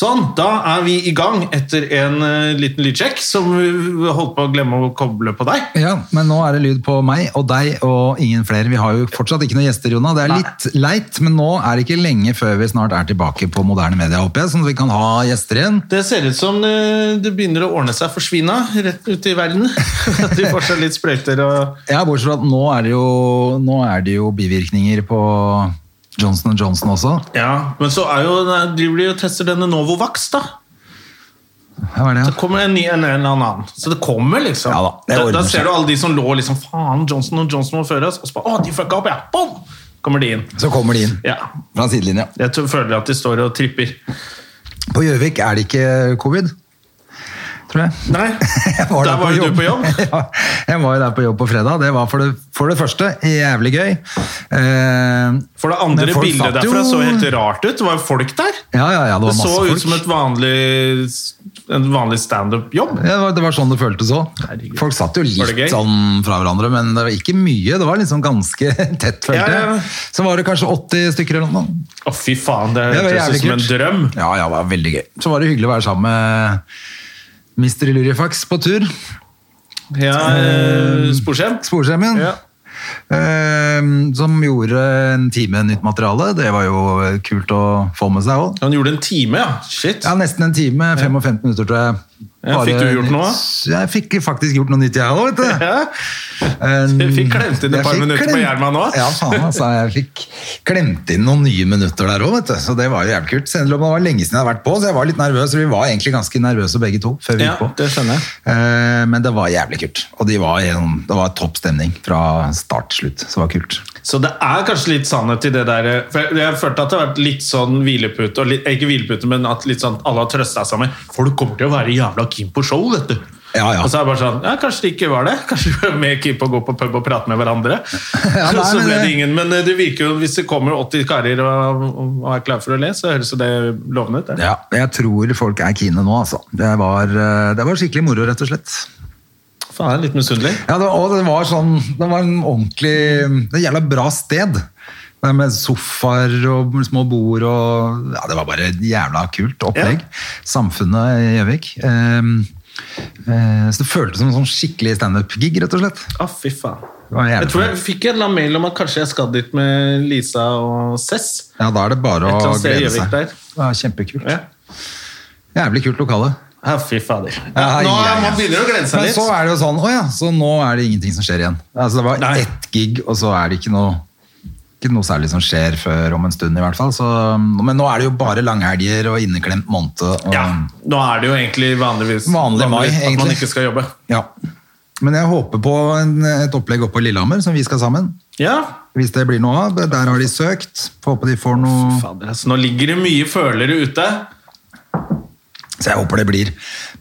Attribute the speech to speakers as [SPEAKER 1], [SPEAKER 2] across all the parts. [SPEAKER 1] Sånn, da er vi i gang etter en eh, liten lydsjekk som vi holdt på å glemme å koble på deg.
[SPEAKER 2] Ja, men nå er det lyd på meg og deg og ingen flere. Vi har jo fortsatt ikke noen gjester, Jonna. Det er litt leit, men nå er det ikke lenge før vi snart er tilbake på moderne media, håper jeg, sånn at vi kan ha gjester igjen.
[SPEAKER 1] Det ser ut som eh, det begynner å ordne seg for svina rett ute i verden. At de får seg litt sprøyter og
[SPEAKER 2] Ja, bortsett fra at nå er det jo, nå er det jo bivirkninger på Johnson Johnson også.
[SPEAKER 1] Ja, men så er jo, driver de og tester denne Novovax, da.
[SPEAKER 2] Ja, hva er det?
[SPEAKER 1] Så kommer det en ny en eller annen. Så det kommer, liksom.
[SPEAKER 2] Ja da, det
[SPEAKER 1] da,
[SPEAKER 2] ordner
[SPEAKER 1] da
[SPEAKER 2] seg.
[SPEAKER 1] ser du alle de som lå liksom Faen, Johnson og Johnson må føre oss. Og så bare Å, de fucka opp, ja! Boom! Kommer de inn.
[SPEAKER 2] Så kommer de inn
[SPEAKER 1] Ja.
[SPEAKER 2] fra sidelinja.
[SPEAKER 1] Jeg tror, føler at de står og tripper.
[SPEAKER 2] På Gjøvik er det ikke covid, tror jeg.
[SPEAKER 1] Nei,
[SPEAKER 2] Jeg
[SPEAKER 1] der var jo du på jobb.
[SPEAKER 2] ja, jeg var jo der på jobb på fredag. Det var for det, for det første jævlig gøy. Eh,
[SPEAKER 1] For det
[SPEAKER 2] Men
[SPEAKER 1] andre
[SPEAKER 2] folk
[SPEAKER 1] bildet
[SPEAKER 2] satt jo-
[SPEAKER 1] derfra så helt rart ut. Det var jo folk der.
[SPEAKER 2] ja, ja, ja, det
[SPEAKER 1] Det
[SPEAKER 2] var masse
[SPEAKER 1] så
[SPEAKER 2] folk.
[SPEAKER 1] ut som et vanlig, en vanlig standup-jobb.
[SPEAKER 2] Ja, det, var, det var sånn det føltes òg.
[SPEAKER 1] Herregud.
[SPEAKER 2] Folk satt jo
[SPEAKER 1] Var det gøy?
[SPEAKER 2] litt sånn fra hverandre, men det var ikke mye. Det var liksom ganske tett, følte
[SPEAKER 1] Ja,
[SPEAKER 2] jeg.
[SPEAKER 1] ja, ja.
[SPEAKER 2] Så var det kanskje 80 stykker eller noe. sånt.
[SPEAKER 1] Å, fy faen, det
[SPEAKER 2] Det var
[SPEAKER 1] hørtes ut
[SPEAKER 2] jævlig
[SPEAKER 1] som en
[SPEAKER 2] kult.
[SPEAKER 1] drøm.
[SPEAKER 2] Ja, ja, det var veldig gøy. Så var det hyggelig å være sammen med Mr. Lurifax på tur.
[SPEAKER 1] Ja, eh, Sporsent.
[SPEAKER 2] Sporshemen.
[SPEAKER 1] Ja.
[SPEAKER 2] Eh, som gjorde en time nytt materiale. Det var jo kult å få med seg òg.
[SPEAKER 1] Han gjorde en time, ja. Shit.
[SPEAKER 2] Ja, nesten en time. 55 minutter, tror jeg.
[SPEAKER 1] Ja, fikk du gjort
[SPEAKER 2] nytt-
[SPEAKER 1] noe?
[SPEAKER 2] Jeg fikk faktisk gjort noe nytt, jeg òg, vet du.
[SPEAKER 1] Ja.
[SPEAKER 2] Um,
[SPEAKER 1] Du fikk klemt inn et
[SPEAKER 2] jeg
[SPEAKER 1] par
[SPEAKER 2] fikk
[SPEAKER 1] minutter på
[SPEAKER 2] klemt-
[SPEAKER 1] Gjerman også.
[SPEAKER 2] Ja, faen altså. Jeg fikk klemt inn noen nye minutter der òg, vet du. Så det var jo jævlig kult. Selv om det var lenge siden jeg hadde vært på, så jeg var litt nervøs. og Vi var egentlig ganske nervøse begge to før vi
[SPEAKER 1] Ja,
[SPEAKER 2] gikk på.
[SPEAKER 1] det skjønner jeg.
[SPEAKER 2] Eh, Men det var jævlig kult. Og de var, i sånn- det var topp stemning fra start til slutt. Så det var kult.
[SPEAKER 1] Så det er kanskje litt sannhet i det der eh, For jeg, jeg følte at det har vært litt sånn hvilepute, og litt, eh, ikke hvilepute, men at litt sånn alle har trøsta seg med Folk kommer til å være jævla keen på show, vet du.
[SPEAKER 2] Ja, ja.
[SPEAKER 1] Og så er det bare sånn Ja, kanskje de ikke var det. Kanskje de var mer keen på å gå på pub og prate med hverandre.
[SPEAKER 2] Ja, nei,
[SPEAKER 1] så
[SPEAKER 2] men
[SPEAKER 1] ble det
[SPEAKER 2] det-
[SPEAKER 1] ingen. Men eh, det virker jo, hvis det kommer 80 karer og, og er klare for å le, så høres jo det lovende ut. det.
[SPEAKER 2] Ja, jeg tror folk er keene nå, altså. Det var, eh, det var skikkelig moro, rett og slett.
[SPEAKER 1] Faen, jeg er litt misunnelig.
[SPEAKER 2] Ja, det, og det var sånn Det var en ordentlig Det er et jævla bra sted. Det er Med sofaer og små bord og Ja, det var bare et jævla kult opplegg. Samfunnet i Gjøvik. Ehm, eh, så det føltes som en sånn skikkelig standup-gig, rett og slett.
[SPEAKER 1] Å, fy faen.
[SPEAKER 2] Det var
[SPEAKER 1] Jeg
[SPEAKER 2] jævlig
[SPEAKER 1] tror
[SPEAKER 2] fint.
[SPEAKER 1] jeg fikk en eller annen mail om at kanskje jeg skal dit med Lisa og Cess.
[SPEAKER 2] Ja, da er det bare
[SPEAKER 1] Et eller
[SPEAKER 2] å
[SPEAKER 1] annet sted i
[SPEAKER 2] glede
[SPEAKER 1] Gjøvik
[SPEAKER 2] seg.
[SPEAKER 1] der.
[SPEAKER 2] Det var kjempekult.
[SPEAKER 1] Ja.
[SPEAKER 2] Jævlig kult lokale.
[SPEAKER 1] Ja, fy fader.
[SPEAKER 2] Ja,
[SPEAKER 1] nå
[SPEAKER 2] ja, ja.
[SPEAKER 1] Man begynner å glede seg
[SPEAKER 2] Men
[SPEAKER 1] litt.
[SPEAKER 2] så er det jo sånn, å ja, så nå er det ingenting som skjer igjen. Altså det var
[SPEAKER 1] Nei.
[SPEAKER 2] ett gig, og så er det ikke noe, ikke noe særlig som skjer før om en stund i hvert fall. Så, men nå er det jo bare langhelger og inneklemt måned. Og,
[SPEAKER 1] Ja, nå er det jo egentlig vanligvis,
[SPEAKER 2] Vanlig mai,
[SPEAKER 1] vanligvis at man
[SPEAKER 2] egentlig.
[SPEAKER 1] ikke skal jobbe.
[SPEAKER 2] Ja. Men jeg håper på en, et opplegg oppe på Lillehammer, som vi skal sammen.
[SPEAKER 1] Ja,
[SPEAKER 2] Hvis det blir noe av. Der har de søkt. Får håpe de får noe...
[SPEAKER 1] fader. Altså, nå ligger det mye følere ute.
[SPEAKER 2] Så jeg håper det blir,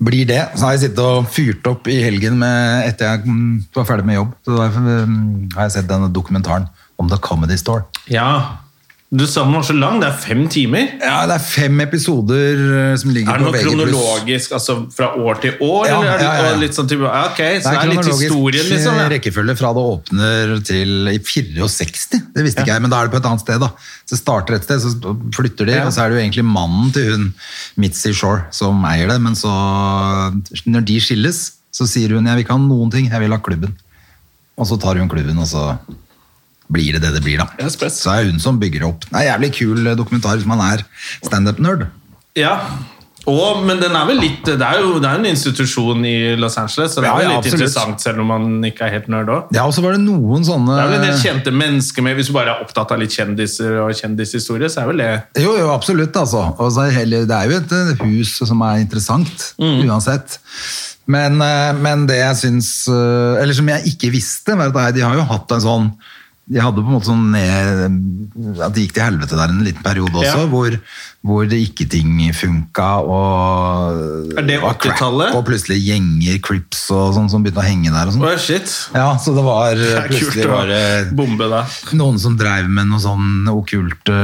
[SPEAKER 2] blir det. Så har jeg sittet og fyrt opp i helgen med, etter jeg mm, var ferdig med jobb. Så da mm, har jeg sett denne dokumentaren om The Comedy Store.
[SPEAKER 1] Ja, du sa den var så lang. Det er fem timer.
[SPEAKER 2] Ja, det er fem episoder eh, som ligger
[SPEAKER 1] Er det
[SPEAKER 2] på
[SPEAKER 1] noe
[SPEAKER 2] VG+.
[SPEAKER 1] kronologisk, altså fra år til år?
[SPEAKER 2] Ja,
[SPEAKER 1] eller er det
[SPEAKER 2] ja, ja, ja.
[SPEAKER 1] litt sånn type, ja, ok, så det er, litt
[SPEAKER 2] kronologisk,
[SPEAKER 1] historien, liksom.
[SPEAKER 2] eh,
[SPEAKER 1] Ja.
[SPEAKER 2] rekkefølge fra det åpner til i 64. Det visste ikke jeg, men da er det på et annet sted. da. Så starter et sted, så flytter de,
[SPEAKER 1] Ja.
[SPEAKER 2] og så er det jo egentlig mannen til hun, Mitzi Shore, som eier det. Men så, når de skilles, så sier hun 'jeg vil ikke ha noen ting, jeg vil ha klubben'. Og så tar hun klubben, og så blir det det det blir, da.
[SPEAKER 1] Ja, spes.
[SPEAKER 2] så er hun som bygger opp. Det er en jævlig kul eh, dokumentar hvis man er standup-nerd.
[SPEAKER 1] ja. Og, men den er vel litt, det er jo det er jo en institusjon i Los Angeles, så det
[SPEAKER 2] Ja,
[SPEAKER 1] er jo
[SPEAKER 2] ja,
[SPEAKER 1] litt
[SPEAKER 2] absolutt.
[SPEAKER 1] interessant, selv om man ikke er helt nerd òg.
[SPEAKER 2] Ja, og så var det noen sånne
[SPEAKER 1] Det er vel en del kjente mennesker med, hvis du bare er opptatt av litt kjendiser og kjendishistorie, så er vel det
[SPEAKER 2] Jo, jo, absolutt. Altså. Og så er heller, det er jo et eh, hus som er interessant,
[SPEAKER 1] Mm.
[SPEAKER 2] uansett. Men, eh, men det jeg syns eh, Eller som jeg ikke visste, var at nei, de har jo hatt en sånn jeg hadde på en måte sånn ned, at det gikk til helvete der en liten periode også,
[SPEAKER 1] Ja.
[SPEAKER 2] hvor, hvor det ikke ting funka, og,
[SPEAKER 1] Er det
[SPEAKER 2] og crack,
[SPEAKER 1] 80-tallet?
[SPEAKER 2] Og plutselig gjenger, crips og sånn som begynte å henge der og sånn.
[SPEAKER 1] Åh, shit.
[SPEAKER 2] Ja, så det var
[SPEAKER 1] Det er kult
[SPEAKER 2] plutselig
[SPEAKER 1] å
[SPEAKER 2] var det
[SPEAKER 1] bombe deg.
[SPEAKER 2] noen som drev med noen sånn okkulte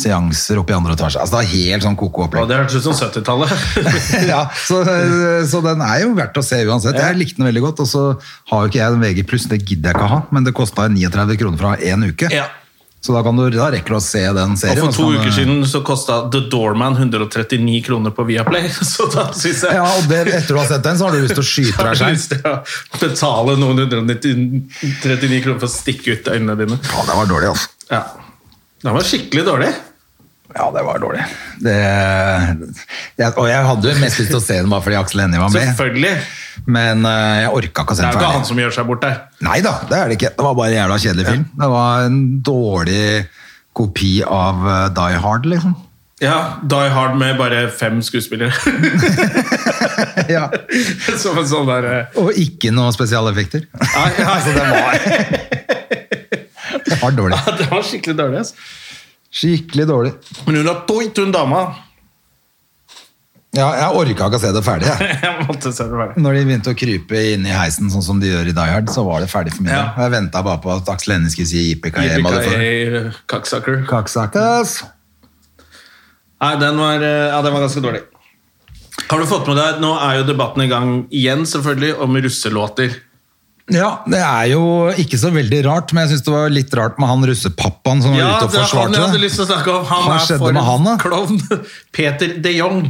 [SPEAKER 2] seanser oppe i andre etasje. Altså, det var helt sånn koko
[SPEAKER 1] Åh,
[SPEAKER 2] opplegg.
[SPEAKER 1] Det hørtes ut som 70-tallet.
[SPEAKER 2] ja, så, så den er jo verdt å se uansett. Jeg likte den veldig godt, og så har jo ikke jeg en VG+, det gidder jeg ikke å ha, men det kostet 39 kroner fra en uke.
[SPEAKER 1] Ja.
[SPEAKER 2] Så da, kan du, da rekker du å se den
[SPEAKER 1] Og
[SPEAKER 2] serien.
[SPEAKER 1] for
[SPEAKER 2] og så
[SPEAKER 1] to
[SPEAKER 2] kan du-
[SPEAKER 1] uker siden så kosta The Doorman 139 kroner på Viaplay, så da syns jeg
[SPEAKER 2] Ja, og det, etter du har sett den, så har du lyst til å skyte
[SPEAKER 1] har
[SPEAKER 2] deg
[SPEAKER 1] jeg
[SPEAKER 2] selv.
[SPEAKER 1] lyst til å betale noen 139 kroner for å stikke ut øynene dine.
[SPEAKER 2] Ja, det var dårlig, altså.
[SPEAKER 1] Ja. Den var skikkelig dårlig.
[SPEAKER 2] Ja, det var dårlig. Det, jeg, og jeg hadde jo mest lyst til å se den bare fordi Aksel Hennie var med,
[SPEAKER 1] Selvfølgelig.
[SPEAKER 2] men eh, jeg orka ikke å
[SPEAKER 1] Det
[SPEAKER 2] se
[SPEAKER 1] er jo
[SPEAKER 2] den
[SPEAKER 1] ikke han
[SPEAKER 2] ferdig.
[SPEAKER 1] som gjør seg bort der.
[SPEAKER 2] Nei da, det er det ikke. Det var bare en jævla kjedelig film. Det var en dårlig kopi av eh, Die Hard, liksom.
[SPEAKER 1] Ja, Die Hard med bare fem skuespillere.
[SPEAKER 2] Ja.
[SPEAKER 1] som en sånn der eh,
[SPEAKER 2] Og ikke noen spesialeffekter.
[SPEAKER 1] Nei, altså,
[SPEAKER 2] Så
[SPEAKER 1] ja.
[SPEAKER 2] det var, det var dårlig.
[SPEAKER 1] ja, Det var skikkelig dårlig. ass.
[SPEAKER 2] Skikkelig dårlig.
[SPEAKER 1] Men hun har toit, hun dama.
[SPEAKER 2] Ja, jeg orka ikke å se det ferdig. Jeg.
[SPEAKER 1] Jeg måtte se det bare.
[SPEAKER 2] Når de begynte å krype inn i heisen sånn som de gjør i Die Hard, så var det ferdig for min del.
[SPEAKER 1] Ja.
[SPEAKER 2] Jeg venta bare på at Aksel Hennie skulle si jippi kajem.
[SPEAKER 1] Yippee-ki-yay, Cocksucker.
[SPEAKER 2] Kaksakas!
[SPEAKER 1] Nei, den var, eh, ja, den var ganske dårlig. Har du fått med deg, Nå er jo debatten i gang igjen, selvfølgelig, om russelåter.
[SPEAKER 2] Ja, det er jo ikke så veldig rart, men jeg syns det var litt rart med han russepappaen som var
[SPEAKER 1] Ja,
[SPEAKER 2] ute og
[SPEAKER 1] det er han jeg
[SPEAKER 2] forsvarte
[SPEAKER 1] hadde lyst til å snakke om. Han
[SPEAKER 2] Hva
[SPEAKER 1] er
[SPEAKER 2] skjedde
[SPEAKER 1] for
[SPEAKER 2] med han,
[SPEAKER 1] en
[SPEAKER 2] da?
[SPEAKER 1] klovn. Peter de Jong.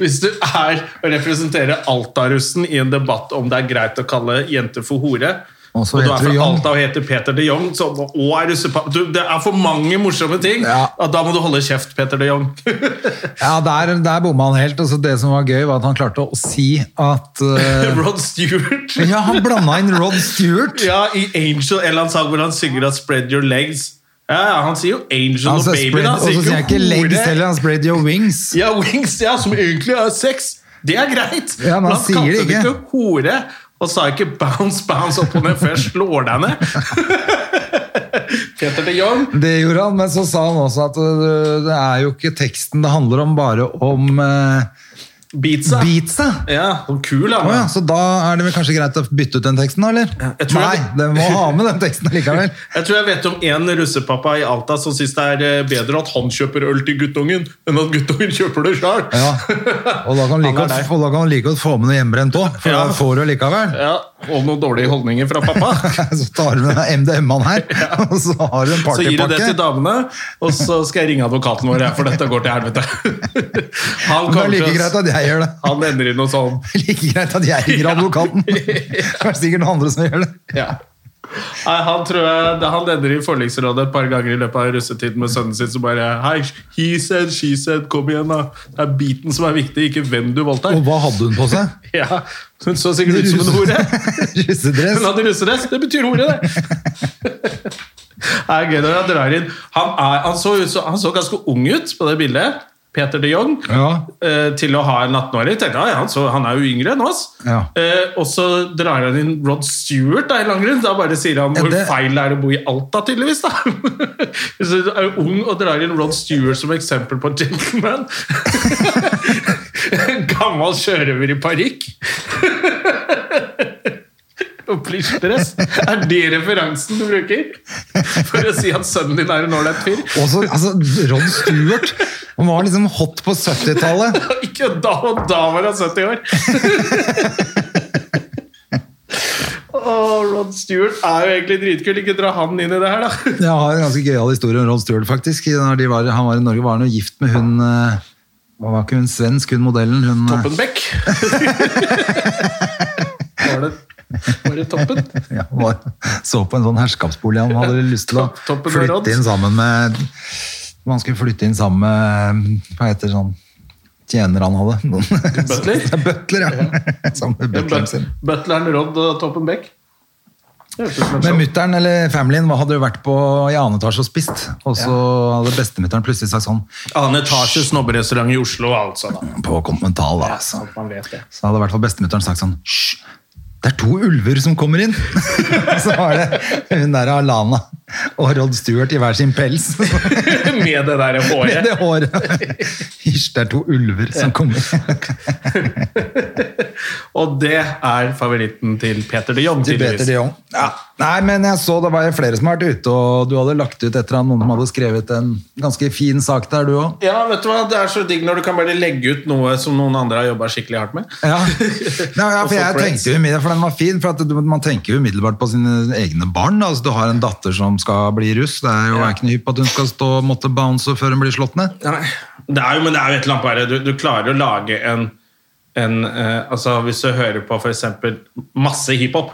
[SPEAKER 1] Hvis du er å representere Alta-russen i en debatt om det er greit å kalle jenter for hore,
[SPEAKER 2] Og så
[SPEAKER 1] og du
[SPEAKER 2] heter
[SPEAKER 1] er
[SPEAKER 2] du
[SPEAKER 1] fra
[SPEAKER 2] Jong.
[SPEAKER 1] Alta og heter Peter de Jong, så, og er russepappa Du, Det er for mange morsomme ting.
[SPEAKER 2] Ja. Eh.
[SPEAKER 1] at Da må du holde kjeft, Peter de Jong.
[SPEAKER 2] Ja, der, der bomma han helt. Og så det som var gøy, var at han klarte å si at eh,
[SPEAKER 1] Rod Stewart.
[SPEAKER 2] Ja, han blanda inn Rod Stewart!
[SPEAKER 1] Ja, i Angel, eller han sang hvor han synger at 'Spread your legs'. Ja, ja, han sier jo 'Angel'
[SPEAKER 2] Han
[SPEAKER 1] og
[SPEAKER 2] sa
[SPEAKER 1] 'Baby'.
[SPEAKER 2] spread,
[SPEAKER 1] da. Han
[SPEAKER 2] og så sier jeg ikke
[SPEAKER 1] hore.
[SPEAKER 2] 'legs' heller, han spread your wings.
[SPEAKER 1] Ja, Wings, ja, som egentlig er sex. Det er greit.
[SPEAKER 2] Ja, men han sier
[SPEAKER 1] kalte
[SPEAKER 2] det ikke.
[SPEAKER 1] ikke hore, og sa ikke 'bounce, bounce' opp og ned før jeg slår deg ned. Peter de Jong.
[SPEAKER 2] Det gjorde han, men så sa han også at øh, det er jo ikke teksten, det handler om bare om uh,
[SPEAKER 1] Beatsa.
[SPEAKER 2] beatsa.
[SPEAKER 1] Ja, så kul, han.
[SPEAKER 2] Å ja, så da er det vel kanskje greit å bytte ut den teksten, da, eller?
[SPEAKER 1] jeg tror
[SPEAKER 2] Nei,
[SPEAKER 1] jeg-
[SPEAKER 2] den må ha med den teksten likevel.
[SPEAKER 1] Jeg tror jeg vet om én russepappa i Alta som syns det er eh, bedre at han kjøper øl til guttungen, enn at guttungen kjøper det sjøl.
[SPEAKER 2] Ja. Og da kan du like,
[SPEAKER 1] Han er
[SPEAKER 2] godt-
[SPEAKER 1] der.
[SPEAKER 2] og da kan du like godt få med noe hjemmebrent òg, for
[SPEAKER 1] Ja.
[SPEAKER 2] da får du likevel.
[SPEAKER 1] Ja, og noen dårlige holdninger fra pappa.
[SPEAKER 2] Så tar du med deg MDMA-en her, og så har du en
[SPEAKER 1] Så gir du det til
[SPEAKER 2] partypakke.
[SPEAKER 1] damene, og så skal jeg ringe advokaten vår, for dette går til helvete. Han
[SPEAKER 2] Men Det er
[SPEAKER 1] kommer
[SPEAKER 2] like
[SPEAKER 1] til
[SPEAKER 2] greit
[SPEAKER 1] å
[SPEAKER 2] at jeg gjør det.
[SPEAKER 1] Han ender i noe sånn
[SPEAKER 2] Like greit at jeg ringer advokaten. Det er sikkert noen andre som gjør det.
[SPEAKER 1] ja. Nei, han tror jeg det- Han ender i forliksrådet et par ganger i løpet av russetiden med sønnen sin som bare Hei, he said, she said, kom igjen, da. Det er biten som er viktig, ikke hvem du
[SPEAKER 2] Og
[SPEAKER 1] voldtar.
[SPEAKER 2] hva hadde hun på seg?
[SPEAKER 1] Ja, Hun så sikkert ut som en hore.
[SPEAKER 2] Russedress.
[SPEAKER 1] Hun hadde russedress. Det betyr hore, det. Det er gøy når han drar inn. Han, er, han, så, ut som- han så ganske ung ut på det bildet. Peter de Jong.
[SPEAKER 2] Ja.
[SPEAKER 1] eh, til å ha en 18-åring. Tenkte jeg, ja, han, så, han er jo yngre enn oss.
[SPEAKER 2] Ja.
[SPEAKER 1] Eh, og så drar han inn Rod Stewart da, i langrenn. Da bare sier han
[SPEAKER 2] Ja,
[SPEAKER 1] hvor
[SPEAKER 2] det-
[SPEAKER 1] feil det er å bo i Alta, tydeligvis. da. Hvis du er ung og drar inn Rod Stewart som eksempel på gentleman. En Gammel sjørøver i parykk. Og plysjdress. Er det referansen du bruker for å si at sønnen din er en ålreit fyr?
[SPEAKER 2] Også, altså, Rod Stewart han var liksom hot på 70-tallet.
[SPEAKER 1] Ikke da, og da var han 70 år. Åh, Rod Stewart er jo egentlig dritkul. Ikke dra han inn i det her, da.
[SPEAKER 2] Jeg har en ganske gøyal historie om Rod Stewart, faktisk. Når de var, han var i Norge, var han jo gift med hun eh, hva Var ikke hun svensk, hun modellen? Hun, eh,
[SPEAKER 1] Toppen Beck. Var det, var det toppen?
[SPEAKER 2] ja, var, så på en sånn herskapsbolig. Han hadde lyst til å
[SPEAKER 1] Topp- toppen av Rod.
[SPEAKER 2] flytte inn sammen med Man skulle flytte inn sammen med Hva heter sånn tjener han hadde?
[SPEAKER 1] Butler?
[SPEAKER 2] Ja, Butler, ja. Sammen med Butleren sin.
[SPEAKER 1] Butleren Rod eh, og Toppen Beck. Det hørtes ut som et
[SPEAKER 2] Men
[SPEAKER 1] show.
[SPEAKER 2] mutter'n eller familien hva hadde jo vært på i annen etasje og spist, og så hadde bestemutteren plutselig sagt sånn
[SPEAKER 1] Annen etasje snobberestaurant i Oslo, altså. da.
[SPEAKER 2] på Kontinental, da. Så,
[SPEAKER 1] Man vet det.
[SPEAKER 2] så hadde i hvert fall bestemutteren sagt sånn Hysj, det er to ulver som kommer inn! så var det hun der Alana og Rod Stewart i hver sin pels.
[SPEAKER 1] Med det der
[SPEAKER 2] Med
[SPEAKER 1] håret.
[SPEAKER 2] det håret. Hysj, det er to ulver som kommer inn.
[SPEAKER 1] Og det er favoritten til Peter de Jong.
[SPEAKER 2] Til Peter
[SPEAKER 1] tydeligvis.
[SPEAKER 2] de Jong. Ja. Nei, men jeg så det var jo flere som har vært ute, og du hadde lagt ut et eller annet, noen som hadde skrevet en ganske fin sak der, du òg.
[SPEAKER 1] Ja, vet du hva? Det er så digg når du kan bare legge ut noe som noen andre har jobba skikkelig hardt med.
[SPEAKER 2] Ja. Nei, ja,
[SPEAKER 1] Og
[SPEAKER 2] for
[SPEAKER 1] få
[SPEAKER 2] jeg
[SPEAKER 1] praise.
[SPEAKER 2] tenkte jo umiddelbart, for den var fin, for at du- man tenker jo umiddelbart på sine egne barn. da. Altså, du har en datter som skal bli russ, det er jo
[SPEAKER 1] Ja.
[SPEAKER 2] ikke noe hypp på at hun skal stå og måtte bounce før hun blir slått ned.
[SPEAKER 1] Nei. Det er jo, men det er jo et eller annet bare Du, du klarer å lage en, en eh, Altså Hvis du hører på f.eks. masse hiphop,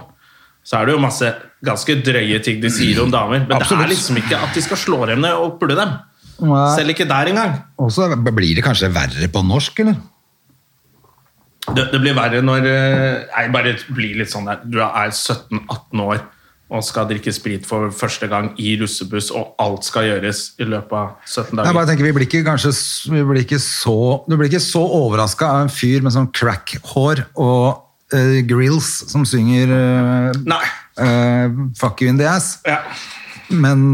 [SPEAKER 1] så er det jo masse ganske drøye ting de sier om damer. Men det
[SPEAKER 2] Absolutt.
[SPEAKER 1] er liksom ikke at de skal slå dem ned og pule dem.
[SPEAKER 2] Nei.
[SPEAKER 1] Selv ikke der engang.
[SPEAKER 2] Og så blir det kanskje verre på norsk, eller?
[SPEAKER 1] Det, det blir verre når eh, Nei, bare bli litt sånn der. Du er 17-18 år og skal drikke sprit for første gang i russebuss, og alt skal gjøres i løpet av 17
[SPEAKER 2] Jeg bare
[SPEAKER 1] dager.
[SPEAKER 2] tenker, vi blir ikke, kanskje, s- vi blir ikke så, Du blir ikke så overraska av en fyr med sånn crack-hår og eh, grills som synger eh,
[SPEAKER 1] Nei.
[SPEAKER 2] eh, 'Fuck you in the ass'.
[SPEAKER 1] Ja.
[SPEAKER 2] Men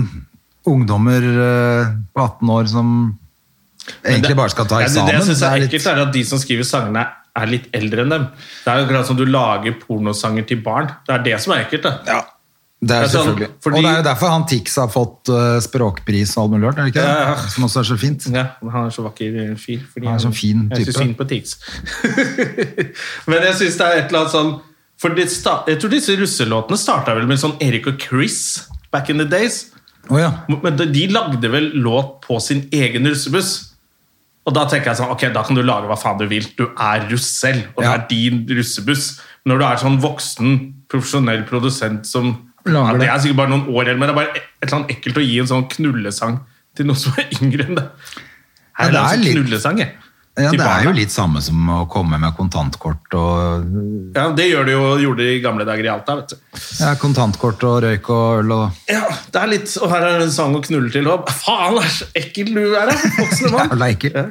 [SPEAKER 2] ungdommer eh, på 18 år som egentlig bare skal ta
[SPEAKER 1] Ja,
[SPEAKER 2] eksamen
[SPEAKER 1] Det, det jeg synes
[SPEAKER 2] det
[SPEAKER 1] er
[SPEAKER 2] er litt-
[SPEAKER 1] ekkelt, er at de som skriver sangene, er litt eldre enn dem. Det er jo akkurat som du lager pornosanger til barn. Det er det som er ekkelt. Da.
[SPEAKER 2] Det er
[SPEAKER 1] Det er sånn,
[SPEAKER 2] selvfølgelig.
[SPEAKER 1] fordi-
[SPEAKER 2] Og det er jo derfor han Tix har fått eh, språkpris og alt mulig rart, er det ikke det?
[SPEAKER 1] Ja, ja.
[SPEAKER 2] Som også er så fint.
[SPEAKER 1] Ja, han er så vakker fyr. fordi
[SPEAKER 2] Han er så fin
[SPEAKER 1] jeg
[SPEAKER 2] type.
[SPEAKER 1] synes synd på Tix. Men jeg syns det er et eller annet sånn for det sta- Jeg tror disse russelåtene starta vel med sånn Erik og Chris back in the days.
[SPEAKER 2] Å ja.
[SPEAKER 1] Men de- de lagde vel låt på sin egen russebuss. Og da tenker jeg sånn, ok, da kan du lage hva faen du vil. Du er russ selv, og
[SPEAKER 2] Ja.
[SPEAKER 1] det er din russebuss. Men når du er sånn voksen, profesjonell produsent som
[SPEAKER 2] Lager
[SPEAKER 1] ja, Det
[SPEAKER 2] det.
[SPEAKER 1] er sikkert bare noen år, eller, men det er bare et eller annet ekkelt å gi en sånn knullesang til noen som er yngre enn deg.
[SPEAKER 2] Ja,
[SPEAKER 1] Her er
[SPEAKER 2] det
[SPEAKER 1] det
[SPEAKER 2] er
[SPEAKER 1] altså
[SPEAKER 2] litt-
[SPEAKER 1] knullesang, jeg.
[SPEAKER 2] ja,
[SPEAKER 1] Til
[SPEAKER 2] det er
[SPEAKER 1] barna.
[SPEAKER 2] jo litt samme som å komme med kontantkort og
[SPEAKER 1] Ja, det gjør det jo, gjorde de i gamle dager i Alta, vet du.
[SPEAKER 2] ja, kontantkort og røyk og øl og
[SPEAKER 1] Ja, det er litt, og her er det en sang å knulle til. Og, faen, det er så ekkel du er, da, voksne mann.
[SPEAKER 2] Jævla ekkel.
[SPEAKER 1] Ja.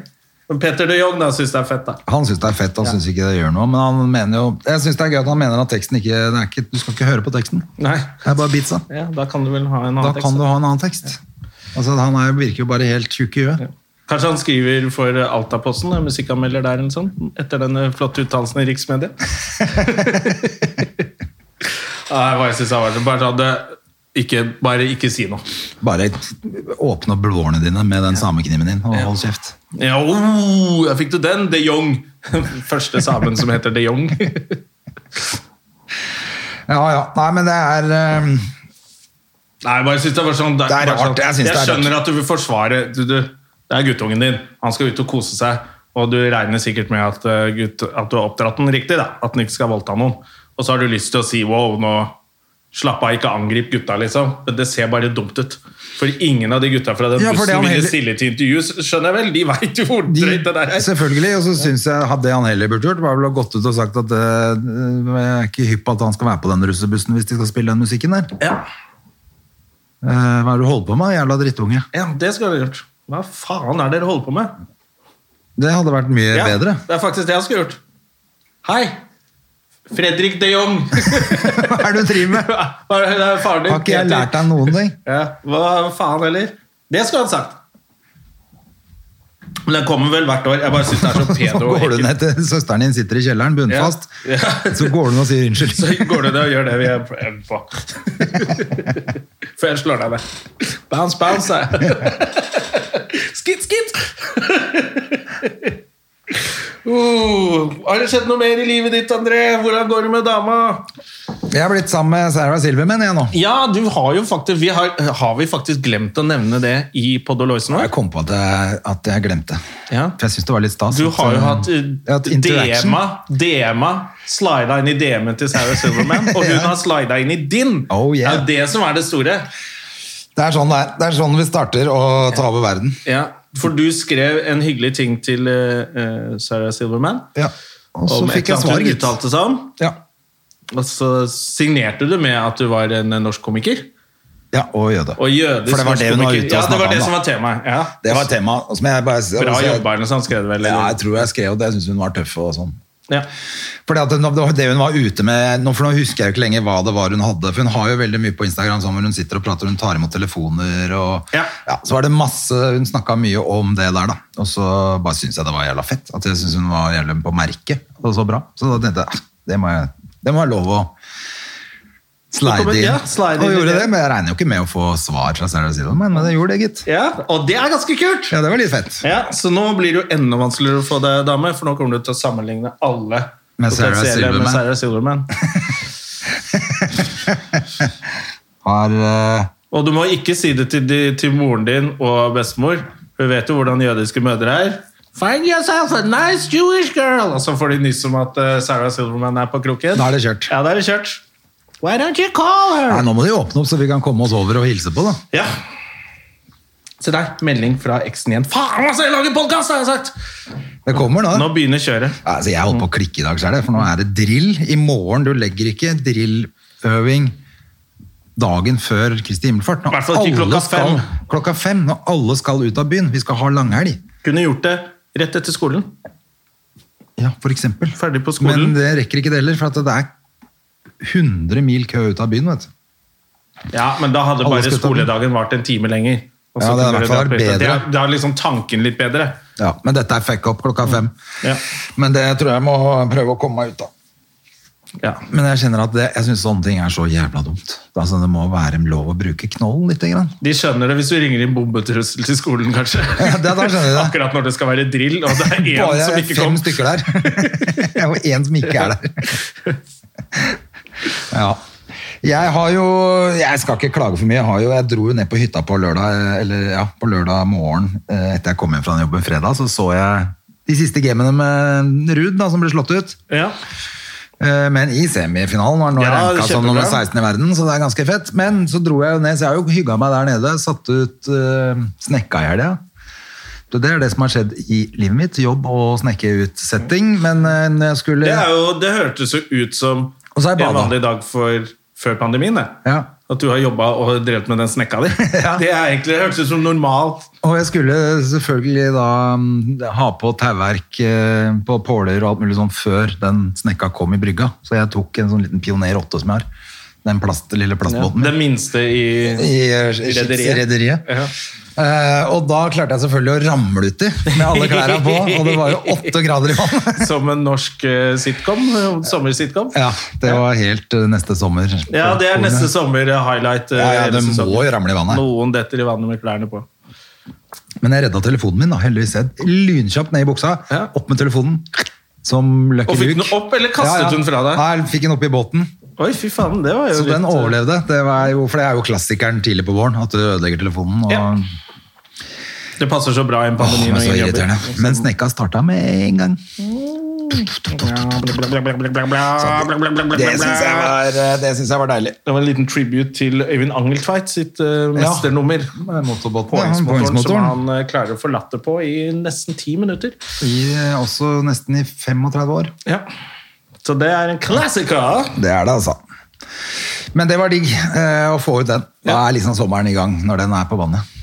[SPEAKER 1] Men Peter de Jong da, synes det er fett, da.
[SPEAKER 2] Han syns det er fett, han synes ikke det gjør noe. Men han mener jo Jeg syns det er gøy at han mener at teksten ikke, det er ikke Du skal ikke høre på teksten.
[SPEAKER 1] Nei.
[SPEAKER 2] Det er bare beatsa.
[SPEAKER 1] Ja, da kan du vel ha en
[SPEAKER 2] Da
[SPEAKER 1] annen
[SPEAKER 2] kan
[SPEAKER 1] tekst.
[SPEAKER 2] du ha en annen tekst. Altså, han er, virker jo bare helt tjukk i huet.
[SPEAKER 1] Kanskje han skriver for Altaposten, en musikkanmelder der, eller sånn, etter denne flotte uttalelsen i Riksmedia? Nei, hva jeg synes han var så- bare sånn, det- ikke, bare ikke si noe.
[SPEAKER 2] Bare åpne opp blodårene dine med den samekniven din, og hold kjeft.
[SPEAKER 1] Ja, oh, jeg fikk du den, De Jong. Første samen som heter De Jong.
[SPEAKER 2] Ja, ja. Nei, men det er eh,
[SPEAKER 1] Nei, bare synes det var sånn
[SPEAKER 2] Det er
[SPEAKER 1] bare
[SPEAKER 2] rart,
[SPEAKER 1] Sånn,
[SPEAKER 2] jeg synes det er rart.
[SPEAKER 1] skjønner at du vil forsvare du, du, Det er guttungen din. Han skal ut og kose seg. Og du regner sikkert med at, eh, gutt, at du har oppdratt den riktig. da At den ikke skal voldta noen. Og så har du lyst til å si wow, nå slapp av, ikke angrip gutta, liksom. Men det ser bare dumt ut. For ingen av de gutta fra den
[SPEAKER 2] Ja, for det
[SPEAKER 1] bussen
[SPEAKER 2] han
[SPEAKER 1] ville
[SPEAKER 2] heller-
[SPEAKER 1] stille til intervju, s- skjønner jeg vel. De veit jo hvor
[SPEAKER 2] de, altså-
[SPEAKER 1] drøyt det der er.
[SPEAKER 2] selvfølgelig, og så syns jeg at det han heller burde gjort, var vel å gått ut og sagt at eh, jeg er ikke hypp på at han skal være på den russebussen hvis de skal spille den musikken der.
[SPEAKER 1] Ja,
[SPEAKER 2] Eh, hva er det du holder på med, jævla drittunge?
[SPEAKER 1] ja, det skulle jeg gjort. Hva faen er det dere holder på med?
[SPEAKER 2] Det hadde vært mye
[SPEAKER 1] Ja,
[SPEAKER 2] bedre.
[SPEAKER 1] Det er faktisk det jeg skulle gjort. Hei! Fredrik de Jong.
[SPEAKER 2] Hva er det du driver med?
[SPEAKER 1] Hva er det faren din?
[SPEAKER 2] Har ikke jeg
[SPEAKER 1] Peter?
[SPEAKER 2] lært deg noen ting?
[SPEAKER 1] Ja, hva faen heller? Det skulle han sagt. Men den kommer vel hvert år. Jeg bare synes det er så
[SPEAKER 2] Så
[SPEAKER 1] pedo. og
[SPEAKER 2] går du
[SPEAKER 1] ekkelt.
[SPEAKER 2] ned til søsteren din, sitter i kjelleren, bunnfast.
[SPEAKER 1] Ja. Ja.
[SPEAKER 2] Så går du ned og sier unnskyld.
[SPEAKER 1] Så går du ned og gjør det vi er på. Før jeg slår deg ned. Bounce, bounce, sa jeg. Skitt, skitt! Oh, har det skjedd noe mer i livet ditt, André? Hvordan går det med dama?
[SPEAKER 2] Jeg er blitt sammen med Sarah Silverman jeg nå.
[SPEAKER 1] Ja, du har jo faktisk vi har, har vi faktisk glemt å nevne det i Podoloisen
[SPEAKER 2] Jeg kom på at jeg, at jeg glemte.
[SPEAKER 1] Ja.
[SPEAKER 2] For jeg syns det var litt stas.
[SPEAKER 1] Du
[SPEAKER 2] at,
[SPEAKER 1] har jo
[SPEAKER 2] eh,
[SPEAKER 1] hatt
[SPEAKER 2] jeg har hatt interaction.
[SPEAKER 1] DM-a DM-a slida inn i DM-en til Sarah Silverman, og hun har slida inn i din.
[SPEAKER 2] Oh, yeah.
[SPEAKER 1] Det er jo det som er det store.
[SPEAKER 2] Det er sånn det er. Det er sånn vi starter å ta over verden.
[SPEAKER 1] For du skrev en hyggelig ting til eh, eh, Sarah Silverman.
[SPEAKER 2] Ja. Og så
[SPEAKER 1] om et
[SPEAKER 2] fikk jeg
[SPEAKER 1] eller annet
[SPEAKER 2] svar,
[SPEAKER 1] hun
[SPEAKER 2] gitt.
[SPEAKER 1] uttalte seg om.
[SPEAKER 2] Ja.
[SPEAKER 1] Og så signerte du med at du var en eh, norsk komiker.
[SPEAKER 2] ja, og jøde.
[SPEAKER 1] Og jødisk
[SPEAKER 2] For det var
[SPEAKER 1] norsk
[SPEAKER 2] det hun var
[SPEAKER 1] komiker.
[SPEAKER 2] ute og
[SPEAKER 1] Ja, det
[SPEAKER 2] snakket
[SPEAKER 1] var
[SPEAKER 2] om,
[SPEAKER 1] det
[SPEAKER 2] da.
[SPEAKER 1] som var temaet. Ja.
[SPEAKER 2] Det var temaet. og som jeg bare-
[SPEAKER 1] Bra
[SPEAKER 2] altså, jeg-
[SPEAKER 1] jobba, eller noe sånt, skrev du vel?
[SPEAKER 2] Ja,
[SPEAKER 1] eller?
[SPEAKER 2] jeg tror jeg skrev det. Jeg syns hun var tøff og sånn.
[SPEAKER 1] Ja.
[SPEAKER 2] Fordi at det var det hun var ute med nå, For nå husker jeg jo ikke lenger hva det var hun hadde. For hun har jo veldig mye på Instagram sånn hvor hun sitter og prater, hun tar imot telefoner og
[SPEAKER 1] Ja.
[SPEAKER 2] Så var det masse Hun snakka mye om det der, da. Og så bare syns jeg det var jævla fett. At jeg syns hun var jævla på merket og så bra. Så da tenkte jeg "Ah, det må jeg, det må jeg lov å slide inn.
[SPEAKER 1] Ja, slide inn
[SPEAKER 2] og
[SPEAKER 1] i
[SPEAKER 2] gjorde
[SPEAKER 1] det.
[SPEAKER 2] det, men jeg regner jo ikke med å få svar fra Sarah Silva, men jeg gjorde det, gitt.
[SPEAKER 1] ja, og det er ganske kult!
[SPEAKER 2] Ja, det var litt fett.
[SPEAKER 1] Ja, Så nå blir det jo enda vanskeligere å få deg dame, for nå kommer du til å sammenligne alle
[SPEAKER 2] Med Sarah
[SPEAKER 1] potensielle
[SPEAKER 2] Silverman.
[SPEAKER 1] med Sarah Silverman.
[SPEAKER 2] Har eh,
[SPEAKER 1] Og du må ikke si det til, de, til moren din og bestemor. Hun vet jo hvordan jødiske mødre er. Find yourself a nice Jewish girl! Og så får de nyss om at eh, Sarah Silverman er på kroken.
[SPEAKER 2] Da er det kjørt.
[SPEAKER 1] Ja, da er det kjørt. Why don't you call her?
[SPEAKER 2] Nei, nå må de åpne opp, så vi kan komme oss over og hilse på, da.
[SPEAKER 1] Ja. Se der, melding fra eksen igjen. Faen, altså, jeg lager podkast, har jeg sagt!
[SPEAKER 2] Det kommer nå.
[SPEAKER 1] Nå begynner kjøret.
[SPEAKER 2] Ja, Altså, jeg holdt på å klikke i dag, selv, for nå er det drill i morgen. Du legger ikke drilløving dagen før Kristi himmelfart. Når
[SPEAKER 1] I hvert fall ikke
[SPEAKER 2] alle
[SPEAKER 1] klokka
[SPEAKER 2] skal,
[SPEAKER 1] fem.
[SPEAKER 2] Klokka fem, når alle skal ut av byen. Vi skal ha langhelg.
[SPEAKER 1] Kunne gjort det rett etter skolen.
[SPEAKER 2] Ja, for eksempel.
[SPEAKER 1] Ferdig på skolen.
[SPEAKER 2] Men det rekker ikke det heller, for at det er 100 mil kø ut av byen, vet du.
[SPEAKER 1] Ja, men da hadde
[SPEAKER 2] Alle
[SPEAKER 1] bare
[SPEAKER 2] skal ta den.
[SPEAKER 1] skoledagen vart en time lenger. Og så
[SPEAKER 2] Ja, det hadde
[SPEAKER 1] kunne
[SPEAKER 2] i hvert fall
[SPEAKER 1] du
[SPEAKER 2] vært
[SPEAKER 1] dratt på hytta.
[SPEAKER 2] bedre.
[SPEAKER 1] Det er- Da er liksom tanken litt bedre.
[SPEAKER 2] Ja, men dette er fuck up klokka fem.
[SPEAKER 1] Ja.
[SPEAKER 2] Men det tror jeg må prøve å komme meg ut av.
[SPEAKER 1] Ja.
[SPEAKER 2] Men jeg kjenner at det, jeg synes sånne ting er så jævla dumt. Altså, det må være lov å bruke knollen litt. Grann.
[SPEAKER 1] De skjønner det hvis du ringer inn bombetrussel til skolen, kanskje.
[SPEAKER 2] Ja, da skjønner de det.
[SPEAKER 1] Akkurat når det skal være drill, og det er én
[SPEAKER 2] Bare
[SPEAKER 1] som ikke
[SPEAKER 2] fem
[SPEAKER 1] kom.
[SPEAKER 2] stykker der. og én som ikke er der. ja. Jeg har jo Jeg skal ikke klage for mye. Jeg, har jo, jeg dro jo ned på hytta på lørdag eller ja, på lørdag morgen eh, etter jeg kom hjem fra den jobben fredag. Så så jeg de siste gamene med Ruud, da, som ble slått ut.
[SPEAKER 1] Ja.
[SPEAKER 2] Eh, Men i semifinalen var han nå
[SPEAKER 1] Ja,
[SPEAKER 2] ranka som
[SPEAKER 1] kjempebra.
[SPEAKER 2] nummer 16 i verden, så det er ganske fett. Men så dro jeg jo ned, så jeg har jo hygga meg der nede. Satt ut eh, snekka i helga. Så Det er det som har skjedd i livet mitt. Jobb og snekkeutsetting. Men eh, når jeg skulle
[SPEAKER 1] Det, er jo, det hørtes jo ut som
[SPEAKER 2] Og så er jeg
[SPEAKER 1] en
[SPEAKER 2] bada.
[SPEAKER 1] vanlig dag for, før pandemien. det.
[SPEAKER 2] Ja.
[SPEAKER 1] At du har jobba og drevet med den snekka di.
[SPEAKER 2] Ja.
[SPEAKER 1] Det er egentlig, det hørtes ut som normalt.
[SPEAKER 2] Og jeg skulle selvfølgelig da mm, ha på tauverk eh, på påler og alt mulig sånn før den snekka kom i brygga. Så jeg tok en sånn liten Pioner 8 som jeg har. Den plast, lille plastbåten. min.
[SPEAKER 1] Den minste i
[SPEAKER 2] i eh, skips- rederiet.
[SPEAKER 1] Ja.
[SPEAKER 2] Eh, og da klarte jeg selvfølgelig å ramle uti med alle klærne på, og det var jo åtte grader i vann.
[SPEAKER 1] Som en norsk eh, sitcom. eh, Sommersitcom.
[SPEAKER 2] ja, det var helt eh, neste sommer.
[SPEAKER 1] Ja, det er neste sommer eh, highlight. eh,
[SPEAKER 2] Ja, ja,
[SPEAKER 1] hele
[SPEAKER 2] det må
[SPEAKER 1] sesongen.
[SPEAKER 2] jo ramle i vannet.
[SPEAKER 1] Noen detter i vannet med klærne på.
[SPEAKER 2] Men jeg redda telefonen min, da, heldigvis. Jeg Lynkjapt ned i buksa,
[SPEAKER 1] Ja.
[SPEAKER 2] opp med telefonen. Som Lucky
[SPEAKER 1] Og fikk den
[SPEAKER 2] Luke.
[SPEAKER 1] opp, eller kastet hun fra deg?
[SPEAKER 2] Nei, fikk den opp i båten.
[SPEAKER 1] Oi, fy faen, det var jo
[SPEAKER 2] Så den
[SPEAKER 1] litt, eh,
[SPEAKER 2] overlevde. Det var jo, for det er jo klassikeren tidlig på våren, at du ødelegger telefonen. Og,
[SPEAKER 1] Ja. Det passer så bra i en
[SPEAKER 2] Åh,
[SPEAKER 1] pandemi.
[SPEAKER 2] det
[SPEAKER 1] når
[SPEAKER 2] var så
[SPEAKER 1] ingen jobber.
[SPEAKER 2] irriterende. Men snekka starta med en gang.
[SPEAKER 1] Sånn.
[SPEAKER 2] Det syns jeg, var- eh, det synes jeg var deilig.
[SPEAKER 1] Det var en liten tribute til Øyvind Angeltveit sitt eh, mesternummer.
[SPEAKER 2] Med motorbåten, ja,
[SPEAKER 1] Poengsmotoren som
[SPEAKER 2] poengsmotoren.
[SPEAKER 1] han eh, klarer å forlate på i nesten ti minutter.
[SPEAKER 2] I, eh, også nesten i 35 år.
[SPEAKER 1] Ja. Så det er en klassiker.
[SPEAKER 2] Det er det, altså. Men det var digg eh, å få ut den. Da er liksom sommeren i gang når den er på vannet.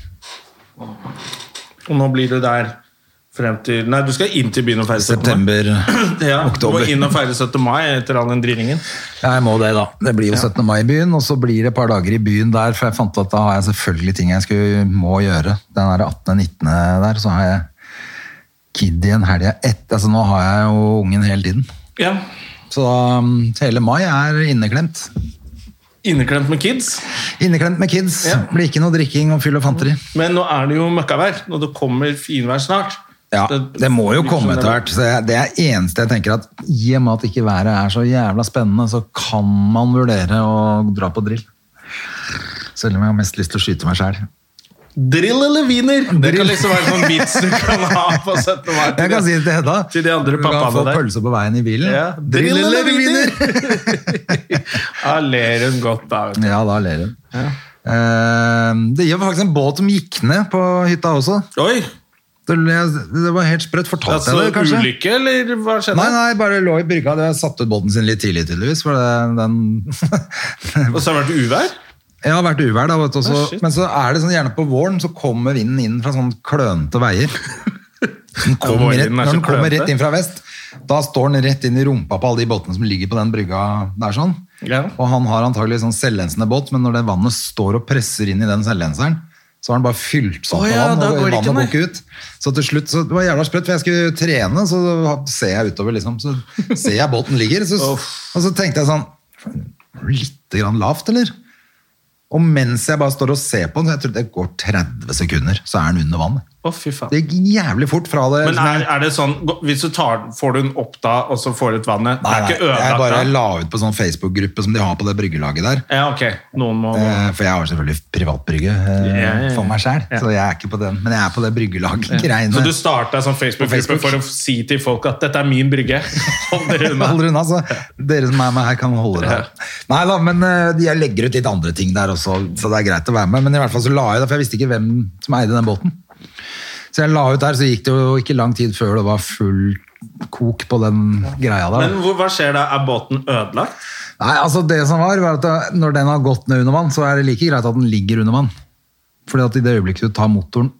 [SPEAKER 1] Og nå blir du der frem til Nei, du skal inn til byen og feire 17. mai.
[SPEAKER 2] September.
[SPEAKER 1] Ja, du må
[SPEAKER 2] oktober.
[SPEAKER 1] inn og feire 17. mai etter all den drillingen.
[SPEAKER 2] Jeg må det, da. Det blir jo 17. mai i byen, og så blir det et par dager i byen der, for jeg fant at da har jeg selvfølgelig ting jeg skulle, må gjøre. Den er 18. og 19. der, så har jeg kid igjen helga etter. Altså, nå har jeg jo ungen hele tiden.
[SPEAKER 1] Ja.
[SPEAKER 2] Så um, hele mai er inneklemt.
[SPEAKER 1] Inneklemt med kids.
[SPEAKER 2] Inneklemt med kids.
[SPEAKER 1] Ja.
[SPEAKER 2] Blir ikke noe drikking og fyll og fanteri.
[SPEAKER 1] Men nå er det jo møkkavær, og det kommer finvær snart.
[SPEAKER 2] Ja, det må jo komme etter hvert. Så jeg- det er eneste jeg tenker at i og med at ikke været er så jævla spennende, så kan man vurdere å dra på drill. Selv om jeg har mest lyst til å skyte meg sjæl.
[SPEAKER 1] Drill eller wiener? Det
[SPEAKER 2] Drill.
[SPEAKER 1] kan liksom være sånn vits du kan ha på 17. mai.
[SPEAKER 2] Jeg kan si det til Hedda.
[SPEAKER 1] Til de andre
[SPEAKER 2] Du kan
[SPEAKER 1] pappaene
[SPEAKER 2] få
[SPEAKER 1] der.
[SPEAKER 2] pølse på veien i bilen.
[SPEAKER 1] Ja.
[SPEAKER 2] Drill eller wiener?
[SPEAKER 1] Ja, ler hun godt da. vet du.
[SPEAKER 2] Ja, da ler hun. Eh, Det gikk faktisk en båt som gikk ned på hytta også.
[SPEAKER 1] Oi!
[SPEAKER 2] Det det var helt sprøtt. Fortalte
[SPEAKER 1] Altså,
[SPEAKER 2] jeg det, kanskje?
[SPEAKER 1] ulykke, eller hva skjedde?
[SPEAKER 2] Nei, nei, bare lå i brygga. Det hadde satt ut båten sin litt tidlig, tydeligvis. For det, den
[SPEAKER 1] Og så har det vært uvær?
[SPEAKER 2] Jeg har vært uvær, da, vet du, også,
[SPEAKER 1] Ah, shit.
[SPEAKER 2] men så er det sånn gjerne på våren så kommer vinden inn fra sånn klønete veier. Den kommer rett,
[SPEAKER 1] vårvinden er
[SPEAKER 2] når
[SPEAKER 1] så
[SPEAKER 2] den kommer
[SPEAKER 1] klønete.
[SPEAKER 2] rett inn fra vest, Da står han rett inn i rumpa på alle de båtene som ligger på den brygga der sånn.
[SPEAKER 1] Ja.
[SPEAKER 2] Og han har antagelig sånn selvlensende båt, men når det vannet står og presser inn i den selvlenseren, så har han bare fylt sånn
[SPEAKER 1] Å
[SPEAKER 2] med
[SPEAKER 1] ja,
[SPEAKER 2] vann,
[SPEAKER 1] da
[SPEAKER 2] og
[SPEAKER 1] går det ikke,
[SPEAKER 2] vannet går
[SPEAKER 1] nei.
[SPEAKER 2] ikke ut. Så til slutt, så det var jævla sprøtt, for jeg skulle trene, så ser jeg utover liksom, så ser jeg båten ligger, så,
[SPEAKER 1] Uff.
[SPEAKER 2] og så tenkte jeg sånn, var det litt grann lavt, eller? Og mens jeg bare står og ser på den, så jeg tror det går 30 sekunder, så er den under vannet.
[SPEAKER 1] Å, fy faen.
[SPEAKER 2] Det gikk jævlig fort fra det.
[SPEAKER 1] Men
[SPEAKER 2] liksom, jeg-
[SPEAKER 1] er, er det sånn Hvis du tar Får du den opp da, og så får du ut vannet?
[SPEAKER 2] Nei,
[SPEAKER 1] det er ikke
[SPEAKER 2] nei, jeg
[SPEAKER 1] ødelagt
[SPEAKER 2] bare
[SPEAKER 1] da?
[SPEAKER 2] la ut på sånn Facebook-gruppe som de har på det bryggelaget der.
[SPEAKER 1] Ja, ok. Noen må
[SPEAKER 2] Eh, For jeg har jo selvfølgelig privatbrygge eh,
[SPEAKER 1] Ja, ja, ja.
[SPEAKER 2] for meg sjøl,
[SPEAKER 1] Ja.
[SPEAKER 2] så jeg er ikke på den. Men jeg er på det
[SPEAKER 1] Så
[SPEAKER 2] bryggelaggreiene.
[SPEAKER 1] du starta en sånn Facebook-gruppe
[SPEAKER 2] Facebook.
[SPEAKER 1] for å si til folk at 'dette er min brygge'? Hold dere unna.
[SPEAKER 2] Hold dere unna, så dere som er med her, kan holde dere. Nei da, men eh, jeg legger ut litt andre ting der også, så det er greit å være med. Men i hvert fall så la jeg det, for jeg visste ikke hvem som eide den båten. Så jeg la ut der, så gikk det jo ikke lang tid før det var full kok på den greia der.
[SPEAKER 1] Men hvor, hva skjer da? Er båten ødelagt?
[SPEAKER 2] Nei, altså det som var, var at da- når den har gått ned under vann, så er det like greit at den ligger under vann. Fordi at i det øyeblikket du tar motoren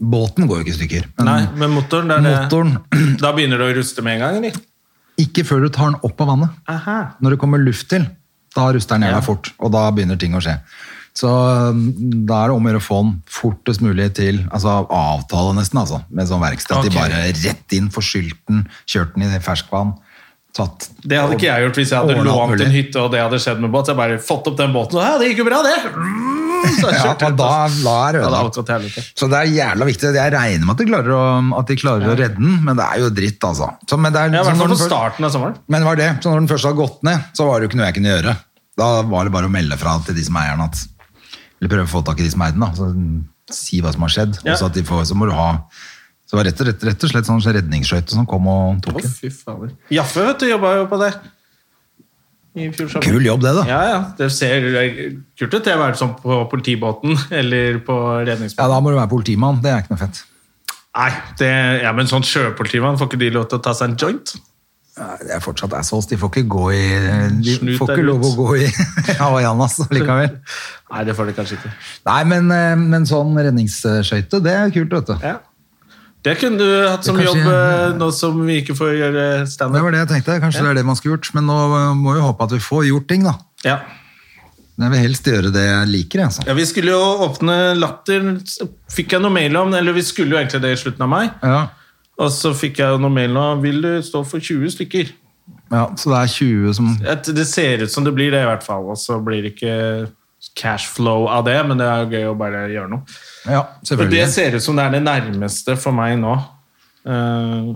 [SPEAKER 2] Båten går jo ikke i stykker. Men
[SPEAKER 1] Nei, men motoren, det er
[SPEAKER 2] Mm. motoren
[SPEAKER 1] Det. Da begynner det å ruste med en gang? eller?
[SPEAKER 2] Ikke før du tar den opp av vannet.
[SPEAKER 1] Aha.
[SPEAKER 2] Når det kommer luft til, da ruster den jævla
[SPEAKER 1] Ja.
[SPEAKER 2] fort, og da begynner ting å skje. Så mm, da er det om å gjøre å få den fortest mulig til altså avtale, nesten, altså, med sånn verksted. At
[SPEAKER 1] Ok.
[SPEAKER 2] de bare rett inn, får skylt den, kjørt den i ferskvann. Tatt,
[SPEAKER 1] Det hadde ikke jeg gjort hvis jeg hadde
[SPEAKER 2] Overnatt
[SPEAKER 1] lånt
[SPEAKER 2] mulig.
[SPEAKER 1] en hytte og det hadde skjedd med båt. Så jeg bare fått opp den båten, og ja, det gikk jo bra, det! Mm, Så jeg
[SPEAKER 2] Ja,
[SPEAKER 1] kjørte
[SPEAKER 2] men
[SPEAKER 1] ut,
[SPEAKER 2] da,
[SPEAKER 1] ass.
[SPEAKER 2] da er det
[SPEAKER 1] Ja, da
[SPEAKER 2] ødelagt.
[SPEAKER 1] akkurat helvete.
[SPEAKER 2] Så det er jævla viktig. Jeg regner med at de klarer å, at de klarer å redde den, men det er jo dritt, altså. Så, men, det er,
[SPEAKER 1] Ja, I
[SPEAKER 2] så
[SPEAKER 1] hvert
[SPEAKER 2] når
[SPEAKER 1] fall
[SPEAKER 2] den
[SPEAKER 1] på
[SPEAKER 2] først-
[SPEAKER 1] starten av sommeren.
[SPEAKER 2] men det var det. Så når den først hadde gått ned, så var det jo ikke noe jeg kunne gjøre. Da var det bare å melde fra til de som eier den, at Eller prøve å få tak i de som eier den, da. Så, mm, si hva som har skjedd.
[SPEAKER 1] Ja.
[SPEAKER 2] Og så at de får Så må du ha Så det var rett og, rett, rett og slett sånn redningsskøyte som kom og tok
[SPEAKER 1] Å,
[SPEAKER 2] den.
[SPEAKER 1] fy fader. Jaffe, vet du, jobba jo på det. I fjor sommer.
[SPEAKER 2] Kul jobb, det, da.
[SPEAKER 1] Ja, ja. Det ser kult ut. Det å være sånn på politibåten eller på redningsbåten.
[SPEAKER 2] Ja, da må du være politimann. Det er ikke noe fett.
[SPEAKER 1] Nei, det, ja, men sånn sjøpolitimann, får ikke de lov til å ta seg en joint?
[SPEAKER 2] Nei, Det er fortsatt assholes. De får ikke gå i De
[SPEAKER 1] Snut
[SPEAKER 2] får
[SPEAKER 1] deg
[SPEAKER 2] ikke lov å
[SPEAKER 1] ut.
[SPEAKER 2] gå i Havajanas likevel.
[SPEAKER 1] Nei, det får de kanskje ikke.
[SPEAKER 2] Nei, men, eh, men sånn redningsskøyte, det er kult, vet du.
[SPEAKER 1] Ja. Det kunne du hatt som
[SPEAKER 2] Det kanskje-
[SPEAKER 1] jobb eh, nå som vi ikke får gjøre
[SPEAKER 2] Det
[SPEAKER 1] standup.
[SPEAKER 2] var det jeg tenkte. Kanskje det er det man skulle gjort. Men nå eh, må vi håpe at vi får gjort ting, da.
[SPEAKER 1] Ja.
[SPEAKER 2] Men jeg vil helst gjøre det jeg liker, jeg, altså.
[SPEAKER 1] ja, vi skulle jo åpne Latter. Fikk jeg noe mail om Eller vi skulle jo egentlig det i slutten av mai.
[SPEAKER 2] Ja.
[SPEAKER 1] Og så fikk jeg jo noe mail om Vil du stå for 20 stykker?
[SPEAKER 2] ja, Så det er 20 som
[SPEAKER 1] Et, det ser ut som det blir det, i hvert fall. Og så blir det ikke cash flow av det, men det er jo gøy å bare gjøre noe.
[SPEAKER 2] Ja,
[SPEAKER 1] Og
[SPEAKER 2] selvfølgelig.
[SPEAKER 1] det ser ut som det er det nærmeste for meg nå. Eh,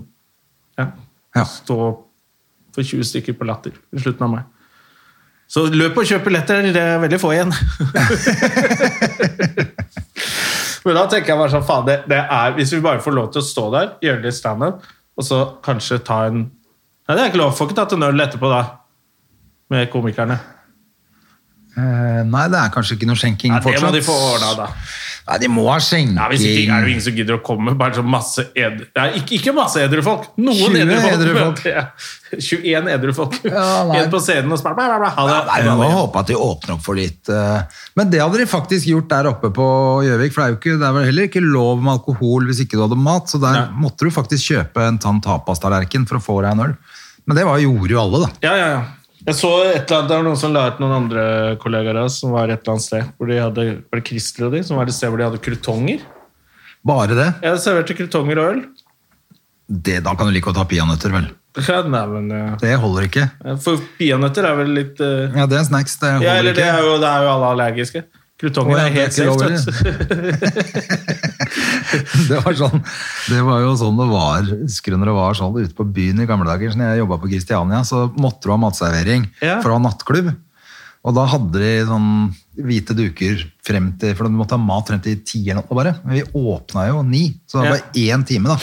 [SPEAKER 1] ja.
[SPEAKER 2] Ja.
[SPEAKER 1] Stå for 20 stykker på latter i slutten av mai. Så løp og kjøp billetter, det er veldig få igjen. Men da tenker jeg bare sånn, faen, det, det er, hvis vi bare får lov til å stå der, gjøre litt standup, og så kanskje ta en Nei, det er ikke lov. Får ikke tatt en øl etterpå, da. Med komikerne.
[SPEAKER 2] Eh, Nei, det er kanskje ikke noe skjenking
[SPEAKER 1] Nei, det
[SPEAKER 2] fortsatt.
[SPEAKER 1] må de få ordna, da.
[SPEAKER 2] Nei, de må ha skjenking.
[SPEAKER 1] Ja, hvis ikke er det jo ingen som gidder å komme. Bare så masse edru Nei, ikke, ikke masse edru folk. Noen
[SPEAKER 2] 20
[SPEAKER 1] edru folk.
[SPEAKER 2] edru folk.
[SPEAKER 1] møter jeg. 21 edru folk.
[SPEAKER 2] Ja, nei.
[SPEAKER 1] en på scenen og så bare bla, bla, bla. Ha det.
[SPEAKER 2] Nei, Vi må håpe at de åpner opp for litt eh, Men det hadde de faktisk gjort der oppe på Gjøvik. For det er jo ikke, det er vel heller ikke lov med alkohol hvis ikke du hadde mat. Så der
[SPEAKER 1] Nei.
[SPEAKER 2] måtte du faktisk kjøpe en tann tapastallerken for å få deg en øl. Men det var, gjorde jo alle, da.
[SPEAKER 1] Ja, ja, ja. Jeg så et eller annet, Det var noen som la ut noen andre kollegaer av oss som var et eller annet sted. Hvor de hadde, var det Christer og de, som var et sted hvor de hadde krutonger?
[SPEAKER 2] Bare det.
[SPEAKER 1] Jeg serverte krutonger og øl.
[SPEAKER 2] det. Da kan du like godt ha peanøtter, vel.
[SPEAKER 1] Ja, nei, men, ja.
[SPEAKER 2] Det holder ikke.
[SPEAKER 1] For peanøtter er vel litt eh,
[SPEAKER 2] Ja, det er snacks. Det holder
[SPEAKER 1] Ja, eller det
[SPEAKER 2] ikke.
[SPEAKER 1] er jo, det er jo alle allergiske. Krutonger
[SPEAKER 2] Å, ja, det
[SPEAKER 1] er
[SPEAKER 2] er
[SPEAKER 1] helt
[SPEAKER 2] ikke lov,
[SPEAKER 1] safe. vet du.
[SPEAKER 2] Det var, sånn, det var jo sånn det var husker du når det var sånn ute på byen i gamle dager. så Når jeg jobba på Kristiania, så måtte du ha matservering
[SPEAKER 1] Ja.
[SPEAKER 2] for å ha nattklubb. Og da hadde de sånn hvite duker frem til For du måtte ha mat frem til ti eller noe bare. Men vi åpna jo ni, så det
[SPEAKER 1] Ja.
[SPEAKER 2] var én time, da.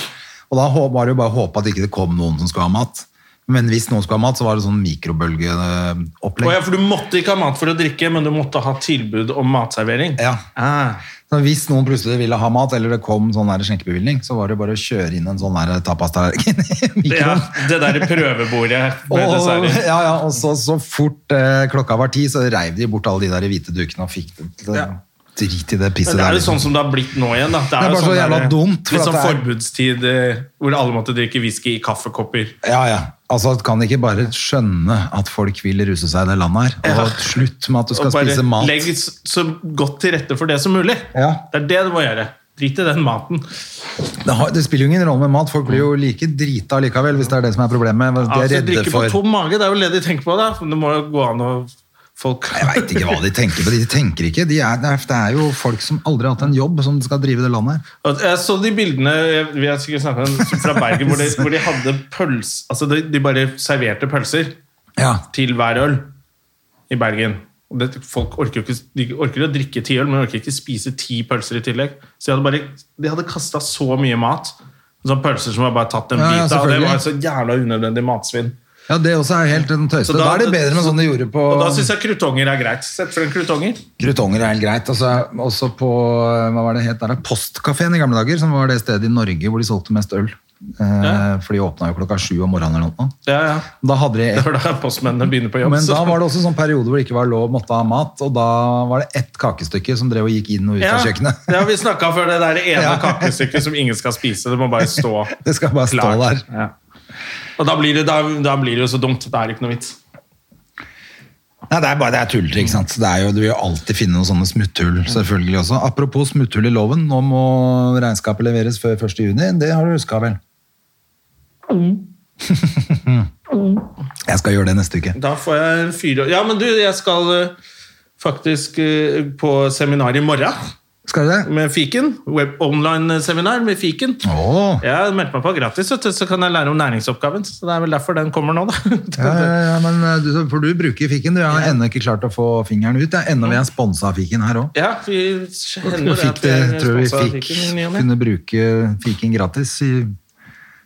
[SPEAKER 2] Og da hå- var det jo bare å håpe at ikke det kom noen som skulle ha mat. Men hvis noen skulle ha mat, så var det sånn
[SPEAKER 1] Å
[SPEAKER 2] mikrobølgeopplegg.
[SPEAKER 1] ja, for du måtte ikke ha mat for å drikke, men du måtte ha tilbud om matservering?
[SPEAKER 2] Ja.
[SPEAKER 1] Ah.
[SPEAKER 2] Så hvis noen plutselig ville ha mat, eller det kom sånn der skjenkebevilgning, så var det bare å kjøre inn en sånn der tapastallerken i
[SPEAKER 1] Det,
[SPEAKER 2] mikroen.
[SPEAKER 1] det der prøvebordet med
[SPEAKER 2] Og,
[SPEAKER 1] desserter.
[SPEAKER 2] ja, ja, og så, så fort eh, klokka var ti, så reiv de bort alle de der hvite dukene og fikk det. til-
[SPEAKER 1] Ja.
[SPEAKER 2] Drit i det pisset
[SPEAKER 1] Men det er jo
[SPEAKER 2] liksom.
[SPEAKER 1] sånn som det har blitt nå igjen. da. Det
[SPEAKER 2] Det er bare
[SPEAKER 1] jo sånn
[SPEAKER 2] så jævla
[SPEAKER 1] der-
[SPEAKER 2] dumt, for
[SPEAKER 1] Litt
[SPEAKER 2] at
[SPEAKER 1] sånn
[SPEAKER 2] det er-
[SPEAKER 1] forbudstid eh, hvor alle måtte drikke whisky i kaffekopper.
[SPEAKER 2] Ja, ja. Altså, Kan de ikke bare skjønne at folk vil ruse seg i det landet her? Og slutt med at du skal
[SPEAKER 1] og bare
[SPEAKER 2] spise mat.
[SPEAKER 1] legg s- så godt til rette for det som mulig.
[SPEAKER 2] Ja.
[SPEAKER 1] Det er det du må gjøre. Drit i den maten.
[SPEAKER 2] Det, har, det spiller jo ingen rolle med mat, folk blir jo like drita likevel, hvis det er det som er problemet. De er
[SPEAKER 1] Altså,
[SPEAKER 2] redde
[SPEAKER 1] drikke
[SPEAKER 2] for
[SPEAKER 1] på tom mage, det er jo det de tenker på. da. Det må jo gå an å folk...
[SPEAKER 2] Jeg veit ikke hva de tenker på. De tenker ikke. De er, det er- det er jo folk som aldri har hatt en jobb, som skal drive det landet her.
[SPEAKER 1] At Jeg så de bildene jeg- vi har sikkert snakket om, fra Bergen, hvor de, hvor de hadde pøls... Altså, de, de bare serverte pølser
[SPEAKER 2] Ja.
[SPEAKER 1] til hver øl i Bergen. Og Det, folk orker jo ikke, de orker å drikke ti øl, men de orker ikke spise ti pølser i tillegg. Så de hadde, bare, de hadde kasta så mye mat. Sånne pølser som var bare tatt en
[SPEAKER 2] Ja, ja,
[SPEAKER 1] bit av. Det
[SPEAKER 2] selvfølgelig.
[SPEAKER 1] var så jævla unødvendig matsvinn.
[SPEAKER 2] ja, det også er helt en tøyste.
[SPEAKER 1] Så
[SPEAKER 2] Da,
[SPEAKER 1] da-
[SPEAKER 2] er det bedre med sånn de gjorde på
[SPEAKER 1] Og da syns jeg krutonger er greit. Sett frem krutonger.
[SPEAKER 2] Krutonger er helt greit. Altså, også på hva var det het der? Postkafeen i gamle dager, som var det stedet i Norge hvor de solgte mest øl. Eh,
[SPEAKER 1] Ja.
[SPEAKER 2] For de åpna jo klokka sju om morgenen eller noe.
[SPEAKER 1] Ja, ja.
[SPEAKER 2] Da hadde de
[SPEAKER 1] Det var da postmennene begynner på jobb.
[SPEAKER 2] Men
[SPEAKER 1] så-
[SPEAKER 2] da var det også sånn periode hvor det ikke var lov måtte ha mat, og da var det ett kakestykke som drev og gikk inn og ut
[SPEAKER 1] ja,
[SPEAKER 2] av kjøkkenet.
[SPEAKER 1] det har vi snakka før, det der ene
[SPEAKER 2] Ja.
[SPEAKER 1] kakestykket som ingen skal spise. Det må bare stå
[SPEAKER 2] Det skal bare stå
[SPEAKER 1] klart.
[SPEAKER 2] der.
[SPEAKER 1] Ja. Og da blir, det, da, da blir det jo så dumt. Da er det ikke noe vits.
[SPEAKER 2] Nei, det er bare det er tullete, ikke sant. Det er jo, du vil jo alltid finne noen sånne smutthull,
[SPEAKER 1] Mm.
[SPEAKER 2] selvfølgelig også. Apropos smutthull i loven, nå må regnskapet leveres før 1. juni. Det har du huska vel?
[SPEAKER 1] Mm.
[SPEAKER 2] Jeg skal gjøre det neste uke.
[SPEAKER 1] Da får jeg en fire Ja, men du, jeg skal eh, faktisk eh, på seminar i morgen
[SPEAKER 2] Skal du det?
[SPEAKER 1] med fiken. Web Online-seminar med fiken.
[SPEAKER 2] Åh.
[SPEAKER 1] Jeg har meldt meg på gratis, vet du, så kan jeg lære om næringsoppgaven. Så Det er vel derfor den kommer nå, da.
[SPEAKER 2] Ja, ja, ja, men eh, du, for du bruker fiken. Du Jeg har ennå ikke klart å få fingeren ut. Jeg er ennå vil jeg sponse av fiken her òg.
[SPEAKER 1] Ja, vi
[SPEAKER 2] Vi
[SPEAKER 1] hender det
[SPEAKER 2] fikk
[SPEAKER 1] at
[SPEAKER 2] det,
[SPEAKER 1] vi er
[SPEAKER 2] tror vi
[SPEAKER 1] sponset av
[SPEAKER 2] fikk,
[SPEAKER 1] fiken i ny og ne.
[SPEAKER 2] kunne bruke fiken gratis i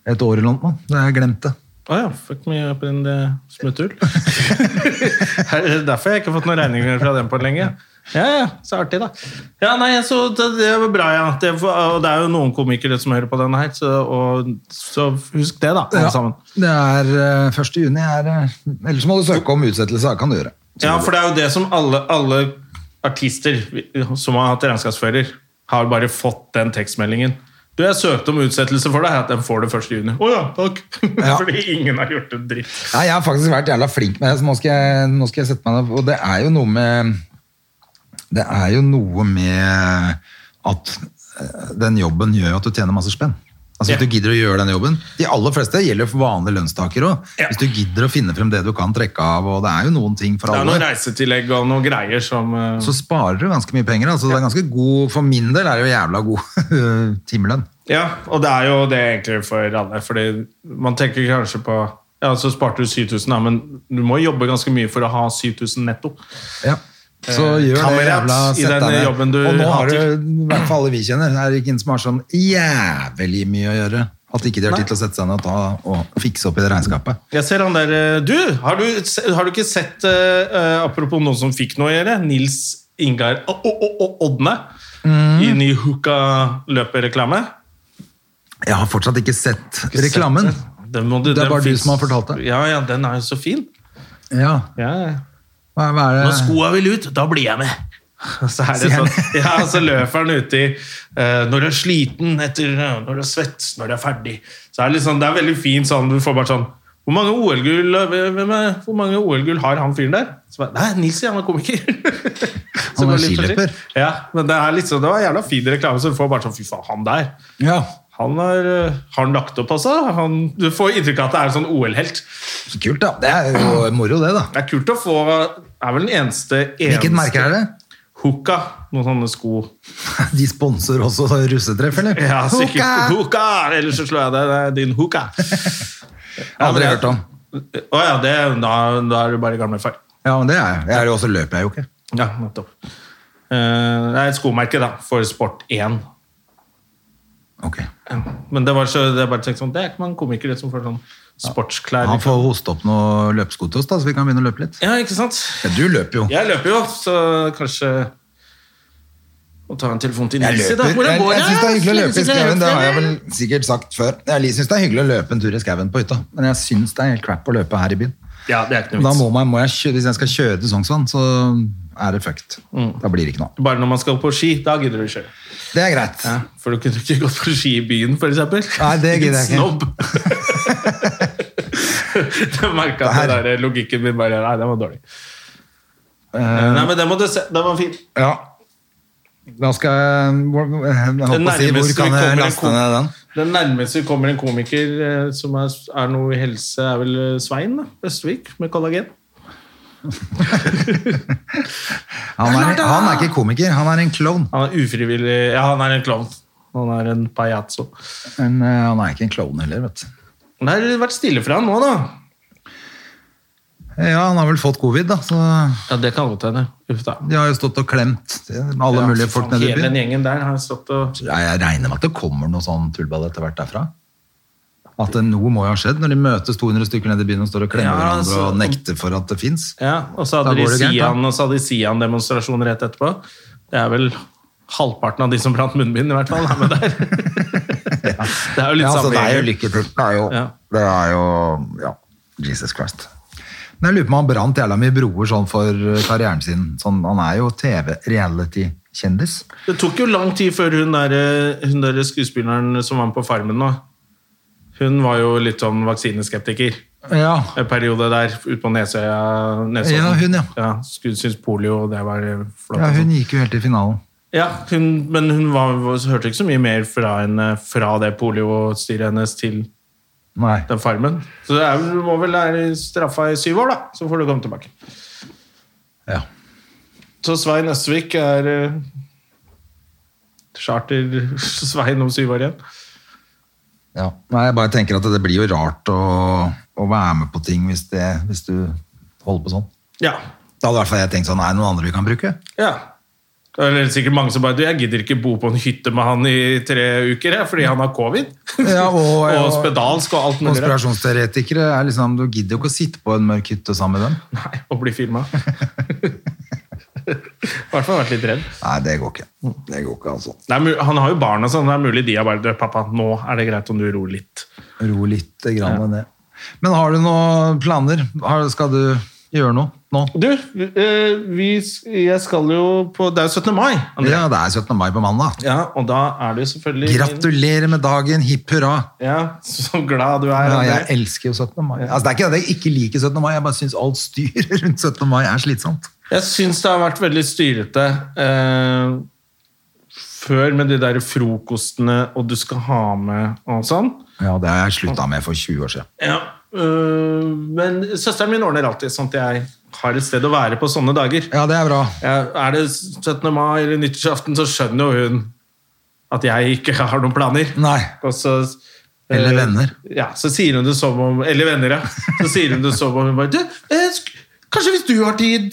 [SPEAKER 2] et år eller noe. Da har jeg glemt det.
[SPEAKER 1] Å ja, fuck me up in the smutthull. Her- Derfor har jeg ikke fått noen regninger fra den på lenge. Ja, ja, så artig, da. Ja, nei, så Det det var bra, ja. Det, og det er jo noen komikere som hører på denne her, så, og, så husk det, da. alle sammen.
[SPEAKER 2] Det er eh, 1. juni. Er, eh, ellers må du søke om utsettelse. da kan du gjøre.
[SPEAKER 1] Ja, for det er jo det som alle, alle artister som har hatt regnskapsfører, har bare fått den tekstmeldingen. Du, jeg søkte om utsettelse for deg, den får du 1. juni. Å ja, takk!
[SPEAKER 2] Ja.
[SPEAKER 1] Fordi ingen har gjort en dritt.
[SPEAKER 2] Nei, jeg har faktisk vært jævla flink med det, så nå skal jeg, nå skal jeg sette meg ned. Og det er jo noe med Det er jo noe med at eh, den jobben gjør at du tjener masse spenn. Altså
[SPEAKER 1] Ja.
[SPEAKER 2] Hvis du gidder å gjøre den jobben. De aller fleste gjelder jo for vanlige lønnstakere òg.
[SPEAKER 1] Ja.
[SPEAKER 2] Hvis du gidder å finne frem det du kan trekke av, og det er jo noen ting for
[SPEAKER 1] Det er
[SPEAKER 2] alle.
[SPEAKER 1] noen reisetillegg og noen greier som eh,
[SPEAKER 2] så sparer du ganske mye penger. Altså, det er ganske god, For min del er det jo jævla god timelønn.
[SPEAKER 1] Ja, og det er jo det egentlig for alle. Fordi man tenker kanskje på Ja, så sparte du 7000, da, men du må jobbe ganske mye for å ha 7000 netto.
[SPEAKER 2] Ja. Så
[SPEAKER 1] Eh,
[SPEAKER 2] gjør det
[SPEAKER 1] kamerat
[SPEAKER 2] jævla
[SPEAKER 1] i
[SPEAKER 2] sett
[SPEAKER 1] denne
[SPEAKER 2] deg ned.
[SPEAKER 1] jobben du
[SPEAKER 2] Og nå har
[SPEAKER 1] hater.
[SPEAKER 2] du, i hvert fall alle vi kjenner, det er ikke en som har sånn jævlig mye å gjøre. At ikke de har
[SPEAKER 1] Nei.
[SPEAKER 2] tid til å sette seg ned og, ta, og fikse opp i det regnskapet.
[SPEAKER 1] Jeg ser han der eh, Du, har du, se- har du ikke sett eh, eh, Apropos noen som fikk noe å gjøre. Nils Ingar Å- Å- Å- Å- Odne
[SPEAKER 2] Mm.
[SPEAKER 1] i ny Hooka-løpereklame.
[SPEAKER 2] Jeg har fortsatt ikke sett reklamen.
[SPEAKER 1] Den må du-
[SPEAKER 2] Det er
[SPEAKER 1] den
[SPEAKER 2] bare du
[SPEAKER 1] finnes-
[SPEAKER 2] som har fortalt det.
[SPEAKER 1] Ja, ja, den er jo så fin.
[SPEAKER 2] Ja,
[SPEAKER 1] Ja, ja.
[SPEAKER 2] hva, hva er det?
[SPEAKER 1] Når skoa vil ut, da blir jeg med. Og Så er det sånn, ja, og så løper han uti eh, når du er sliten, etter, eh, når du er svett, når du er ferdig. Så er det, litt sånn, det er veldig fint sånn, du får bare sånn Hvor mange OL-gull eh, hvem er- hvor mange OL-gull har han fyren der? Så bare, Nei, Nilsi, han er komiker. Så
[SPEAKER 2] Han er
[SPEAKER 1] går det litt for
[SPEAKER 2] skiløper.
[SPEAKER 1] skitt. Ja, men det er litt sånn, det var en jævla fin reklame, så du får bare sånn Fy faen, han der.
[SPEAKER 2] Ja,
[SPEAKER 1] Han har, eh, har han lagt opp, altså? Han, du får inntrykk av at det er en sånn OL-helt.
[SPEAKER 2] så kult da. Det er jo moro det da.
[SPEAKER 1] Det er kult å få Er vel den eneste, eneste
[SPEAKER 2] Hvilket merke er det?
[SPEAKER 1] Hoka. Noen sånne sko.
[SPEAKER 2] De sponsorer også russetreff, eller?
[SPEAKER 1] Ja, sikkert.
[SPEAKER 2] Hoka!
[SPEAKER 1] Hoka! Eller så slår jeg deg. Det er din hoka.
[SPEAKER 2] Aldri
[SPEAKER 1] Ja, men jeg-
[SPEAKER 2] hørt om.
[SPEAKER 1] Å ja, det, da, da er du bare gamlefar.
[SPEAKER 2] Ja, men det er jeg. Jeg er jo også løper jeg jo ikke.
[SPEAKER 1] Ja, nettopp. Eh, Det er et skomerke da, for Sport 1.
[SPEAKER 2] Ok.
[SPEAKER 1] Men det var så, jeg bare tenkte sånn, det er ikke mange komikere som får sånn sportsklær.
[SPEAKER 2] Han får hoste opp noen løpesko til oss, da, så vi kan begynne å løpe litt.
[SPEAKER 1] Ja, ikke sant?
[SPEAKER 2] Ja, du løper jo.
[SPEAKER 1] Jeg løper jo, så kanskje Må ta en telefon til
[SPEAKER 2] Jeg
[SPEAKER 1] Nilsi,
[SPEAKER 2] løper.
[SPEAKER 1] da.
[SPEAKER 2] Jeg,
[SPEAKER 1] Hvordan går
[SPEAKER 2] jeg syns det er hyggelig å løpe i
[SPEAKER 3] Synes du det er
[SPEAKER 2] skauen. Det har jeg vel
[SPEAKER 3] hyggelig?
[SPEAKER 2] sikkert sagt før. Jeg syns det er hyggelig å løpe en tur i skauen på hytta, men jeg syns det er helt crap å løpe her i byen.
[SPEAKER 1] Ja, det er ikke
[SPEAKER 2] Da
[SPEAKER 1] noe
[SPEAKER 2] må
[SPEAKER 1] vits.
[SPEAKER 2] man, må jeg kjøre, Hvis jeg skal kjøre til Sognsvann, så er det fucked.
[SPEAKER 1] Mm.
[SPEAKER 2] Da blir det ikke noe.
[SPEAKER 1] Bare når man skal på ski, da gidder du ikke.
[SPEAKER 2] Det er greit.
[SPEAKER 1] For du kunne ikke gått på ski i byen, for eksempel.
[SPEAKER 2] Nei, det gidder jeg ikke.
[SPEAKER 1] Snobb. du merket at den der logikken min bare, nei, den var dårlig. Eh, nei, men den må du se, den var fin.
[SPEAKER 2] Eh, Ja. Da skal jeg hvor- Jeg holdt på å si hvor
[SPEAKER 1] nærmeste vi
[SPEAKER 2] kan
[SPEAKER 1] kommer
[SPEAKER 2] jeg
[SPEAKER 1] en
[SPEAKER 2] laste
[SPEAKER 1] kom-
[SPEAKER 2] ned den?
[SPEAKER 1] Den nærmeste vi kommer en komiker eh, som er, er noe i helse, er vel eh, Svein da. Østvik med kollagen.
[SPEAKER 2] Han er, han er ikke komiker, han er en klovn.
[SPEAKER 1] Han er ufrivillig Ja, han er en klovn. Han er en pajazzo.
[SPEAKER 2] Men eh, han er ikke en klovn heller, vet du.
[SPEAKER 1] Det har vært stille fra han nå, da.
[SPEAKER 2] Ja, han har vel fått covid, da. Så
[SPEAKER 1] Ja, det kan godt hende. Uff da.
[SPEAKER 2] de har jo stått og klemt alle
[SPEAKER 1] Ja,
[SPEAKER 2] mulige
[SPEAKER 1] fy
[SPEAKER 2] folk
[SPEAKER 1] faen,
[SPEAKER 2] nede i
[SPEAKER 1] Hele
[SPEAKER 2] byen.
[SPEAKER 1] den gjengen der har stått og
[SPEAKER 2] Ja, Jeg regner med at det kommer noe sånn tullball etter hvert derfra. At det, noe må jo ha skjedd når de møtes 200 stykker nede i byen og står og klemmer
[SPEAKER 1] Ja,
[SPEAKER 2] hverandre
[SPEAKER 1] altså,
[SPEAKER 2] og nekter for at det fins.
[SPEAKER 1] Ja, og så
[SPEAKER 2] Da
[SPEAKER 1] hadde de
[SPEAKER 2] går det gærent, da.
[SPEAKER 1] Sian- og så hadde de Sian-demonstrasjon rett etterpå. Det er vel halvparten av de som brant munnbind, i hvert fall. Er med der. Det er jo litt
[SPEAKER 2] Ja, altså,
[SPEAKER 1] samme
[SPEAKER 2] det er jo
[SPEAKER 1] gjengen.
[SPEAKER 2] lykkepult. Det er jo,
[SPEAKER 1] Ja.
[SPEAKER 2] det er jo ja, Jesus Christ. Men jeg lurer på om han brant jævla mye broer sånn for eh, karrieren sin. Sånn, han er jo TV-reality-kjendis.
[SPEAKER 1] Det tok jo lang tid før hun der, eh, hun der skuespilleren som var med på Farmen nå Hun var jo litt sånn vaksineskeptiker
[SPEAKER 2] Ja.
[SPEAKER 1] en periode der ute på Nesøya. Nesodden.
[SPEAKER 2] Ja, hun, ja.
[SPEAKER 1] skulle synes polio, det var eh, flott. altså.
[SPEAKER 2] ja, hun gikk jo helt til finalen.
[SPEAKER 1] Ja, hun, men hun var, hørte ikke så mye mer fra henne fra det poliostyret hennes til
[SPEAKER 2] Nei.
[SPEAKER 1] den farmen. Så det er, vel- du må vel være straffa i syv år, da. Så får du komme tilbake.
[SPEAKER 2] Ja.
[SPEAKER 1] Så Svein Østvik er eh, charter-Svein om syv år igjen.
[SPEAKER 2] Ja. Nei, jeg bare tenker at det blir jo rart å, å være med på ting hvis, det, hvis du holder på sånn.
[SPEAKER 1] Ja.
[SPEAKER 2] Da hadde i hvert fall jeg tenkt sånn, er det noen andre vi kan bruke?
[SPEAKER 1] ja. Det er sikkert mange som bare du, 'Jeg gidder ikke bo på en hytte med han i tre uker, jeg, fordi han har covid'.
[SPEAKER 2] Ja, og-
[SPEAKER 1] og spedalsk og alt mulig. rart.
[SPEAKER 2] Konspirasjonsteoretikere er liksom, du gidder jo ikke å sitte på en mørk hytte sammen med dem.
[SPEAKER 1] Nei, og bli filma. I hvert fall vært litt redd.
[SPEAKER 2] Nei, det går ikke. Det går ikke, altså.
[SPEAKER 1] Det er, mu- han har jo barn og sånn. Det er mulig de har bare «Du, 'Pappa, nå er det greit om du ror litt'.
[SPEAKER 2] Ro litt grann ned. Men har du noen planer? Har, skal du gjøre noe nå?
[SPEAKER 1] Du, eh, vi, sk- jeg skal jo på Det er jo 17. mai. André.
[SPEAKER 2] Ja, det er 17. mai på mandag.
[SPEAKER 1] Ja, og da er du selvfølgelig
[SPEAKER 2] Gratulerer med dagen, hipp hurra!
[SPEAKER 1] Ja, Så glad du er.
[SPEAKER 2] Ja,
[SPEAKER 1] André.
[SPEAKER 2] jeg elsker jo 17. mai. Altså, det er ikke at jeg ikke liker 17. mai, jeg bare syns alt styret rundt 17. mai er slitsomt.
[SPEAKER 1] Jeg syns det har vært veldig styrete eh, før med de der frokostene og du skal ha med og sånn.
[SPEAKER 2] Ja, det har jeg slutta med for 20 år siden.
[SPEAKER 1] Ja, øh, Men søsteren min ordner alltid sånn at jeg har et sted å være på sånne dager.
[SPEAKER 2] Ja, det er bra.
[SPEAKER 1] Jeg, er det 17. mai eller nyttårsaften, så skjønner jo hun at jeg ikke har noen planer.
[SPEAKER 2] Nei.
[SPEAKER 1] Og så,
[SPEAKER 2] Eller
[SPEAKER 1] eh,
[SPEAKER 2] venner.
[SPEAKER 1] Ja, så sier hun det som om Eller venner, ja. Så sier hun det som om hun bare du, eh, sk- Kanskje hvis du har tid,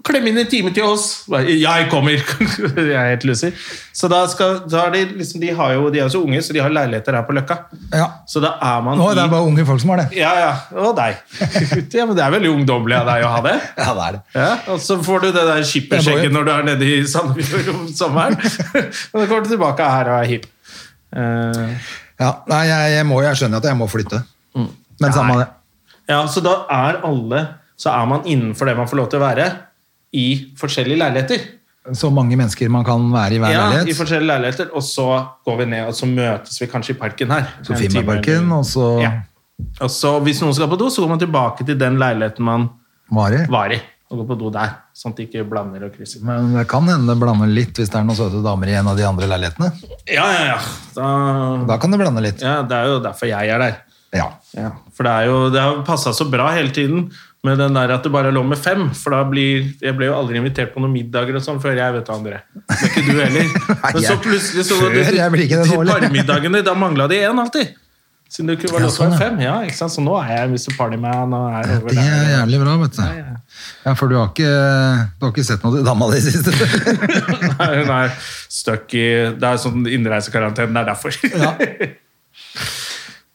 [SPEAKER 1] klem inn en time til oss. Bare, Jeg kommer! jeg er helt luser. Så da skal da er de, liksom, de, har jo, de er jo så unge, så de har leiligheter her på Løkka.
[SPEAKER 2] Ja.
[SPEAKER 1] Så da er man
[SPEAKER 2] Nå er det
[SPEAKER 1] i
[SPEAKER 2] bare unge folk som har det.
[SPEAKER 1] Ja, ja. Og deg. ja, men det er veldig ungdommelig av deg å ha det.
[SPEAKER 2] Ja, det er det.
[SPEAKER 1] Ja, og så får du det der
[SPEAKER 2] Jeg
[SPEAKER 1] skippersjekken
[SPEAKER 2] må
[SPEAKER 1] når du er nede i Sandefjord om sommeren. og da kommer du tilbake her og er hipp. Eh,
[SPEAKER 2] Ja, nei, jeg, jeg, må, jeg skjønner at jeg må flytte.
[SPEAKER 1] Mm.
[SPEAKER 2] Men samme det.
[SPEAKER 1] Ja, så da er alle Så er man innenfor det man får lov til å være i forskjellige leiligheter.
[SPEAKER 2] Så mange mennesker man kan være i hver
[SPEAKER 1] Ja, i
[SPEAKER 2] leilighet.
[SPEAKER 1] forskjellige leiligheter, Og så går vi ned, og så møtes vi kanskje i parken her. En time
[SPEAKER 2] Sofiemarken,
[SPEAKER 1] eller-
[SPEAKER 2] og så
[SPEAKER 1] ja. Og så hvis noen skal på do, så går man tilbake til den leiligheten man
[SPEAKER 2] Mari.
[SPEAKER 1] var i, og går på do der. Sånn at de ikke blander og krysser.
[SPEAKER 2] Men det kan hende det blander litt hvis det er noen søte damer i en av de andre leilighetene.
[SPEAKER 1] Ja, ja, ja. Da,
[SPEAKER 2] Da kan det blande litt.
[SPEAKER 1] ja det er jo derfor jeg er der.
[SPEAKER 2] Ja.
[SPEAKER 1] Ja, for det, er jo, det har passa så bra hele tiden med den der at det bare lå med fem. For da blir, jeg ble jo aldri invitert på noen middager og sånn før jeg vet det, André. Men ikke du heller.
[SPEAKER 2] Nei,
[SPEAKER 1] Men så
[SPEAKER 2] jeg-
[SPEAKER 1] plutselig så
[SPEAKER 2] før jeg blir ikke det
[SPEAKER 1] de
[SPEAKER 2] nå, eller?
[SPEAKER 1] parmiddagene, da mangla de én alltid. Siden det kunne være
[SPEAKER 2] Ja,
[SPEAKER 1] lov til å
[SPEAKER 2] sånn,
[SPEAKER 1] være
[SPEAKER 2] ja.
[SPEAKER 1] fem. Ja, ikke sant? Så nå er jeg Mr. Partyman og er over
[SPEAKER 2] Det er
[SPEAKER 1] der.
[SPEAKER 2] jævlig bra, vet du. Ja, for du har ikke, du har ikke sett noe til dama di siste.
[SPEAKER 1] Nei, Hun er stuck i Det er sånn innreisekarantene, det er derfor.
[SPEAKER 2] Ja.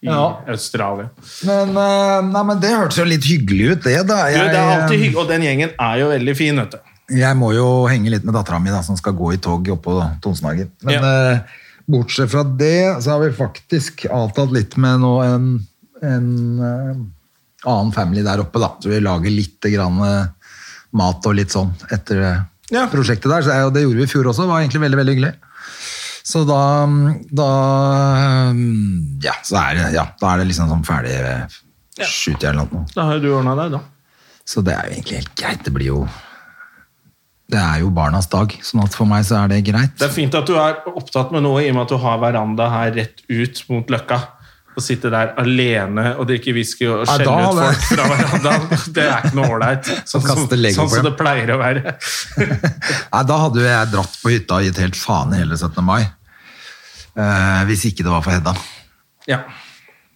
[SPEAKER 1] I
[SPEAKER 2] Ja.
[SPEAKER 1] Australia.
[SPEAKER 2] Men, eh, nei, men det hørtes jo litt hyggelig ut, det, da.
[SPEAKER 1] Du, det er
[SPEAKER 2] eh,
[SPEAKER 1] alltid hyggelig, og den gjengen er jo veldig fin, vet du.
[SPEAKER 2] jeg må jo henge litt med dattera mi, da, som skal gå i tog oppå Tonsenhagen. Men
[SPEAKER 1] Ja.
[SPEAKER 2] eh, bortsett fra det, så har vi faktisk avtalt litt med nå en, en eh, annen family der oppe, da. Så vi lager litt grann, eh, mat og litt sånn etter det
[SPEAKER 1] Ja.
[SPEAKER 2] prosjektet der. Så det, er jo- det gjorde vi i fjor også, det var egentlig veldig, veldig hyggelig. Så da, da eh, Ja, så er det, ja, da er det liksom sånn ferdig ved sjutida eller noe.
[SPEAKER 1] Da har jo du ordna deg, da.
[SPEAKER 2] Så det er jo egentlig helt greit. Det blir jo Det er jo barnas dag, sånn at for meg så er det greit.
[SPEAKER 1] Det er fint at du er opptatt med noe i og med at du har veranda her rett ut mot Løkka. Å sitte der alene og drikke whisky
[SPEAKER 2] Ja,
[SPEAKER 1] og skjelle
[SPEAKER 2] da
[SPEAKER 1] ut
[SPEAKER 2] hadde
[SPEAKER 1] folk fra verandaen, det er ikke noe ålreit. Sånn,
[SPEAKER 2] Kaste
[SPEAKER 1] som-
[SPEAKER 2] Lego
[SPEAKER 1] sånn
[SPEAKER 2] på dem.
[SPEAKER 1] som det pleier å være.
[SPEAKER 2] Nei, da hadde jo jeg dratt på hytta og gitt helt faen i hele 17. mai. Eh, hvis ikke det var for Hedda.
[SPEAKER 1] Ja.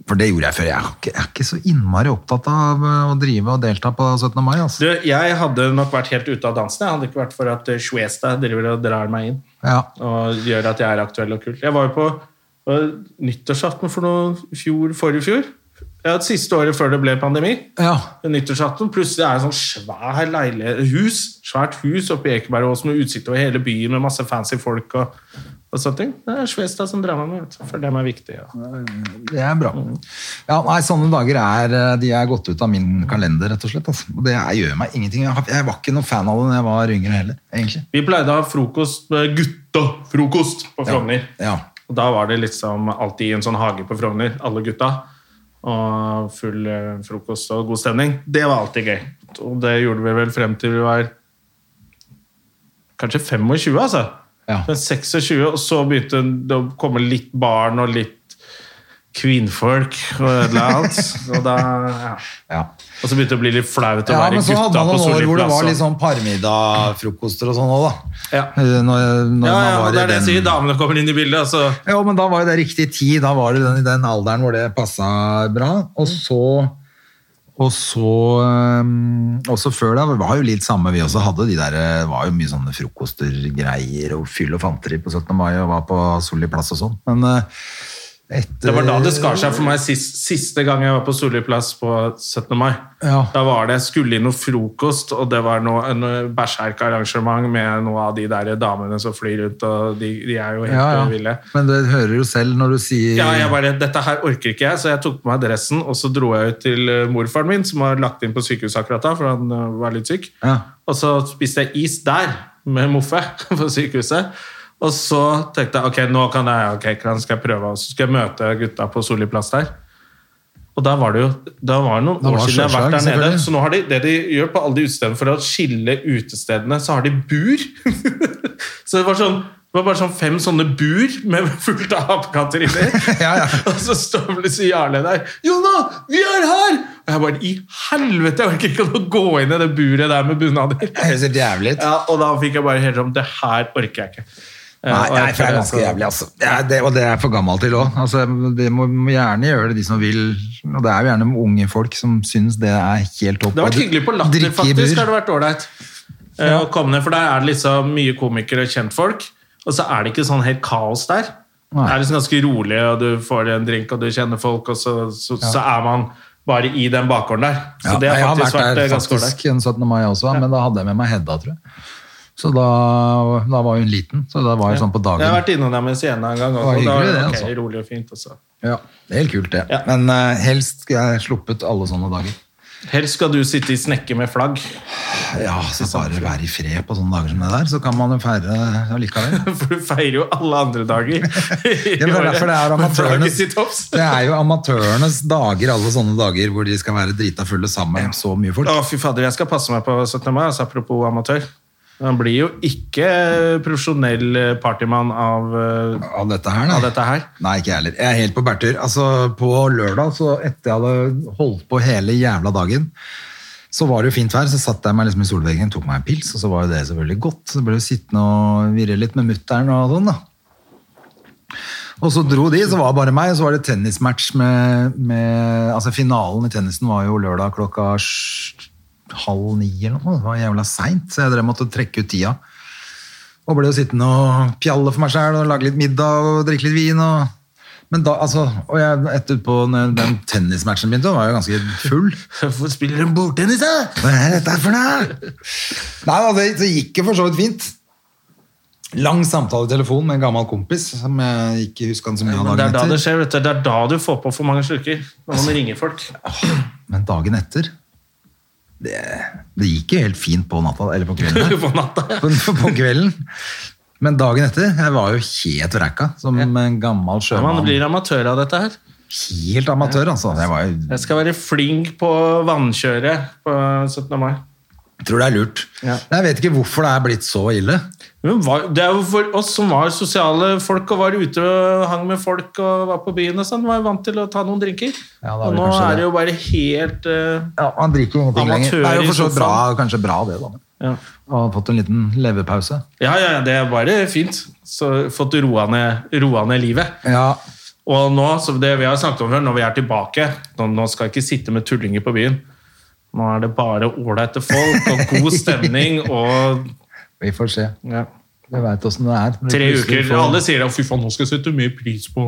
[SPEAKER 2] For det gjorde jeg før. Jeg er ikke, jeg er ikke så innmari opptatt av eh, å drive og delta på 17. mai. Altså.
[SPEAKER 1] Du, jeg hadde nok vært helt ute av dansen. Jeg hadde ikke vært for at eh, Shuesta driver og drar meg inn
[SPEAKER 2] Ja.
[SPEAKER 1] og gjør at jeg er aktuell og kul. Jeg var jo på eh, nyttårsaften for noe fjor, forrige fjor. Ja, det siste året før det ble pandemi.
[SPEAKER 2] ja.
[SPEAKER 1] nyttårsaften. Plutselig er det sånn svær leilighet, hus, svært hus oppe i Ekebergåsen med utsikt over hele byen med masse fancy folk og, og sånne ting. Det er Svesta som drar meg med, vet du, for dem er viktig. Ja.
[SPEAKER 2] Det er bra. Ja, nei, sånne dager er eh, De er gått ut av min kalender, rett og slett. Altså. Og det er, gjør meg ingenting. Jeg, har- jeg var ikke noen fan av det da jeg var yngre heller, egentlig.
[SPEAKER 1] Vi pleide å ha frokost med gutta, frokost på Frogner.
[SPEAKER 2] Ja.
[SPEAKER 1] Og da var det liksom alltid i en sånn hage på Frogner, alle gutta. Og full eh, frokost og god stemning. Det var alltid gøy. Og det gjorde vi vel frem til vi var kanskje 25, altså.
[SPEAKER 2] Ja.
[SPEAKER 1] Men 26, og så begynte det å komme litt barn og litt kvinnfolk og et eller annet. Og, da, ja.
[SPEAKER 2] ja.
[SPEAKER 1] og så begynte det å bli litt flaut å
[SPEAKER 2] ja,
[SPEAKER 1] være
[SPEAKER 2] men så hadde
[SPEAKER 1] gutta
[SPEAKER 2] man
[SPEAKER 1] på
[SPEAKER 2] noen år
[SPEAKER 1] Solli
[SPEAKER 2] hvor det
[SPEAKER 1] plass.
[SPEAKER 2] var
[SPEAKER 1] og-
[SPEAKER 2] litt sånn parmiddagfrokoster og sånn òg, da.
[SPEAKER 1] Ja.
[SPEAKER 2] Eh, Når, når
[SPEAKER 1] Ja, ja,
[SPEAKER 2] man var
[SPEAKER 1] og det
[SPEAKER 2] i
[SPEAKER 1] er det jeg
[SPEAKER 2] den-
[SPEAKER 1] sier. Damene kommer inn i bildet. Altså.
[SPEAKER 2] Jo, men da var jo det riktig tid. Da var det den, i den alderen hvor det passa bra. Og
[SPEAKER 1] Mm.
[SPEAKER 2] så og så øhm, også før da, det var jo litt samme vi også hadde de der, det var jo mye sånne frokoster greier og fyll og fanteri på 17. mai og var på Solli plass og sånn. Men øh, etter
[SPEAKER 1] Det var da det skar seg for meg sist, siste gang jeg var på Solli plass på 17. mai.
[SPEAKER 2] Ja.
[SPEAKER 1] Da var det, jeg skulle i noe frokost, og det var noe, en eh, bæsjerkearrangement med noen av de der damene som flyr rundt, og de, de er jo helt
[SPEAKER 2] ja, ja.
[SPEAKER 1] eh, ville.
[SPEAKER 2] Men du hører jo selv når du sier
[SPEAKER 1] Ja, jeg bare, dette her orker ikke jeg, så jeg tok på meg dressen, og så dro jeg ut til eh, morfaren min, som var lagt inn på sykehus akkurat da, for han eh, var litt syk.
[SPEAKER 2] Ja.
[SPEAKER 1] Og så spiste jeg is der, med moffe, på sykehuset. Og så tenkte jeg, ok, nå kan jeg, ok, kan skal jeg prøve, og så skal jeg møte gutta på Solli plass der. Og da var det jo, da var det noen
[SPEAKER 2] Det var
[SPEAKER 1] år siden jeg har vært
[SPEAKER 2] sjølsagt,
[SPEAKER 1] der nede,
[SPEAKER 2] selvfølgelig.
[SPEAKER 1] så nå har de, det de gjør på alle de utestedene for å skille utestedene, så har de bur. så det var sånn, det var bare sånn fem sånne bur med fullt av apekatter inni.
[SPEAKER 2] Ja, ja.
[SPEAKER 1] Og så står plutselig Jarle der. 'Jonna, vi er her!' Og jeg bare 'I helvete, jeg orker ikke å gå inn i det buret der med bunader'.
[SPEAKER 2] Det høres helt jævlig ut.
[SPEAKER 1] Ja, og da fikk jeg bare helt sånn Det her orker jeg ikke. Eh,
[SPEAKER 2] Nei,
[SPEAKER 1] og
[SPEAKER 2] nei, for
[SPEAKER 1] jeg
[SPEAKER 2] det er
[SPEAKER 1] tror
[SPEAKER 2] ganske
[SPEAKER 1] jeg skal-
[SPEAKER 2] jævlig, altså. Det er, det, og det er jeg for gammel til òg. Altså, det må, må gjerne gjøre det, de som vil. Og det er jo gjerne unge folk som syns det er helt topp.
[SPEAKER 1] Det har vært hyggelig på Latter,
[SPEAKER 2] Drikke i
[SPEAKER 1] faktisk.
[SPEAKER 2] bur.
[SPEAKER 1] har det vært ålreit. Eh, å komme ned, For der er det liksom mye komikere og kjentfolk, og så er det ikke sånn helt kaos der.
[SPEAKER 2] Nei.
[SPEAKER 1] Det er liksom ganske rolig, og du får en drink, og du kjenner folk, og så, så, så er man bare i den bakgården der. Så
[SPEAKER 2] Ja,
[SPEAKER 1] det
[SPEAKER 2] jeg
[SPEAKER 1] har
[SPEAKER 2] har
[SPEAKER 1] faktisk
[SPEAKER 2] vært
[SPEAKER 1] vært
[SPEAKER 2] der
[SPEAKER 1] eh, ganske ålreit.
[SPEAKER 2] faktisk en 17. mai også, men da hadde jeg med meg Hedda, tror jeg. Så da, da var hun liten, så da var jeg sånn på
[SPEAKER 1] Jeg har
[SPEAKER 2] dagen.
[SPEAKER 1] vært innom dem i scenen en gang,
[SPEAKER 2] var
[SPEAKER 1] og da
[SPEAKER 2] hyggelig
[SPEAKER 1] var det
[SPEAKER 2] det,
[SPEAKER 1] ok,
[SPEAKER 2] altså.
[SPEAKER 1] rolig og fint. Også.
[SPEAKER 2] Ja, det er helt kult, det.
[SPEAKER 1] Ja.
[SPEAKER 2] Men eh, helst skulle jeg sluppet alle sånne dager.
[SPEAKER 1] Helst skal du sitte i snekke med flagg,
[SPEAKER 2] Ja, så bare være i fred på sånne dager som det der, så kan man jo feire allikevel.
[SPEAKER 1] for du feirer jo alle andre dager.
[SPEAKER 2] Ja, men det er derfor det er amatørenes Det er jo amatørenes dager, alle sånne dager hvor de skal være drita fulle sammen med så mye folk.
[SPEAKER 1] Å, fy fader, jeg skal passe meg på 17. mai, altså, apropos amatør. Man blir jo ikke profesjonell eh, partymann av, eh,
[SPEAKER 2] Av dette her,
[SPEAKER 1] av
[SPEAKER 2] nei.
[SPEAKER 1] dette her.
[SPEAKER 2] Nei, ikke jeg heller. Jeg er helt på bærtur. Altså, på lørdag, så etter jeg hadde holdt på hele jævla dagen, så var det jo fint vær, så satt jeg meg liksom i solveggen, tok meg en pils, og så var jo det selvfølgelig godt. Så ble jo sittende og virre litt med mutteren og sånn, da. Og så dro de, så var det bare meg, og så var det tennismatch med, med Altså, finalen i tennisen var jo lørdag klokka sj- halv ni eller noe, det var jævla seint, så jeg drev måtte trekke ut tida. Og ble jo sittende og pjalle for meg sjæl og lage litt middag og drikke litt vin. og... Men da, altså, og jeg, etterpå, når den tennismatchen begynte, var jeg jo ganske full.
[SPEAKER 1] Hvorfor spiller de bordtennis, da?
[SPEAKER 2] Hva er dette for noe? Nei, da, det, det gikk jo for så vidt fint. Lang samtale i telefonen med en gammel kompis som jeg ikke husker han så mye av
[SPEAKER 1] Men det er da
[SPEAKER 2] dagen
[SPEAKER 1] det
[SPEAKER 2] etter.
[SPEAKER 1] skjer, vet du. Det er da du får på for mange slurker. Når man ringer folk.
[SPEAKER 2] Men dagen etter det, det gikk jo helt fint på natta, eller på kvelden.
[SPEAKER 1] på natta. ja.
[SPEAKER 2] på, på kvelden. Men dagen etter, jeg var jo helt vrekka, som en gammel
[SPEAKER 1] Man
[SPEAKER 2] sjømann.
[SPEAKER 1] blir amatør av dette her.
[SPEAKER 2] Helt amatør, altså. Jeg var, jo-
[SPEAKER 1] Jeg skal være flink på vannkjøret på 17. mai.
[SPEAKER 2] tror det er lurt.
[SPEAKER 1] Ja.
[SPEAKER 2] Jeg vet ikke hvorfor det er blitt så ille.
[SPEAKER 1] Men hva- det er jo for oss som var sosiale folk og var ute og hang med folk og var på byen og sånn, var jo vant til å ta noen drinker.
[SPEAKER 2] Ja, da er
[SPEAKER 1] og
[SPEAKER 2] det
[SPEAKER 1] nå
[SPEAKER 2] kanskje
[SPEAKER 1] er
[SPEAKER 2] det.
[SPEAKER 1] det jo bare helt eh,
[SPEAKER 2] Ja, Man drikker jo ingenting lenger.
[SPEAKER 1] Amatør
[SPEAKER 2] Det er jo
[SPEAKER 1] i
[SPEAKER 2] for så vidt bra,
[SPEAKER 1] sofaen.
[SPEAKER 2] kanskje bra det, da.
[SPEAKER 1] eh, ja.
[SPEAKER 2] Og har fått en liten leverpause.
[SPEAKER 1] ja, ja, ja, det er bare fint. Så fått roa ned, roa ned livet.
[SPEAKER 2] Ja,
[SPEAKER 1] Og nå, som det vi har snakket om før, når vi er tilbake Nå, nå skal jeg ikke sitte med tullinger på byen. Nå er det bare ålreite folk og god stemning og
[SPEAKER 2] vi får se.
[SPEAKER 1] ja.
[SPEAKER 2] Vi veit åssen det er.
[SPEAKER 1] Tre
[SPEAKER 2] Plutselig
[SPEAKER 1] uker,
[SPEAKER 2] får-
[SPEAKER 1] Alle sier at 'fy faen, nå skal jeg sette mer pris på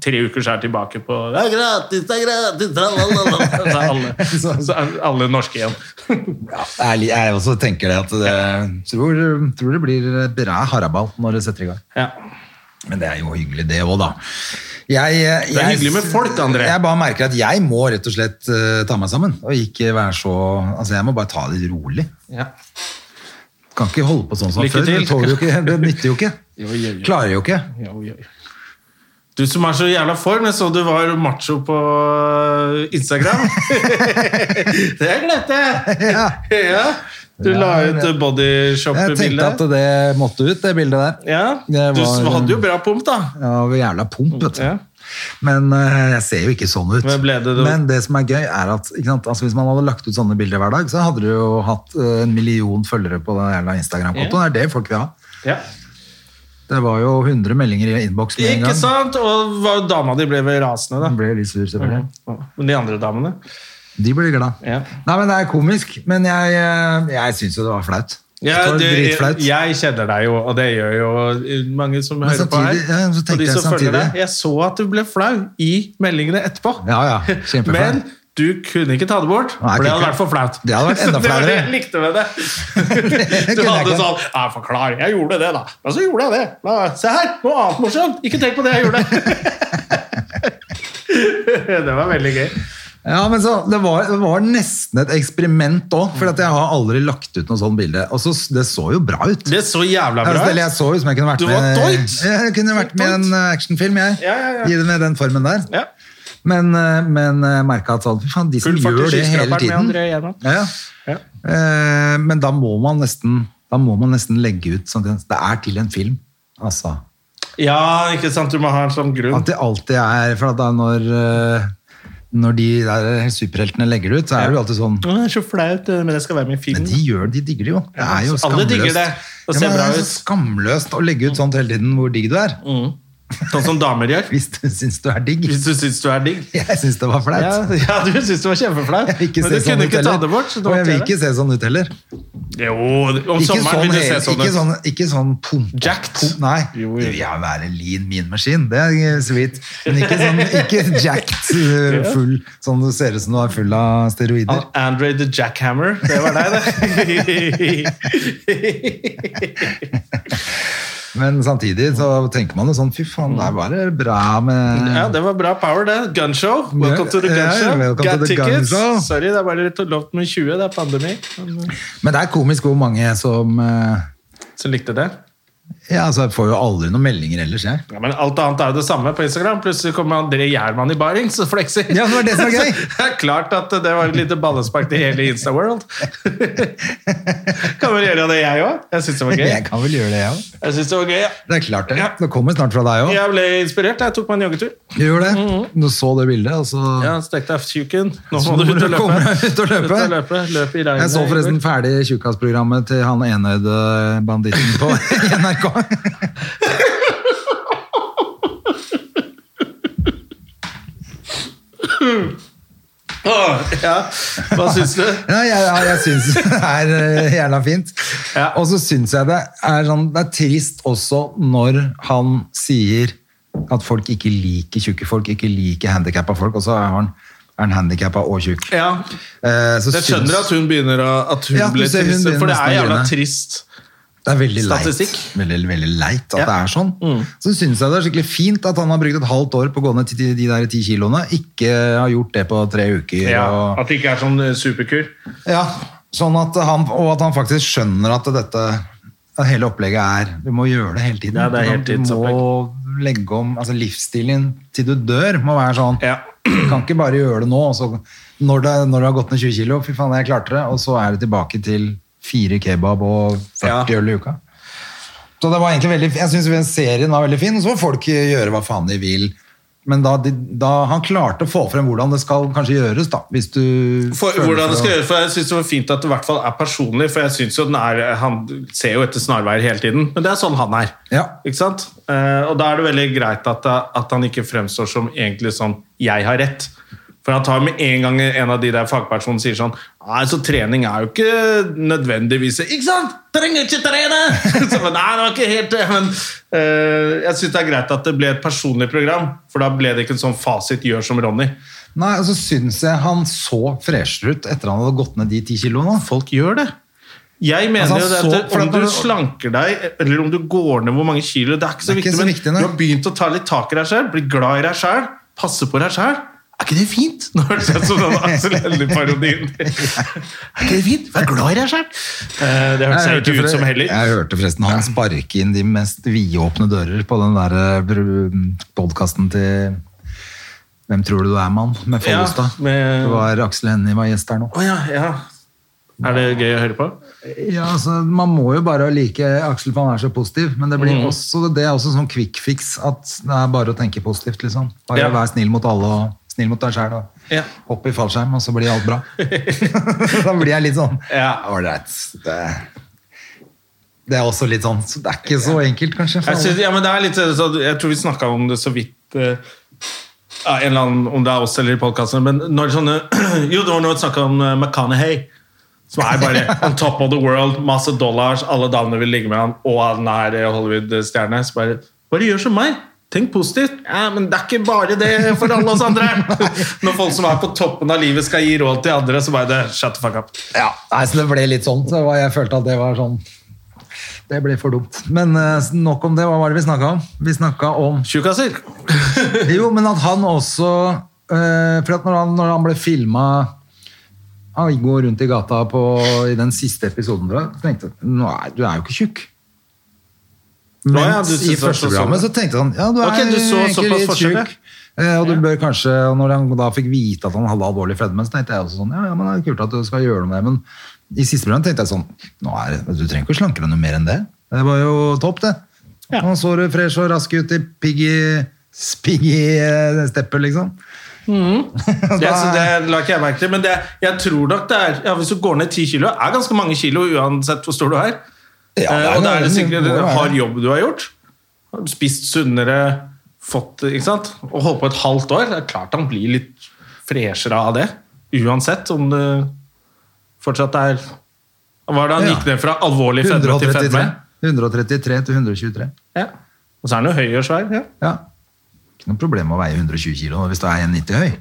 [SPEAKER 1] Tre uker, så er jeg tilbake på 'det er gratis, det er gratis', la, la, la, la. Så er alle, så er alle norske igjen.
[SPEAKER 2] Ja, jeg, li- jeg også tenker det at det tror, tror det blir bra haraball når det setter i gang.
[SPEAKER 1] Ja.
[SPEAKER 2] Men det er jo hyggelig det òg, da. Jeg, eh, jeg,
[SPEAKER 1] Det er hyggelig med folk, André.
[SPEAKER 2] Jeg bare merker at jeg må rett og slett eh, ta meg sammen. Og ikke være så Altså, jeg må bare ta det rolig.
[SPEAKER 1] Ja.
[SPEAKER 2] Kan ikke holde på sånn som
[SPEAKER 1] Lykke
[SPEAKER 2] før.
[SPEAKER 1] til.
[SPEAKER 2] Det, tåler jo ikke, det nytter jo ikke. Klarer jo ikke.
[SPEAKER 1] Ja, oi, oi. Du som er så jævla form, jeg så du var macho på eh, Instagram. det glemte jeg!
[SPEAKER 2] Ja.
[SPEAKER 1] Ja. Du la
[SPEAKER 2] Ja,
[SPEAKER 1] ut
[SPEAKER 2] det- Jeg tenkte
[SPEAKER 1] bodyshop-bilde.
[SPEAKER 2] at det måtte ut, det bildet der.
[SPEAKER 1] Ja.
[SPEAKER 2] Det
[SPEAKER 1] Du
[SPEAKER 2] var-
[SPEAKER 1] hadde jo bra pump, da.
[SPEAKER 2] Ja, og jævla pump, vet du.
[SPEAKER 1] Ja.
[SPEAKER 2] Men eh, jeg ser jo ikke sånn ut.
[SPEAKER 1] Men ble det-
[SPEAKER 2] Men det som er gøy, er at ikke sant? Altså, hvis man hadde lagt ut sånne bilder hver dag, så hadde du jo hatt eh, en million følgere på den jævla Instagram-kontoen. Det er det folk vil ha.
[SPEAKER 1] Ja.
[SPEAKER 2] Det var jo 100 meldinger i innboks med en
[SPEAKER 1] Ikke
[SPEAKER 2] gang.
[SPEAKER 1] sant? Og hva- dama di ble vel rasende, da.
[SPEAKER 2] Den ble litt sur, selvfølgelig.
[SPEAKER 1] Men de andre damene?
[SPEAKER 2] De ble glad.
[SPEAKER 1] Ja.
[SPEAKER 2] Nei, men det er komisk. Men jeg, eh, jeg syns jo det var flaut. det var
[SPEAKER 1] jeg,
[SPEAKER 2] dritflaut.
[SPEAKER 1] jeg kjenner deg jo, og det gjør jo mange som hører
[SPEAKER 2] samtidig-
[SPEAKER 1] på
[SPEAKER 2] ja,
[SPEAKER 1] her.
[SPEAKER 2] så tenkte
[SPEAKER 1] og de
[SPEAKER 2] jeg
[SPEAKER 1] som
[SPEAKER 2] samtidig-
[SPEAKER 1] følger deg. Jeg så at du ble flau i meldingene etterpå.
[SPEAKER 2] Ja, ja, kjempeflau.
[SPEAKER 1] Men du kunne ikke ta det bort,
[SPEAKER 2] Nei, jeg
[SPEAKER 1] for det
[SPEAKER 2] kunne
[SPEAKER 1] hadde
[SPEAKER 2] ikke.
[SPEAKER 1] vært for flaut.
[SPEAKER 2] Det hadde vært enda
[SPEAKER 1] det var det
[SPEAKER 2] flauere.
[SPEAKER 1] jeg likte med
[SPEAKER 2] Det
[SPEAKER 1] det. Du
[SPEAKER 2] kunne jeg
[SPEAKER 1] hadde
[SPEAKER 2] ikke.
[SPEAKER 1] sånn Ja, forklar. Jeg gjorde det, da. Men så gjorde jeg det. Da, se her, noe annet morsomt. Ikke tenk på det jeg gjorde. det var veldig gøy.
[SPEAKER 2] Ja, men så, det, var, det var nesten et eksperiment òg, for at jeg har aldri lagt ut noe sånt bilde. Og så, det så jo bra ut.
[SPEAKER 1] Det så jævla
[SPEAKER 2] Ja,
[SPEAKER 1] bra
[SPEAKER 2] Eller jeg så ut som jeg kunne vært
[SPEAKER 1] Du var
[SPEAKER 2] med
[SPEAKER 1] doit.
[SPEAKER 2] Jeg kunne vært med i en eh, actionfilm, jeg.
[SPEAKER 1] Ja, ja, ja.
[SPEAKER 2] I det med den formen der.
[SPEAKER 1] Ja.
[SPEAKER 2] Men, eh, men jeg merka at sånn, fy faen, de som
[SPEAKER 1] Full fart i
[SPEAKER 2] gjør det hele
[SPEAKER 1] skyskraperen med
[SPEAKER 2] tiden
[SPEAKER 1] André Gjerman.
[SPEAKER 2] ja, ja.
[SPEAKER 1] Ja.
[SPEAKER 2] Eh, Men da må man nesten da må man nesten legge ut sånn at det er til en film. Altså,
[SPEAKER 1] ja, ikke sant. Du må ha en sånn grunn.
[SPEAKER 2] at det alltid er For at da når, eh, når de der superheltene legger det ut, så er det jo alltid sånn
[SPEAKER 1] Å, Det er så flaut, eh, men jeg skal være med i
[SPEAKER 2] Men
[SPEAKER 1] film.
[SPEAKER 2] de gjør det, de digger det jo. Det er jo
[SPEAKER 1] Ja, alle digger det. Det
[SPEAKER 2] Ja,
[SPEAKER 1] ser
[SPEAKER 2] men det
[SPEAKER 1] bra
[SPEAKER 2] er så
[SPEAKER 1] ut.
[SPEAKER 2] skamløst å legge ut sånt hele tiden hvor digg du er.
[SPEAKER 1] Sånn som damer gjør.
[SPEAKER 2] Hvis du syns du er digg.
[SPEAKER 1] Hvis du syns du er digg.
[SPEAKER 2] Jeg syns det var flaut.
[SPEAKER 1] Ja, ja du syns det var kjempeflaut,
[SPEAKER 2] Jeg vil
[SPEAKER 1] men
[SPEAKER 2] ikke
[SPEAKER 1] du
[SPEAKER 2] se
[SPEAKER 1] kunne
[SPEAKER 2] sånn ut
[SPEAKER 1] ikke ta
[SPEAKER 2] heller.
[SPEAKER 1] det bort. Så
[SPEAKER 2] Og
[SPEAKER 1] det var
[SPEAKER 2] jeg vil
[SPEAKER 1] ikke
[SPEAKER 2] ikke se sånn ut heller.
[SPEAKER 1] det. Jo, om
[SPEAKER 2] Ikke
[SPEAKER 1] sommeren
[SPEAKER 2] sånn,
[SPEAKER 1] vil du se
[SPEAKER 2] hel-
[SPEAKER 1] sånn
[SPEAKER 2] ikke
[SPEAKER 1] ut.
[SPEAKER 2] sånn, ikke sånn pump.
[SPEAKER 1] Jacked.
[SPEAKER 2] Pump, nei,
[SPEAKER 1] Jo, jo.
[SPEAKER 2] du vil jo være lean min maskin, det er eh, sweet. Men ikke sånn, ikke jacked eh, full, sånn du ser ut som du er full av steroider.
[SPEAKER 1] Han Andre the Jackhammer, det var deg, det.
[SPEAKER 2] Men samtidig så tenker man jo sånn, fy faen, det er bare bra med...
[SPEAKER 1] ja, det var bra power, det. Gunshow. Welcome to the
[SPEAKER 2] Ja,
[SPEAKER 1] gunshow.
[SPEAKER 2] welcome to
[SPEAKER 1] Got
[SPEAKER 2] the
[SPEAKER 1] tickets.
[SPEAKER 2] gunshow.
[SPEAKER 1] Sorry, det er bare lov med 20, det er pandemi. Men, eh,
[SPEAKER 2] Men det er komisk hvor mange som... eh,
[SPEAKER 1] Så likte det.
[SPEAKER 2] Ja, altså, jeg får jo aldri noen meldinger ellers, jeg.
[SPEAKER 1] Ja, men alt annet er jo det samme på Instagram. Plutselig kommer André Gjerman i barings og flekser.
[SPEAKER 2] Ja, det var det som var gøy.
[SPEAKER 1] Så det er klart at det var et lite ballespark til hele Insta-world. kan vel gjøre det, jeg òg. Jeg syns det var gøy.
[SPEAKER 2] Jeg kan vel gjøre det, jeg også.
[SPEAKER 1] Jeg synes det var gøy, ja.
[SPEAKER 2] Det er klart det.
[SPEAKER 1] Ja.
[SPEAKER 2] Det kommer snart fra deg også.
[SPEAKER 1] Jeg ble inspirert. Jeg tok meg en joggetur.
[SPEAKER 2] Du gjorde det. Du så det bildet, og så...
[SPEAKER 1] Mm-hmm. Ja, Stekte av tjuken. Nå
[SPEAKER 2] Så
[SPEAKER 1] må du
[SPEAKER 2] nå
[SPEAKER 1] ut og
[SPEAKER 2] kommer
[SPEAKER 1] løpe.
[SPEAKER 2] jeg ut og løpe.
[SPEAKER 1] Ut og løpe. Løp i regnet.
[SPEAKER 2] Jeg så forresten ferdig tjukkasprogrammet til han enøyde banditten på NRK.
[SPEAKER 1] Åh, ja. Hva syns du?
[SPEAKER 2] Ja, jeg, jeg, jeg syns det er eh, jævla fint.
[SPEAKER 1] Ja.
[SPEAKER 2] Og så syns jeg det er sånn Det er trist også når han sier at folk ikke liker tjukke folk, ikke liker handikappa folk, og så er han, er han handikappa og tjukk.
[SPEAKER 1] Ja,
[SPEAKER 2] Eh, så
[SPEAKER 1] jeg
[SPEAKER 2] syns-
[SPEAKER 1] skjønner at hun begynner å at hun
[SPEAKER 2] Ja, du
[SPEAKER 1] ble
[SPEAKER 2] ser hun
[SPEAKER 1] trist,
[SPEAKER 2] begynner
[SPEAKER 1] for det
[SPEAKER 2] nesten
[SPEAKER 1] er
[SPEAKER 2] å
[SPEAKER 1] jævla
[SPEAKER 2] grine.
[SPEAKER 1] trist
[SPEAKER 2] Det er veldig leit.
[SPEAKER 1] Statistikk.
[SPEAKER 2] Veldig, veldig leit at
[SPEAKER 1] Ja. Mm.
[SPEAKER 2] det er sånn. Så syns jeg det er skikkelig fint at han har brukt et halvt år på å gå ned til de- de der ti kiloene. Ikke har gjort det på tre uker.
[SPEAKER 1] Ja,
[SPEAKER 2] Og,
[SPEAKER 1] at det ikke er sånn eh, superkur.
[SPEAKER 2] ja, sånn at han, og at han faktisk skjønner at dette at hele opplegget er Du må gjøre det hele tiden.
[SPEAKER 1] Ja, det er
[SPEAKER 2] Du kan- du må legge om altså Livsstilen til du dør må være sånn.
[SPEAKER 1] Ja.
[SPEAKER 2] Du kan ikke bare gjøre det nå. Og så, når, det, når du har gått ned 20 kilo, fy faen, jeg klarte det. Og så er det tilbake til fire kebab og 40
[SPEAKER 1] Ja.
[SPEAKER 2] øl i uka. Så det var egentlig veldig, jeg synes serien var veldig fin, og så får folk gjøre hva faen de vil. Men da, de, da han klarte å få frem hvordan det skal kanskje gjøres, da, hvis du
[SPEAKER 1] For,
[SPEAKER 2] føler
[SPEAKER 1] hvordan det skal
[SPEAKER 2] å-
[SPEAKER 1] gjøres, for Jeg syns det var fint at det i hvert fall er personlig, for jeg synes jo den er, han ser jo etter snarveier hele tiden. Men det er sånn han er.
[SPEAKER 2] Ja.
[SPEAKER 1] Ikke sant? Eh, og da er det veldig greit at, at han ikke fremstår som egentlig sånn 'jeg har rett'. For han tar med en gang en av de der fagpersonene sier sånn Nei, så trening er jo ikke nødvendigvis Ikke sant? Trenger ikke trene! så, men, nei, det var ikke helt det. Men eh, jeg syns det er greit at det ble et personlig program, for da ble det ikke en sånn fasit 'gjør som Ronny'.
[SPEAKER 2] Nei, og så synes jeg han så freshere ut etter han hadde gått ned de 10 kiloene.
[SPEAKER 1] Folk gjør det. Jeg mener
[SPEAKER 2] Altså, han
[SPEAKER 1] jo det
[SPEAKER 2] så-
[SPEAKER 1] at
[SPEAKER 2] for
[SPEAKER 1] om
[SPEAKER 2] at
[SPEAKER 1] du
[SPEAKER 2] han-
[SPEAKER 1] slanker deg, eller om du går ned hvor mange kilo, det er ikke så
[SPEAKER 2] Det er ikke
[SPEAKER 1] viktig,
[SPEAKER 2] så
[SPEAKER 1] men
[SPEAKER 2] viktig, nei.
[SPEAKER 1] du har begynt å ta litt tak i deg selv, bli glad i deg selv, passe på deg selv. Er ikke det fint? Nå høres det ut som den Aksel Hennie-parodien. Er ikke det fint? Vær glad i deg selv. Eh, Det hørtes
[SPEAKER 2] Jeg
[SPEAKER 1] ikke
[SPEAKER 2] hørte
[SPEAKER 1] ut som
[SPEAKER 2] forre-
[SPEAKER 1] heller.
[SPEAKER 2] Jeg hørte forresten han sparke inn de mest vidåpne dører på den der eh, podkasten til Hvem tror du du er, mann? med
[SPEAKER 1] Ja,
[SPEAKER 2] Follestad.
[SPEAKER 1] med-
[SPEAKER 2] Det var Aksel Hennie var gjest der nå.
[SPEAKER 1] Å ja, ja. Er det gøy å høre på?
[SPEAKER 2] Ja, altså, Man må jo bare like Aksel, for han er så positiv. Men det, blir
[SPEAKER 1] Mm.
[SPEAKER 2] også, det er også sånn quick fix at det er bare å tenke positivt. liksom. Bare
[SPEAKER 1] Ja.
[SPEAKER 2] vær snill mot alle og snill mot deg sjæl.
[SPEAKER 1] Ja.
[SPEAKER 2] Hopp i fallskjerm, og så blir alt bra. da blir jeg litt sånn
[SPEAKER 1] Ja.
[SPEAKER 2] Ålreit. Det, det er også litt sånn så Det er ikke så enkelt, kanskje. for
[SPEAKER 1] Jeg, synes,
[SPEAKER 2] alle.
[SPEAKER 1] ja, men det er litt, sånn- jeg tror vi snakka om det så vidt eh, ja, en eller annen, Om det er oss eller i podkasten, men når sånne Jo, det var når vi snakka om eh, McConaughey. Som er bare on top of the world, masse dollars, alle damene vil ligge med han, og han er eh, Hollywood-stjerne. Så bare Bare gjør som meg. Tenk positivt. Ja, men det er ikke bare det for alle oss andre. Når folk som er på toppen av livet, skal gi råd til andre, så bare det, shut the fuck up.
[SPEAKER 2] Ja, nei, så det ble litt sånn. Så det var, jeg følte at det var sånn Det ble for dumt. Men eh, nok om det. Hva var det vi snakka om? Vi snakka om
[SPEAKER 1] Tjukkaser.
[SPEAKER 2] Jo, men at han også eh, For at når han, når han ble filma Han går rundt i gata på, i den siste episoden da, tenkte jeg, Nå er, du er jo ikke tjukk.
[SPEAKER 1] Nå,
[SPEAKER 2] Men
[SPEAKER 1] ja, du synes
[SPEAKER 2] i
[SPEAKER 1] det var
[SPEAKER 2] første
[SPEAKER 1] så-
[SPEAKER 2] programmet så tenkte han Ja, du er
[SPEAKER 1] Ok, du så
[SPEAKER 2] egentlig
[SPEAKER 1] såpass
[SPEAKER 2] litt
[SPEAKER 1] forskjell, ja.
[SPEAKER 2] tjukk. eh, Og du bør kanskje og Når han da fikk vite at han hadde alvorlig fedme, så tenkte jeg også sånn Ja, ja, men det er kult at du skal gjøre noe med det, men i siste program tenkte jeg sånn nå er, det- Du trenger ikke å slanke deg noe mer enn det. Det var jo topp, det.
[SPEAKER 1] Ja.
[SPEAKER 2] Han så du fresh og rask ut i piggy Spiggy eh, stepper, liksom.
[SPEAKER 1] Det, så det la ikke jeg merke til, men det, jeg tror nok det er ja, Hvis du går ned 10 kilo, er ganske mange kilo uansett hvor stor du er.
[SPEAKER 2] Ja, det er
[SPEAKER 1] Eh, og da
[SPEAKER 2] noe-
[SPEAKER 1] er det sikkert
[SPEAKER 2] det må
[SPEAKER 1] en
[SPEAKER 2] være.
[SPEAKER 1] hard jobb du har gjort. Har du Spist sunnere, fått ikke sant? Og holdt på et halvt år. Det er klart han blir litt freshere av det. Uansett om det fortsatt er Hva er det han
[SPEAKER 2] Ja.
[SPEAKER 1] gikk ned fra? Alvorlig fedme til
[SPEAKER 2] 133,
[SPEAKER 1] fedme?
[SPEAKER 2] 133 til 123.
[SPEAKER 1] Ja. Og så er han jo høy og svær. Ja.
[SPEAKER 2] Ja. Ikke noe problem med å veie 120 kilo hvis du er 1,90 høy.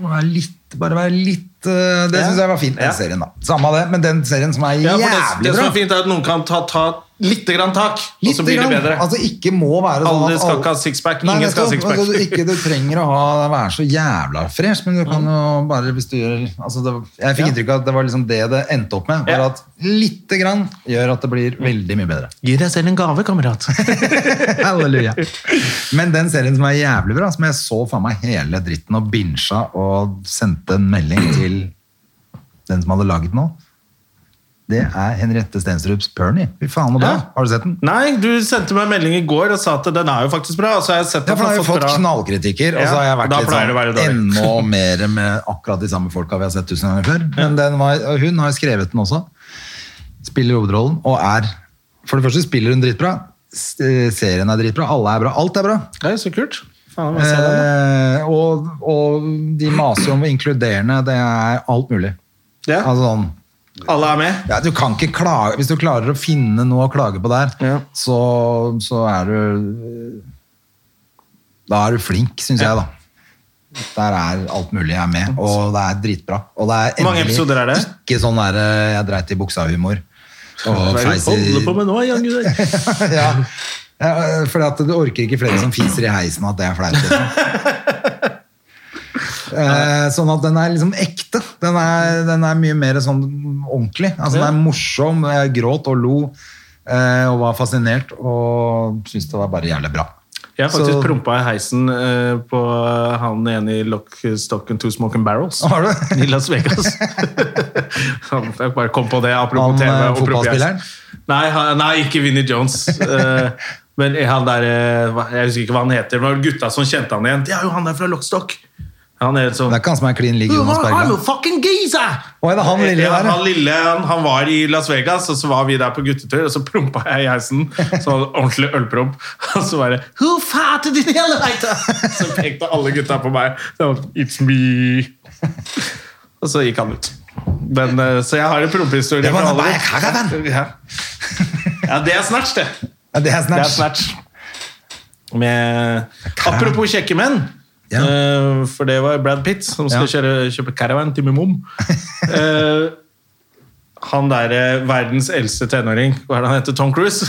[SPEAKER 2] Må være litt, bare være litt eh, Det
[SPEAKER 1] Ja.
[SPEAKER 2] syns jeg var fint, den
[SPEAKER 1] Ja.
[SPEAKER 2] serien. da Samme av det, men den serien som er
[SPEAKER 1] Ja,
[SPEAKER 2] jævlig
[SPEAKER 1] for det, det som
[SPEAKER 2] bra.
[SPEAKER 1] er fint, er at noen kan ta, ta litt grann tak, og
[SPEAKER 2] Lite
[SPEAKER 1] så blir det
[SPEAKER 2] grann.
[SPEAKER 1] bedre.
[SPEAKER 2] Altså, ikke må være sånn
[SPEAKER 1] Alle
[SPEAKER 2] at
[SPEAKER 1] skal ikke ha sixpack,
[SPEAKER 2] Nei,
[SPEAKER 1] ingen skal ha
[SPEAKER 2] nettopp.
[SPEAKER 1] sixpack.
[SPEAKER 2] Altså, du, ikke, du trenger å ha, være så jævla fresh, men du kan jo bare hvis du gjør altså, det, Jeg fikk
[SPEAKER 1] Ja.
[SPEAKER 2] inntrykk av at det var liksom det det endte opp med. Var
[SPEAKER 1] Ja.
[SPEAKER 2] at lite grann gjør at det blir veldig mye bedre.
[SPEAKER 1] Gi deg selv en gave, kamerat.
[SPEAKER 2] Halleluja. Men den serien som er jævlig bra, som jeg så faen meg hele dritten og binsja og sendte en melding til den som hadde laget den nå, det er Henriette Stensrups Pernie. Fy faen så bra.
[SPEAKER 1] Ja.
[SPEAKER 2] Har du sett den?
[SPEAKER 1] Nei, du sendte meg en melding i går og sa at den er jo faktisk bra. Og så har jeg sett
[SPEAKER 2] Ja, for da
[SPEAKER 1] at den
[SPEAKER 2] har
[SPEAKER 1] har
[SPEAKER 2] jeg fått
[SPEAKER 1] bra-
[SPEAKER 2] knallkritikker, og
[SPEAKER 1] Ja,
[SPEAKER 2] så har jeg vært
[SPEAKER 1] da
[SPEAKER 2] litt
[SPEAKER 1] pleier det å være
[SPEAKER 2] sånn
[SPEAKER 1] dårlig.
[SPEAKER 2] enda mer med akkurat de samme folka vi har sett tusen ganger før. Men den var, og hun har skrevet den også. Spiller hovedrollen og er For det første spiller hun dritbra. s- eh, Serien er dritbra. Alle er bra. Alt er bra.
[SPEAKER 1] Det er jo så kult. Faen, hva sa den da?
[SPEAKER 2] Eh, og, og de maser jo om inkluderende. Det er alt mulig.
[SPEAKER 1] Ja.
[SPEAKER 2] Altså sånn
[SPEAKER 1] Alle er med.
[SPEAKER 2] ja, du kan ikke klage. Hvis du klarer å finne noe å klage på der,
[SPEAKER 1] Ja.
[SPEAKER 2] så, så er du Da er du flink, syns jeg, da. Der er alt mulig jeg er med, og det er dritbra. Og det er
[SPEAKER 1] Hvor mange
[SPEAKER 2] endelig
[SPEAKER 1] episoder er det?
[SPEAKER 2] ikke sånn der eh, 'jeg dreit i buksa'-humor. Og
[SPEAKER 1] Hva er det du holder
[SPEAKER 2] feiser
[SPEAKER 1] på med nå, Jan Gunnar?
[SPEAKER 2] ja. ja, fordi at du orker ikke flere som fiser i heisen at det er flaut. Liksom. Eh, Sånn at den er liksom ekte. Den er, den er mye mer sånn ordentlig. Altså, Den er morsom. Jeg gråt og lo eh, og var fascinert og syntes det var bare jævlig bra.
[SPEAKER 1] Jeg har faktisk
[SPEAKER 2] Så-
[SPEAKER 1] prompa i heisen eh, på han ene i Lock, Stock and Two Smoking Barrels.
[SPEAKER 2] Har du?
[SPEAKER 1] I Las Vegas. Han, jeg bare kom på det, apropos
[SPEAKER 2] Han,
[SPEAKER 1] TV.
[SPEAKER 2] eh,
[SPEAKER 1] og apropos
[SPEAKER 2] fotballspilleren?
[SPEAKER 1] heisen. Nei, han, nei, ikke Vinnie Jones. Eh, men han der eh, hva- Jeg husker ikke hva han heter. Men det var gutta som kjente han igjen. Det er jo han der fra Lockstock! Han er sånn
[SPEAKER 2] Det er ikke han som er klin lik Jonas
[SPEAKER 1] I'm a
[SPEAKER 2] Bergland.
[SPEAKER 1] fucking geezer!
[SPEAKER 2] Å, er det han lille
[SPEAKER 1] Ja,
[SPEAKER 2] der?
[SPEAKER 1] han, lille, han, han var i Las Vegas, og så var vi der på guttetur, og så prompa jeg i heisen. Så hadde jeg ordentlig ølpromp. Og så bare Who farted in the elevator? Så pekte alle gutta på meg. Så jeg var, sånn, It's me. Og så gikk han ut. Men, eh, så jeg har en prompehistorie.
[SPEAKER 2] Det var
[SPEAKER 1] fra
[SPEAKER 2] noe
[SPEAKER 1] Hollywood.
[SPEAKER 2] bare
[SPEAKER 1] Ja. ja, det er snatch, det.
[SPEAKER 2] Ja, det er
[SPEAKER 1] Det er
[SPEAKER 2] snatch.
[SPEAKER 1] snatch. Med, apropos kjekke menn.
[SPEAKER 2] Ja.
[SPEAKER 1] eh, for det var Brad Pitt som skal
[SPEAKER 2] Ja.
[SPEAKER 1] kjøre, kjøpe caravan til min mom. Eh, han derre verdens eldste tenåring, hva er det han heter? Tom Cruise?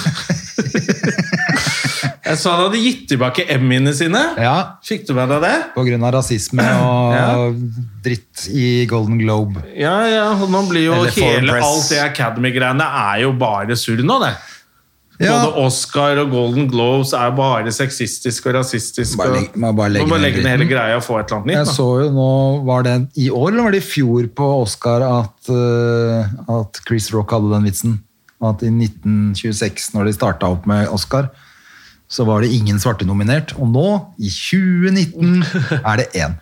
[SPEAKER 1] Jeg så han hadde gitt tilbake Emmy-ene sine.
[SPEAKER 2] Ja.
[SPEAKER 1] Fikk du med deg det?
[SPEAKER 2] På grunn av rasisme og dritt i Golden Globe.
[SPEAKER 1] Ja, ja, og nå blir jo
[SPEAKER 2] Eller Foreign
[SPEAKER 1] hele
[SPEAKER 2] Press.
[SPEAKER 1] alt det Academy-greiene er jo bare surr nå, det.
[SPEAKER 2] Ja.
[SPEAKER 1] Både Oscar og Golden Globes er bare sexistisk og rasistisk.
[SPEAKER 2] Bare
[SPEAKER 1] og-
[SPEAKER 2] legg- må bare legge
[SPEAKER 1] Må bare
[SPEAKER 2] ned
[SPEAKER 1] legge ned hele greia og få et eller annet nytt.
[SPEAKER 2] Jeg
[SPEAKER 1] da.
[SPEAKER 2] så jo nå, var det i år eller var det i fjor på Oscar at, eh, at Chris Rock hadde den vitsen? At i 1926, når de starta opp med Oscar, så var det ingen svarte nominert. Og nå, i 2019, er det én.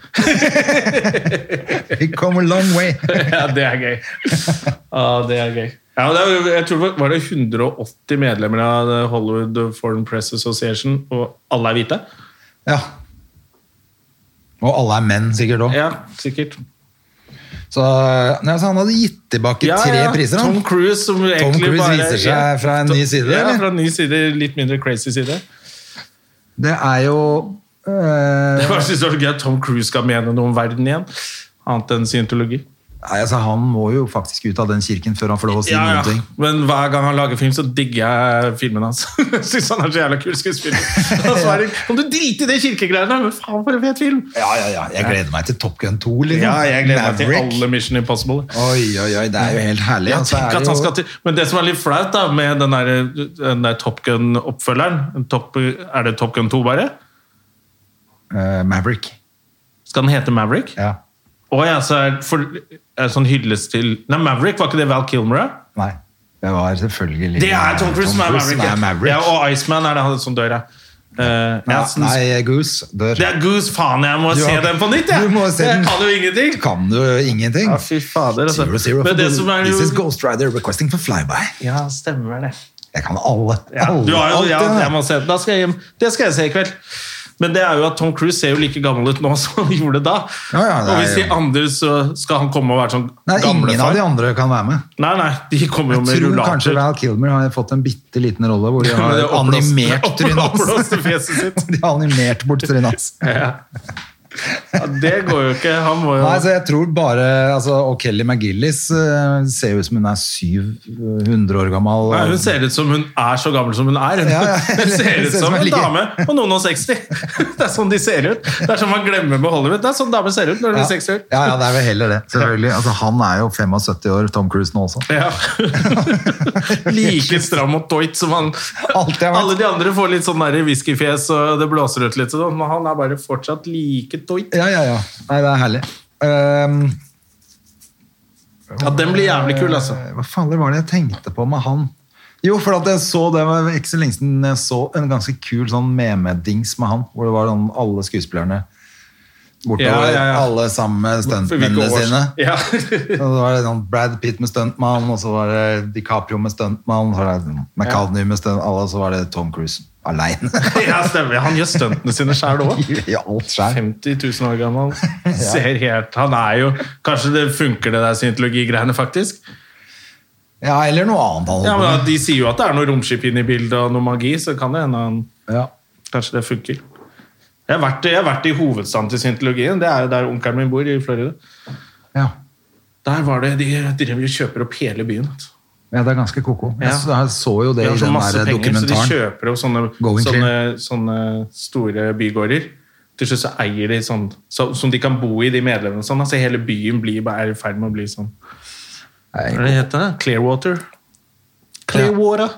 [SPEAKER 2] We come a long way.
[SPEAKER 1] Ja, det er gøy. Ja, det er gøy. Ja, men det er, jo- jeg tror det Var det 180 medlemmer av The Hollywood Foreign Press Association, og alle er hvite?
[SPEAKER 2] Ja. Og alle er menn, sikkert òg.
[SPEAKER 1] Ja, sikkert.
[SPEAKER 2] Så, eh, nei, så han hadde gitt tilbake
[SPEAKER 1] Ja,
[SPEAKER 2] tre
[SPEAKER 1] ja,
[SPEAKER 2] priser. Han.
[SPEAKER 1] Tom Cruise som egentlig
[SPEAKER 2] Cruise
[SPEAKER 1] bare
[SPEAKER 2] viser seg fra en ny side,
[SPEAKER 1] Ja,
[SPEAKER 2] eller?
[SPEAKER 1] fra en ny side, litt mindre crazy side.
[SPEAKER 2] Det er jo eh,
[SPEAKER 1] Hva synes du er så gøy at Tom Cruise skal mene noe om verden igjen? Annet enn scientologi.
[SPEAKER 2] Nei, altså Han må jo faktisk ut av den kirken før han får lov å si
[SPEAKER 1] Ja, ja.
[SPEAKER 2] noen ting.
[SPEAKER 1] Men hver gang han lager film, så digger jeg filmen hans. Jeg Syns han er så jævla kul skuespiller. Og så er det, Kan du drite i det kirkegreiene? Men faen, for en fet film!
[SPEAKER 2] Ja, ja, ja. Jeg gleder meg til Top Gun 2. Liksom.
[SPEAKER 1] Ja, jeg gleder meg til
[SPEAKER 2] Maverick.
[SPEAKER 1] alle Mission Impossible.
[SPEAKER 2] Oi, oi, oi, det er jo helt herlig.
[SPEAKER 1] Ja,
[SPEAKER 2] altså,
[SPEAKER 1] tenk
[SPEAKER 2] er
[SPEAKER 1] at
[SPEAKER 2] det
[SPEAKER 1] han
[SPEAKER 2] jo-
[SPEAKER 1] skal til Men det som er litt flaut da med den der, den der Top Gun-oppfølgeren Top, Er det Top Gun 2 bare?
[SPEAKER 2] Eh, Maverick.
[SPEAKER 1] Skal den hete Maverick?
[SPEAKER 2] Ja.
[SPEAKER 1] Å ja, så er for, er sånn hyllest til Nei, Maverick, var ikke det Val Kilmer? da?
[SPEAKER 2] Nei. Det var selvfølgelig
[SPEAKER 1] Det er Tom Cruise som er Maverick. ja. Ja, og Iceman er det han som dør, ja. Eh,
[SPEAKER 2] nei,
[SPEAKER 1] jeg syns-
[SPEAKER 2] nei, Goose dør.
[SPEAKER 1] Det er Goose, faen, jeg må
[SPEAKER 2] Du
[SPEAKER 1] se
[SPEAKER 2] har-
[SPEAKER 1] den på nytt, jeg!
[SPEAKER 2] Du må se den.
[SPEAKER 1] Jeg kan jo ingenting!
[SPEAKER 2] Kan du ingenting?
[SPEAKER 1] Ja, fy fader, altså.
[SPEAKER 2] Zero, zero,
[SPEAKER 1] Men det som er
[SPEAKER 2] This is
[SPEAKER 1] jo
[SPEAKER 2] Ghost Rider requesting for flyby.
[SPEAKER 1] Ja, stemmer det.
[SPEAKER 2] Jeg kan alle.
[SPEAKER 1] Ja,
[SPEAKER 2] alle
[SPEAKER 1] du har jo,
[SPEAKER 2] alt,
[SPEAKER 1] ja,
[SPEAKER 2] ja.
[SPEAKER 1] jeg må se den. Da skal jeg hjem. Det skal jeg se i kveld. Men det er jo at Tom Cruise ser jo like gammel ut nå som han gjorde da.
[SPEAKER 2] Ja, ja, det
[SPEAKER 1] og
[SPEAKER 2] er
[SPEAKER 1] hvis de
[SPEAKER 2] jo-
[SPEAKER 1] andre, så skal han komme og være sånn
[SPEAKER 2] Nei, ingen av
[SPEAKER 1] gamlefar.
[SPEAKER 2] de andre kan være med.
[SPEAKER 1] Nei, nei, de kommer jo
[SPEAKER 2] Jeg
[SPEAKER 1] med
[SPEAKER 2] tror kanskje
[SPEAKER 1] rullator.
[SPEAKER 2] Val Kilmer har fått en bitte liten rolle hvor de
[SPEAKER 1] Med
[SPEAKER 2] har
[SPEAKER 1] det oppblåste-
[SPEAKER 2] animert trynet hans.
[SPEAKER 1] oppblåste fjeset sitt.
[SPEAKER 2] De har animert bort trynet hans.
[SPEAKER 1] Ja, det går jo ikke. Han må jo
[SPEAKER 2] Nei, så jeg tror bare altså, Og Kelly McGillis eh, ser jo ut som hun er 700 år gammel.
[SPEAKER 1] Nei, hun ser ut som hun er så gammel som hun er.
[SPEAKER 2] Ja, ja.
[SPEAKER 1] Hun ser ut som en
[SPEAKER 2] ligger-
[SPEAKER 1] dame på noen og 60. Det er sånn de ser ut. Det er sånn man glemmer med Hollywood. Det er sånn damer ser ut når de
[SPEAKER 2] ja.
[SPEAKER 1] er 60 år.
[SPEAKER 2] ja, ja, det er vel heller det. Selvfølgelig. Altså, han er jo 75 år, Tom Cruise nå også.
[SPEAKER 1] Ja. like stram og toit som han.
[SPEAKER 2] Alltid har vært.
[SPEAKER 1] Alle de andre får litt sånn der whiskyfjes og det blåser ut litt, sånn, men han er bare fortsatt like toit.
[SPEAKER 2] Ja, ja, ja. Nei, det er herlig. Ehm,
[SPEAKER 1] Ja, den blir jævlig kul, altså.
[SPEAKER 2] Eh, Hva faen var det jeg tenkte på med han? Jo, for at jeg så det var ikke så lenge siden jeg så en ganske kul sånn meme-dings med han, hvor det var sånn alle skuespillerne bortover,
[SPEAKER 1] Ja, ja, ja.
[SPEAKER 2] alle sammen med
[SPEAKER 1] For hvilke
[SPEAKER 2] stuntmennene
[SPEAKER 1] år-
[SPEAKER 2] sine.
[SPEAKER 1] Ja.
[SPEAKER 2] Og så var det sånn Brad Pitt med stuntmann, og så var det DiCaprio med stuntmann, så var det sånn McCartney med stuntmann, alle, og så var det Tom Cruise alene.
[SPEAKER 1] ja, stemmer. Han gjør stuntene sine sjæl òg.
[SPEAKER 2] I alt skjær.
[SPEAKER 1] 50 000 år gammel. Ser helt Han er jo Kanskje det funker, det der scientologigreiene, faktisk.
[SPEAKER 2] Ja, eller noe annet han
[SPEAKER 1] Ja,
[SPEAKER 2] holdt på
[SPEAKER 1] men
[SPEAKER 2] med.
[SPEAKER 1] De sier jo at det er noe romskip inne i bildet og noe magi, så kan det hende han
[SPEAKER 2] Ja.
[SPEAKER 1] Kanskje det funker. Jeg har vært, jeg har vært i hovedstaden til scientologien. Det er jo der onkelen min bor, i Florida.
[SPEAKER 2] Ja.
[SPEAKER 1] Der var det, De driver og kjøper opp hele byen. vet du.
[SPEAKER 2] Ja, det er ganske koko.
[SPEAKER 1] Ja.
[SPEAKER 2] Jeg, så, jeg så jo det
[SPEAKER 1] De
[SPEAKER 2] i
[SPEAKER 1] har så
[SPEAKER 2] den
[SPEAKER 1] masse
[SPEAKER 2] der
[SPEAKER 1] penger, så de
[SPEAKER 2] dokumentaren.
[SPEAKER 1] kjøper opp sånne,
[SPEAKER 2] Going clear.
[SPEAKER 1] sånne, sånne store bygårder. Til slutt så eier de sånn så, som de kan bo i, de medlemmene. og Sånn. Altså, hele byen blir, bare- er i ferd med å bli sånn. Hva er det det heter det? Clearwater? Clearwater!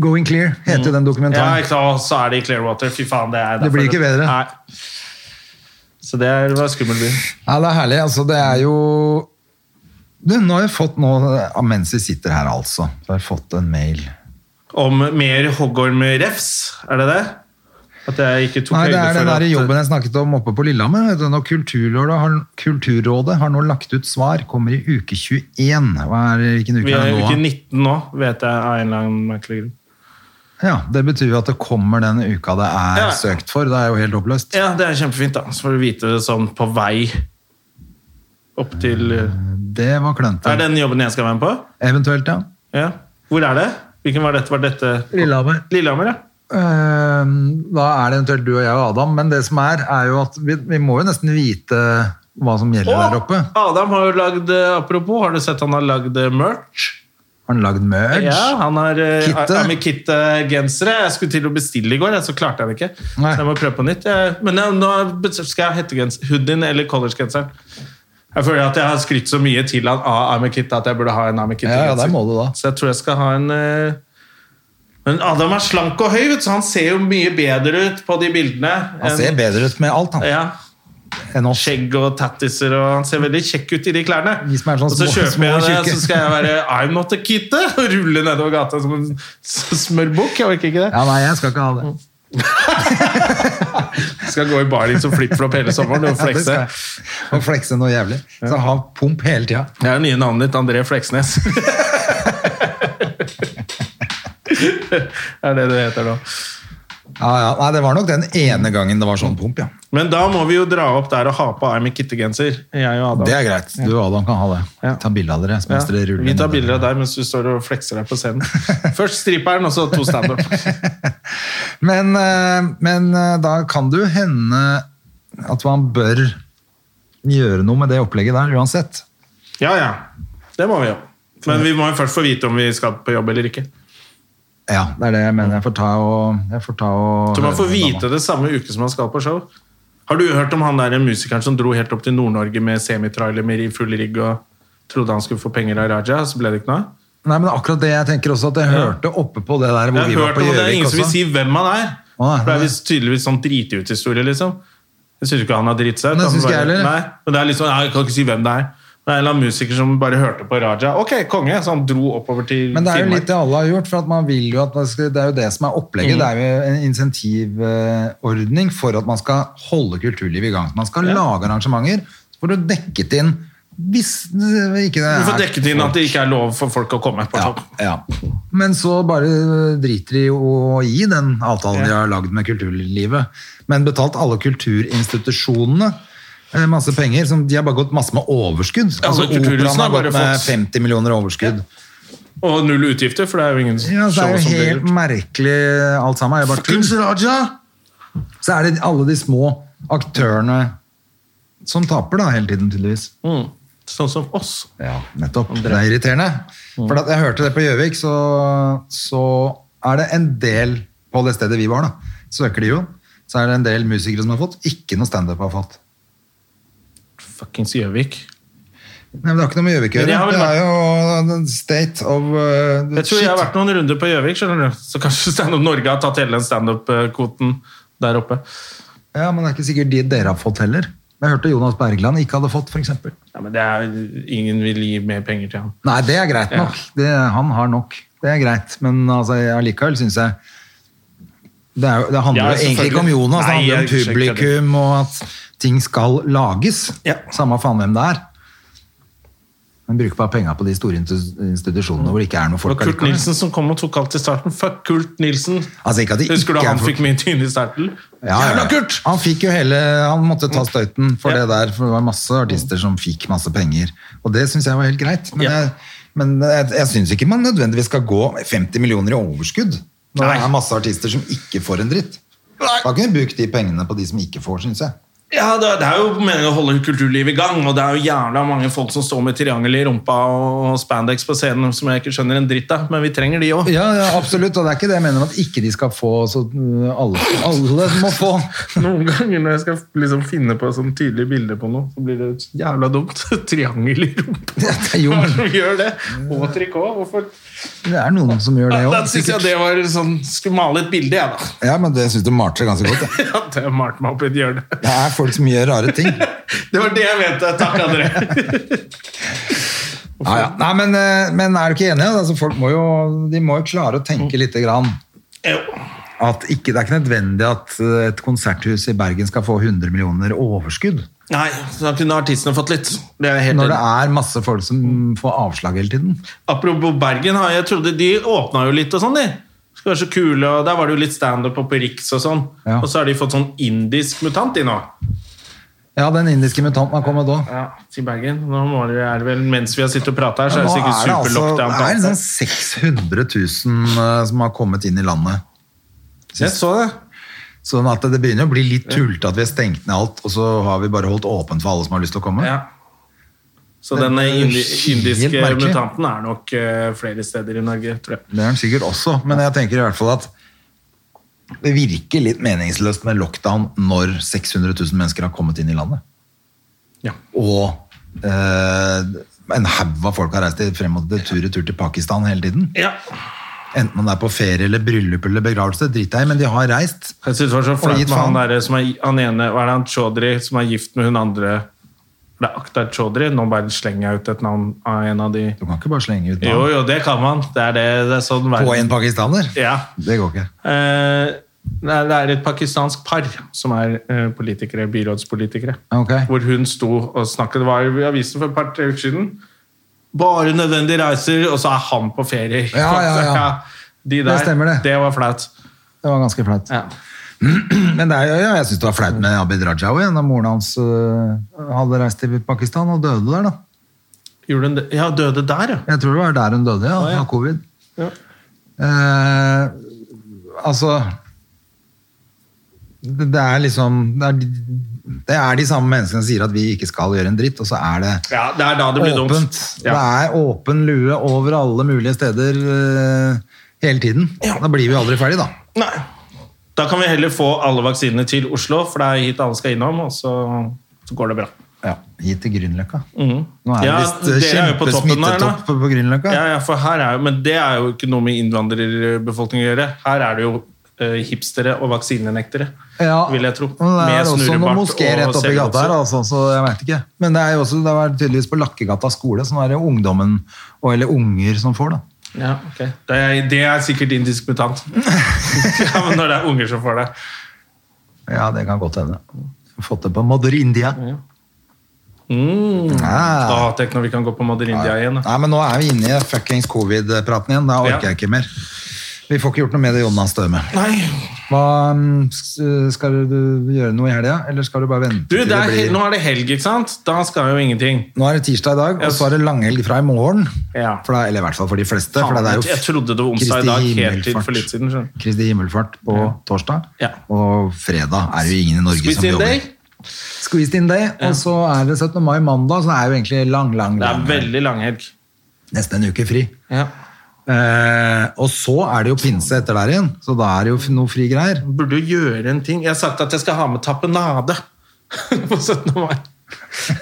[SPEAKER 2] Going Clear heter den
[SPEAKER 1] Mm. Ja,
[SPEAKER 2] dokumentaren.
[SPEAKER 1] ikke sant? Og så er de i Clearwater. Fy faen, det er
[SPEAKER 2] Det blir ikke bedre.
[SPEAKER 1] Nei. Så det er- det var skummel by.
[SPEAKER 2] Ja, det er herlig. Altså, det er jo du, Nå har jeg fått nå, ja, Mens vi sitter her, altså, så har jeg fått en mail.
[SPEAKER 1] Om mer Hoggorm refs, er det det? At jeg ikke tok
[SPEAKER 2] Nei, det
[SPEAKER 1] høyde
[SPEAKER 2] er
[SPEAKER 1] for
[SPEAKER 2] den
[SPEAKER 1] at- eh,
[SPEAKER 2] der jobben jeg snakket om oppe på Lillehammer. vet du. Når Kulturrådet har, Kulturrådet har nå lagt ut svar, kommer i uke 21. Hva er, hvilken uke
[SPEAKER 1] eh, Vi er
[SPEAKER 2] er
[SPEAKER 1] i
[SPEAKER 2] det nå?
[SPEAKER 1] uke
[SPEAKER 2] da?
[SPEAKER 1] 19 nå, vet jeg av en eller annen merkelig grunn.
[SPEAKER 2] Ja, det betyr jo at det kommer den uka det er
[SPEAKER 1] Ja.
[SPEAKER 2] søkt for. Det er jo helt oppløst.
[SPEAKER 1] Ja, det er kjempefint, da. Så får du vite det sånn på vei opp til Er
[SPEAKER 2] Det var klønete.
[SPEAKER 1] det den jobben jeg skal være med på?
[SPEAKER 2] Eventuelt, ja.
[SPEAKER 1] Ja. Hvor er det? Hvilken var dette? Var dette
[SPEAKER 2] Lillehammer.
[SPEAKER 1] Lillehammer, ja.
[SPEAKER 2] Ehm, Da er det eventuelt du og jeg og Adam, men det som er, er jo at vi, vi må jo nesten vite hva som gjelder der oppe.
[SPEAKER 1] Å, Adam har jo lagd eh, Apropos, har du sett han har lagd eh, merch?
[SPEAKER 2] Har han lagd merge?
[SPEAKER 1] Ja, han har
[SPEAKER 2] Kittet?
[SPEAKER 1] med Kit-gensere. Jeg skulle til å bestille i går, jeg, så klarte jeg det ikke.
[SPEAKER 2] Nei.
[SPEAKER 1] Så jeg må prøve på nytt. Jeg, men jeg, nå skal jeg hette gens- hoodien eller collegegenseren. Jeg føler at jeg har skrytt så mye til han av Army Kit at jeg burde ha en Army
[SPEAKER 2] Ja, ja,
[SPEAKER 1] Kit-genser.
[SPEAKER 2] der må du da.
[SPEAKER 1] så jeg tror jeg skal ha en eh, Men Adam er slank og høy, vet, du, så han ser jo mye bedre ut på de bildene.
[SPEAKER 2] Han
[SPEAKER 1] enn-
[SPEAKER 2] ser bedre ut med alt, han.
[SPEAKER 1] ja,
[SPEAKER 2] Enn oss.
[SPEAKER 1] skjegg og tattiser, og han ser veldig kjekk ut i de klærne.
[SPEAKER 2] Vi som er sånn
[SPEAKER 1] og så
[SPEAKER 2] små-
[SPEAKER 1] kjøper
[SPEAKER 2] små
[SPEAKER 1] jeg det,
[SPEAKER 2] og tjukke.
[SPEAKER 1] så skal jeg være I'm not a kitty og rulle nedover gata som en s- smørbukk. Jeg orker ikke det.
[SPEAKER 2] Ja, nei, jeg skal ikke ha
[SPEAKER 1] Mm.
[SPEAKER 2] det.
[SPEAKER 1] Skal gå i barling som flipflop hele sommeren og
[SPEAKER 2] Ja, det
[SPEAKER 1] flekse.
[SPEAKER 2] skal jeg. Og flekse noe jævlig. Så ha pump hele tida.
[SPEAKER 1] Det er det nye navnet ditt, André Fleksnes. det er det det heter nå.
[SPEAKER 2] Ja, ja. Nei, det var nok den ene gangen det var sånn pump, ja.
[SPEAKER 1] Men da må vi jo dra opp der og ha på I'm a kitty-genser. Jeg og Adam.
[SPEAKER 2] Det er greit. Du og Adam kan ha det.
[SPEAKER 1] Ja.
[SPEAKER 2] Ta bilde av dere. så
[SPEAKER 1] Ja,
[SPEAKER 2] mens dere ruller
[SPEAKER 1] vi tar
[SPEAKER 2] ned.
[SPEAKER 1] bilder av deg mens du står og flekser deg på scenen. Først striperen, og så to standup.
[SPEAKER 2] Men, eh, men eh, da kan det jo hende at man bør gjøre noe med det opplegget der uansett.
[SPEAKER 1] Ja, ja. Det må vi jo. Men vi må jo først få vite om vi skal på jobb eller ikke.
[SPEAKER 2] Ja, det er det jeg mener. Jeg får ta og, jeg får ta og
[SPEAKER 1] Så man får
[SPEAKER 2] høre med
[SPEAKER 1] vite
[SPEAKER 2] Adam.
[SPEAKER 1] det samme uke som man skal på show. Har du hørt om han der musikeren som dro helt opp til Nord-Norge med semitrailer med ri- full rigg og trodde han skulle få penger av Raja, så ble det ikke noe av?
[SPEAKER 2] Nei, men akkurat det jeg tenker også, at jeg hørte oppe på det der hvor
[SPEAKER 1] Jeg
[SPEAKER 2] vi
[SPEAKER 1] har
[SPEAKER 2] var
[SPEAKER 1] hørt
[SPEAKER 2] på
[SPEAKER 1] om det, det er
[SPEAKER 2] Gjøvik
[SPEAKER 1] ingen som vil
[SPEAKER 2] også.
[SPEAKER 1] si hvem han er.
[SPEAKER 2] Å, nei.
[SPEAKER 1] For det er visst tydeligvis sånn driti-ut-historie, liksom. Jeg syns ikke han har dritt seg ut.
[SPEAKER 2] Nei,
[SPEAKER 1] han
[SPEAKER 2] synes ikke jeg
[SPEAKER 1] bare-
[SPEAKER 2] heller.
[SPEAKER 1] Nei, men det er liksom, nei, jeg kan ikke si hvem det er. Det er en eller annen musiker som bare hørte på Raja. Ok, konge! Så han dro oppover til
[SPEAKER 2] Men det er jo
[SPEAKER 1] Finnmark.
[SPEAKER 2] litt det alle har gjort, for at man vil jo at man skal, det er jo det som er
[SPEAKER 1] Mm.
[SPEAKER 2] opplegget. Det er jo en insentivordning for at man skal holde kulturlivet i gang. Man skal lage arrangementer hvor du dekket inn hvis eh, ikke det
[SPEAKER 1] Du får
[SPEAKER 2] er
[SPEAKER 1] dekket inn at det ikke er lov for folk å komme. på
[SPEAKER 2] ja,
[SPEAKER 1] topp.
[SPEAKER 2] ja. Men så bare driter de jo i den avtalen de har lagd med kulturlivet. Men betalt alle kulturinstitusjonene eh, masse penger. Som de har bare gått masse med overskudd.
[SPEAKER 1] Ja,
[SPEAKER 2] Altså,
[SPEAKER 1] så kulturhusene
[SPEAKER 2] Operaen
[SPEAKER 1] har
[SPEAKER 2] har
[SPEAKER 1] bare
[SPEAKER 2] gått med
[SPEAKER 1] fått-
[SPEAKER 2] 50 millioner i overskudd.
[SPEAKER 1] Og null utgifter, for det er jo ingen
[SPEAKER 2] Ja, så det
[SPEAKER 1] show
[SPEAKER 2] er
[SPEAKER 1] som
[SPEAKER 2] jo
[SPEAKER 1] blir
[SPEAKER 2] helt
[SPEAKER 1] gjort.
[SPEAKER 2] merkelig alt sammen. Jeg bare tull. Så er det alle de små aktørene som taper da, hele tiden, tydeligvis.
[SPEAKER 1] Mm. Sånn som oss.
[SPEAKER 2] Ja, nettopp. Det er irriterende.
[SPEAKER 1] Mm.
[SPEAKER 2] For at jeg hørte det på Gjøvik, så, så er det en del på det stedet vi var, da. Søker de jo. Så er det en del musikere som har fått. Ikke noe standup har fått.
[SPEAKER 1] Fuckings Gjøvik.
[SPEAKER 2] Nei, men Det har ikke noe med Gjøvik å
[SPEAKER 1] Men jeg
[SPEAKER 2] gjøre.
[SPEAKER 1] har vel
[SPEAKER 2] Det er jo the state of uh,
[SPEAKER 1] Jeg tror jeg har vært noen runder på Gjøvik, skjønner du. Så kanskje Standup Norge har tatt hele den standup-kvoten der oppe.
[SPEAKER 2] Ja, men det er ikke sikkert de dere har fått heller. Jeg hørte Jonas Bergland ikke hadde fått, f.eks.
[SPEAKER 1] Ja, men det er, Ingen vil gi mer penger til han.
[SPEAKER 2] Nei, det er greit nok. Det, han har nok. Det er greit. Men altså, jeg- allikevel syns jeg det, er, jo- det handler
[SPEAKER 1] Ja,
[SPEAKER 2] jo egentlig ikke om
[SPEAKER 1] selvfølgelig.
[SPEAKER 2] Jonas, det
[SPEAKER 1] Nei,
[SPEAKER 2] handler om
[SPEAKER 1] jeg skjønner ikke
[SPEAKER 2] publikum og at ting skal lages.
[SPEAKER 1] Ja.
[SPEAKER 2] Samme faen hvem det er. Men bruk bare penga på de store insti- institusjonene hvor det ikke er noe
[SPEAKER 1] Og
[SPEAKER 2] folk
[SPEAKER 1] Kurt Nilsen som kom og tok alt i starten. Fuck Kurt Nilsen!
[SPEAKER 2] Altså, ikke at de
[SPEAKER 1] Husker du
[SPEAKER 2] ikke er
[SPEAKER 1] han
[SPEAKER 2] folk-
[SPEAKER 1] fikk mye tyn i starten?
[SPEAKER 2] Ja, ja,
[SPEAKER 1] Jævla
[SPEAKER 2] ja.
[SPEAKER 1] Kurt!
[SPEAKER 2] Han fikk jo hele Han måtte ta støyten for
[SPEAKER 1] Ja.
[SPEAKER 2] det der, for det var masse artister som fikk masse penger. Og det syns jeg var helt greit. Men
[SPEAKER 1] Ja.
[SPEAKER 2] jeg, men jeg, jeg syns ikke man nødvendigvis skal gå med 50 millioner i overskudd når
[SPEAKER 1] Nei.
[SPEAKER 2] det er masse artister som ikke får en dritt. Da kunne vi brukt de pengene på de som ikke får, syns jeg.
[SPEAKER 1] Ja, det, det er jo meningen å holde kulturlivet i gang, og det er jo jævla mange folk som står med triangel i rumpa og spandex på scenen som jeg ikke skjønner en dritt av, men vi trenger de òg.
[SPEAKER 2] Ja, ja, absolutt. Og det er ikke det jeg mener med at ikke de skal få så øh, alle, alle må få.
[SPEAKER 1] Noen ganger når jeg skal liksom finne på sånn tydelig bilde på noe, så blir det jævla dumt. Triangel i rumpa. Mm.
[SPEAKER 2] Det er jo
[SPEAKER 1] Hva er det som gjør det? Og trikot. Hvorfor?
[SPEAKER 2] det er noen som gjør det
[SPEAKER 1] Da syns jeg
[SPEAKER 2] òg.
[SPEAKER 1] det var sånn Skulle male et bilde, jeg, da.
[SPEAKER 4] Ja, men det syns du malte ganske godt. jeg.
[SPEAKER 1] Ja, det malte meg opp i et hjørne.
[SPEAKER 4] Det er folk som gjør rare ting.
[SPEAKER 1] Det var det jeg mente. Takk, André.
[SPEAKER 2] Ja, ja. Nei, men, øh, men er du ikke enig? Altså, folk må jo, de må jo klare å tenke lite grann.
[SPEAKER 1] Jo.
[SPEAKER 2] At ikke, det er ikke nødvendig at øh, et konserthus i Bergen skal få 100 millioner overskudd.
[SPEAKER 1] Nei, så da kunne artistene fått litt. Det er jeg helt
[SPEAKER 2] Når det
[SPEAKER 1] enig.
[SPEAKER 2] er masse folk som får avslag hele tiden.
[SPEAKER 1] Apropos Bergen, har jeg trodde de åpna jo litt og sånn, de. Skulle være så kule, og Der var det jo litt standup og på Riks og sånn.
[SPEAKER 2] Ja.
[SPEAKER 1] Og så har de fått sånn indisk mutant, de nå.
[SPEAKER 2] Ja, den indiske mutanten har kommet òg.
[SPEAKER 1] Ja, til Bergen. Nå må det, er det vel, Mens vi har sittet og prata her, så
[SPEAKER 2] Nå
[SPEAKER 1] er det
[SPEAKER 2] er det
[SPEAKER 1] sikkert
[SPEAKER 2] altså det
[SPEAKER 1] superlockdown. på
[SPEAKER 2] er
[SPEAKER 1] alt.
[SPEAKER 2] sånn 600 000 eh, som har kommet inn i landet.
[SPEAKER 1] Jeg så det.
[SPEAKER 2] Sånn at det begynner å bli litt tullete at vi har stengt ned alt, og så har vi bare holdt åpent for alle som har lyst til å komme.
[SPEAKER 1] Ja. Så
[SPEAKER 2] Det er
[SPEAKER 1] den indi
[SPEAKER 2] helt
[SPEAKER 1] indiske
[SPEAKER 2] merkelig.
[SPEAKER 1] mutanten er nok eh, flere steder i Norge, tror jeg.
[SPEAKER 2] Det er den sikkert også, men jeg tenker i hvert fall at det virker litt meningsløst med lockdown når 600 000 mennesker har kommet inn i landet.
[SPEAKER 1] Ja.
[SPEAKER 2] Og eh, en haug av folk har reist i- frem og til tur-retur til Pakistan hele tiden.
[SPEAKER 1] ja.
[SPEAKER 2] Enten om det er på ferie eller bryllup eller begravelse, drit deg, i, men de har reist.
[SPEAKER 1] Jeg synes det var så flaut
[SPEAKER 2] gitt
[SPEAKER 1] med han
[SPEAKER 2] faen.
[SPEAKER 1] der som er han ene, hva er det han Chaudhry, som er gift med hun andre Det er Akhtar Chaudhry. Nå bare slenger jeg ut et navn av en av de
[SPEAKER 2] Du kan ikke bare slenge ut
[SPEAKER 1] Jo,
[SPEAKER 2] navn
[SPEAKER 1] jo, det kan man. Det er, det, det er sånn
[SPEAKER 2] på en pakistaner.
[SPEAKER 1] Ja.
[SPEAKER 2] Det går ikke.
[SPEAKER 1] Eh, nei, det er et pakistansk par som er eh, politikere, byrådspolitikere.
[SPEAKER 2] Ok.
[SPEAKER 1] Hvor hun sto og snakket. Det var i avisen for et par-tre uker siden. Bare nødvendige reiser, og så er han på ferie.
[SPEAKER 2] Ja, ja, ja.
[SPEAKER 1] De der,
[SPEAKER 2] Det stemmer det.
[SPEAKER 1] Det var flaut.
[SPEAKER 2] Det var ganske flaut.
[SPEAKER 1] Ja.
[SPEAKER 2] Men det er, jo- ja, jeg syns det var flaut med Abid Raja òg, da moren hans øh, hadde reist til Pakistan og døde der, da.
[SPEAKER 1] Gjorde hun det? Ja, døde der, ja.
[SPEAKER 2] Jeg tror det var der hun døde, ja.
[SPEAKER 1] Å, ja.
[SPEAKER 2] Av covid.
[SPEAKER 1] Ja.
[SPEAKER 2] Eh, altså det, det er liksom det er, de- det er de samme menneskene som sier at vi ikke skal gjøre en dritt, og så er det
[SPEAKER 1] ja. Det er da det blir dumt.
[SPEAKER 2] åpent.
[SPEAKER 1] Ja.
[SPEAKER 2] Det er åpen lue over alle mulige steder eh, hele tiden. Da blir vi aldri ferdig, da.
[SPEAKER 1] Nei. Da kan vi heller få alle vaksinene til Oslo, for det er hit alle skal innom, og så, så går det bra.
[SPEAKER 2] Ja, Hit til Grünerløkka.
[SPEAKER 1] Mhm.
[SPEAKER 2] Nå er det
[SPEAKER 1] Ja,
[SPEAKER 2] visst eh,
[SPEAKER 1] dere er jo på toppen her nå.
[SPEAKER 2] kjempesmittetopp på, på Grünerløkka.
[SPEAKER 1] Ja, ja, for her er jo, Men det er jo ikke noe med innvandrerbefolkningen å gjøre. Her er det jo eh, hipstere og vaksinenektere,
[SPEAKER 2] Ja,
[SPEAKER 1] vil jeg tro.
[SPEAKER 2] Men det
[SPEAKER 1] Med
[SPEAKER 2] er også noen
[SPEAKER 1] snurrebart
[SPEAKER 2] moskeer
[SPEAKER 1] og
[SPEAKER 2] rett oppi gata her,
[SPEAKER 1] selvgodser.
[SPEAKER 2] altså, så jeg vet ikke. Men det er jo også, det var tydeligvis på Lakkegata skole, så nå er det ungdommen, og, eller unger, som får, da.
[SPEAKER 1] Ja, ok. det, er, det er sikkert indisk mutant. ja, men når det er unger som får det.
[SPEAKER 2] Ja, det kan godt hende. Fått det på Mother India.
[SPEAKER 1] Mm.
[SPEAKER 2] Ja.
[SPEAKER 1] Da, tenk når vi kan gå på Moder India igjen. da.
[SPEAKER 2] Nei, men nå er vi inne i fuckings covid-praten igjen. Da orker
[SPEAKER 1] Ja.
[SPEAKER 2] jeg ikke mer. Vi får ikke gjort noe med det, Jonas Støme.
[SPEAKER 1] Nei,
[SPEAKER 2] Hva, mm, s- skal du gjøre noe i helga, eller skal du bare vente
[SPEAKER 1] du, det er,
[SPEAKER 2] blir-
[SPEAKER 1] Nå er det helg, ikke sant? Da skal jo ingenting.
[SPEAKER 2] Nå er det tirsdag i dag, og
[SPEAKER 1] Yes.
[SPEAKER 2] så er det langhelg fra i morgen.
[SPEAKER 1] Ja.
[SPEAKER 2] For da, eller i hvert fall for de fleste. For det er jo
[SPEAKER 1] Jeg trodde det var onsdag i
[SPEAKER 2] Kristi
[SPEAKER 1] dag, helt til
[SPEAKER 2] himmelfart.
[SPEAKER 1] for litt siden. skjønner du.
[SPEAKER 2] Kristi himmelfart på torsdag,
[SPEAKER 1] Ja.
[SPEAKER 2] og fredag er det jo ingen i Norge
[SPEAKER 1] Squeeze
[SPEAKER 2] som
[SPEAKER 1] in
[SPEAKER 2] jobber.
[SPEAKER 1] day.
[SPEAKER 2] Squeezed in day, og så er det 17. mai mandag, så det er jo egentlig lang, lang,
[SPEAKER 1] Det er
[SPEAKER 2] lang.
[SPEAKER 1] veldig langhelg.
[SPEAKER 2] Nesten en uke fri.
[SPEAKER 1] Ja.
[SPEAKER 2] Eh, og så er det jo pinse etter der igjen, så da er det jo f- noe fri greier.
[SPEAKER 1] burde jo gjøre en ting. Jeg har sagt at jeg skal ha med tapenade på 17. mai.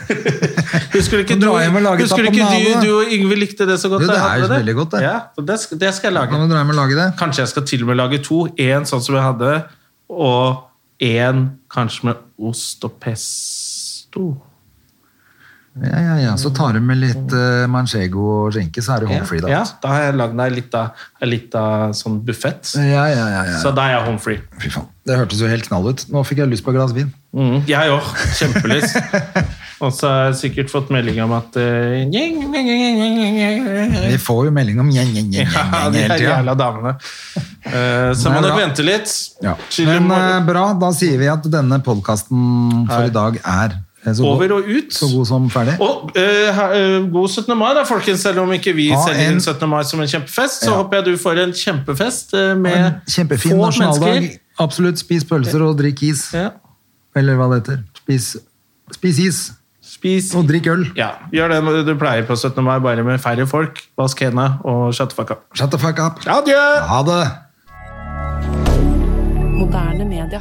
[SPEAKER 1] Husker du ikke,
[SPEAKER 2] Kan
[SPEAKER 1] du,
[SPEAKER 2] dra hjem og lage
[SPEAKER 1] husker du, ikke
[SPEAKER 2] tapenade?
[SPEAKER 1] du, du og Yngve likte det så godt?
[SPEAKER 2] Jo, det
[SPEAKER 1] da jeg
[SPEAKER 2] er jo
[SPEAKER 1] hadde
[SPEAKER 2] veldig godt, det.
[SPEAKER 1] Ja, så det, skal, det skal jeg
[SPEAKER 2] Kan
[SPEAKER 1] lage.
[SPEAKER 2] du dra hjem og lage det?
[SPEAKER 1] Kanskje jeg skal til og med lage to. Én sånn som jeg hadde, og én kanskje med ost og pesto.
[SPEAKER 2] Ja, ja, ja. Så tar du med litt eh, manchego og skinke, så er du home free da.
[SPEAKER 1] ja, da har jeg lagd meg litt av, litt av sånn buffett.
[SPEAKER 2] Ja, ja, ja, ja.
[SPEAKER 1] Så da er jeg home free.
[SPEAKER 2] Fy faen. Det hørtes jo helt knall ut. Nå fikk jeg lyst på et glass vin.
[SPEAKER 1] Mm, jeg òg. Kjempelyst. Og så har jeg sikkert fått melding om at eh,
[SPEAKER 2] Vi får jo melding om gjeng, gjeng, gjeng, gjeng,
[SPEAKER 1] Ja,
[SPEAKER 2] gjeng hele
[SPEAKER 1] de her
[SPEAKER 2] tiden.
[SPEAKER 1] jævla damene. Eh, så
[SPEAKER 2] Nei,
[SPEAKER 1] må dere
[SPEAKER 2] bra.
[SPEAKER 1] vente litt.
[SPEAKER 2] Ja.
[SPEAKER 1] Chille
[SPEAKER 2] Men
[SPEAKER 1] morgen.
[SPEAKER 2] eh, bra, da sier vi at denne podkasten for
[SPEAKER 1] Her.
[SPEAKER 2] i dag er eh, så,
[SPEAKER 1] Over
[SPEAKER 2] god,
[SPEAKER 1] og ut.
[SPEAKER 2] så god som ferdig.
[SPEAKER 1] Og eh, ha- eh, god 17. mai, da, folkens. Selv om ikke vi
[SPEAKER 2] Ha
[SPEAKER 1] selger
[SPEAKER 2] en-
[SPEAKER 1] inn 17. mai som en kjempefest, så
[SPEAKER 2] Ja.
[SPEAKER 1] håper jeg du får en kjempefest eh, med
[SPEAKER 2] En Kjempefin
[SPEAKER 1] få
[SPEAKER 2] nasjonaldag.
[SPEAKER 1] mennesker.
[SPEAKER 2] Absolutt. Spis pølser og drikk is.
[SPEAKER 1] Ja.
[SPEAKER 2] Eller hva det heter. Spis, spis is
[SPEAKER 1] Spis
[SPEAKER 2] og drikk øl.
[SPEAKER 1] Ja, Gjør det du pleier på 17. mai, bare med færre folk. Vask hendene og shut the fuck up.
[SPEAKER 2] Shut the fuck up.
[SPEAKER 1] Adjø!
[SPEAKER 2] Ha det!
[SPEAKER 5] Moderne media.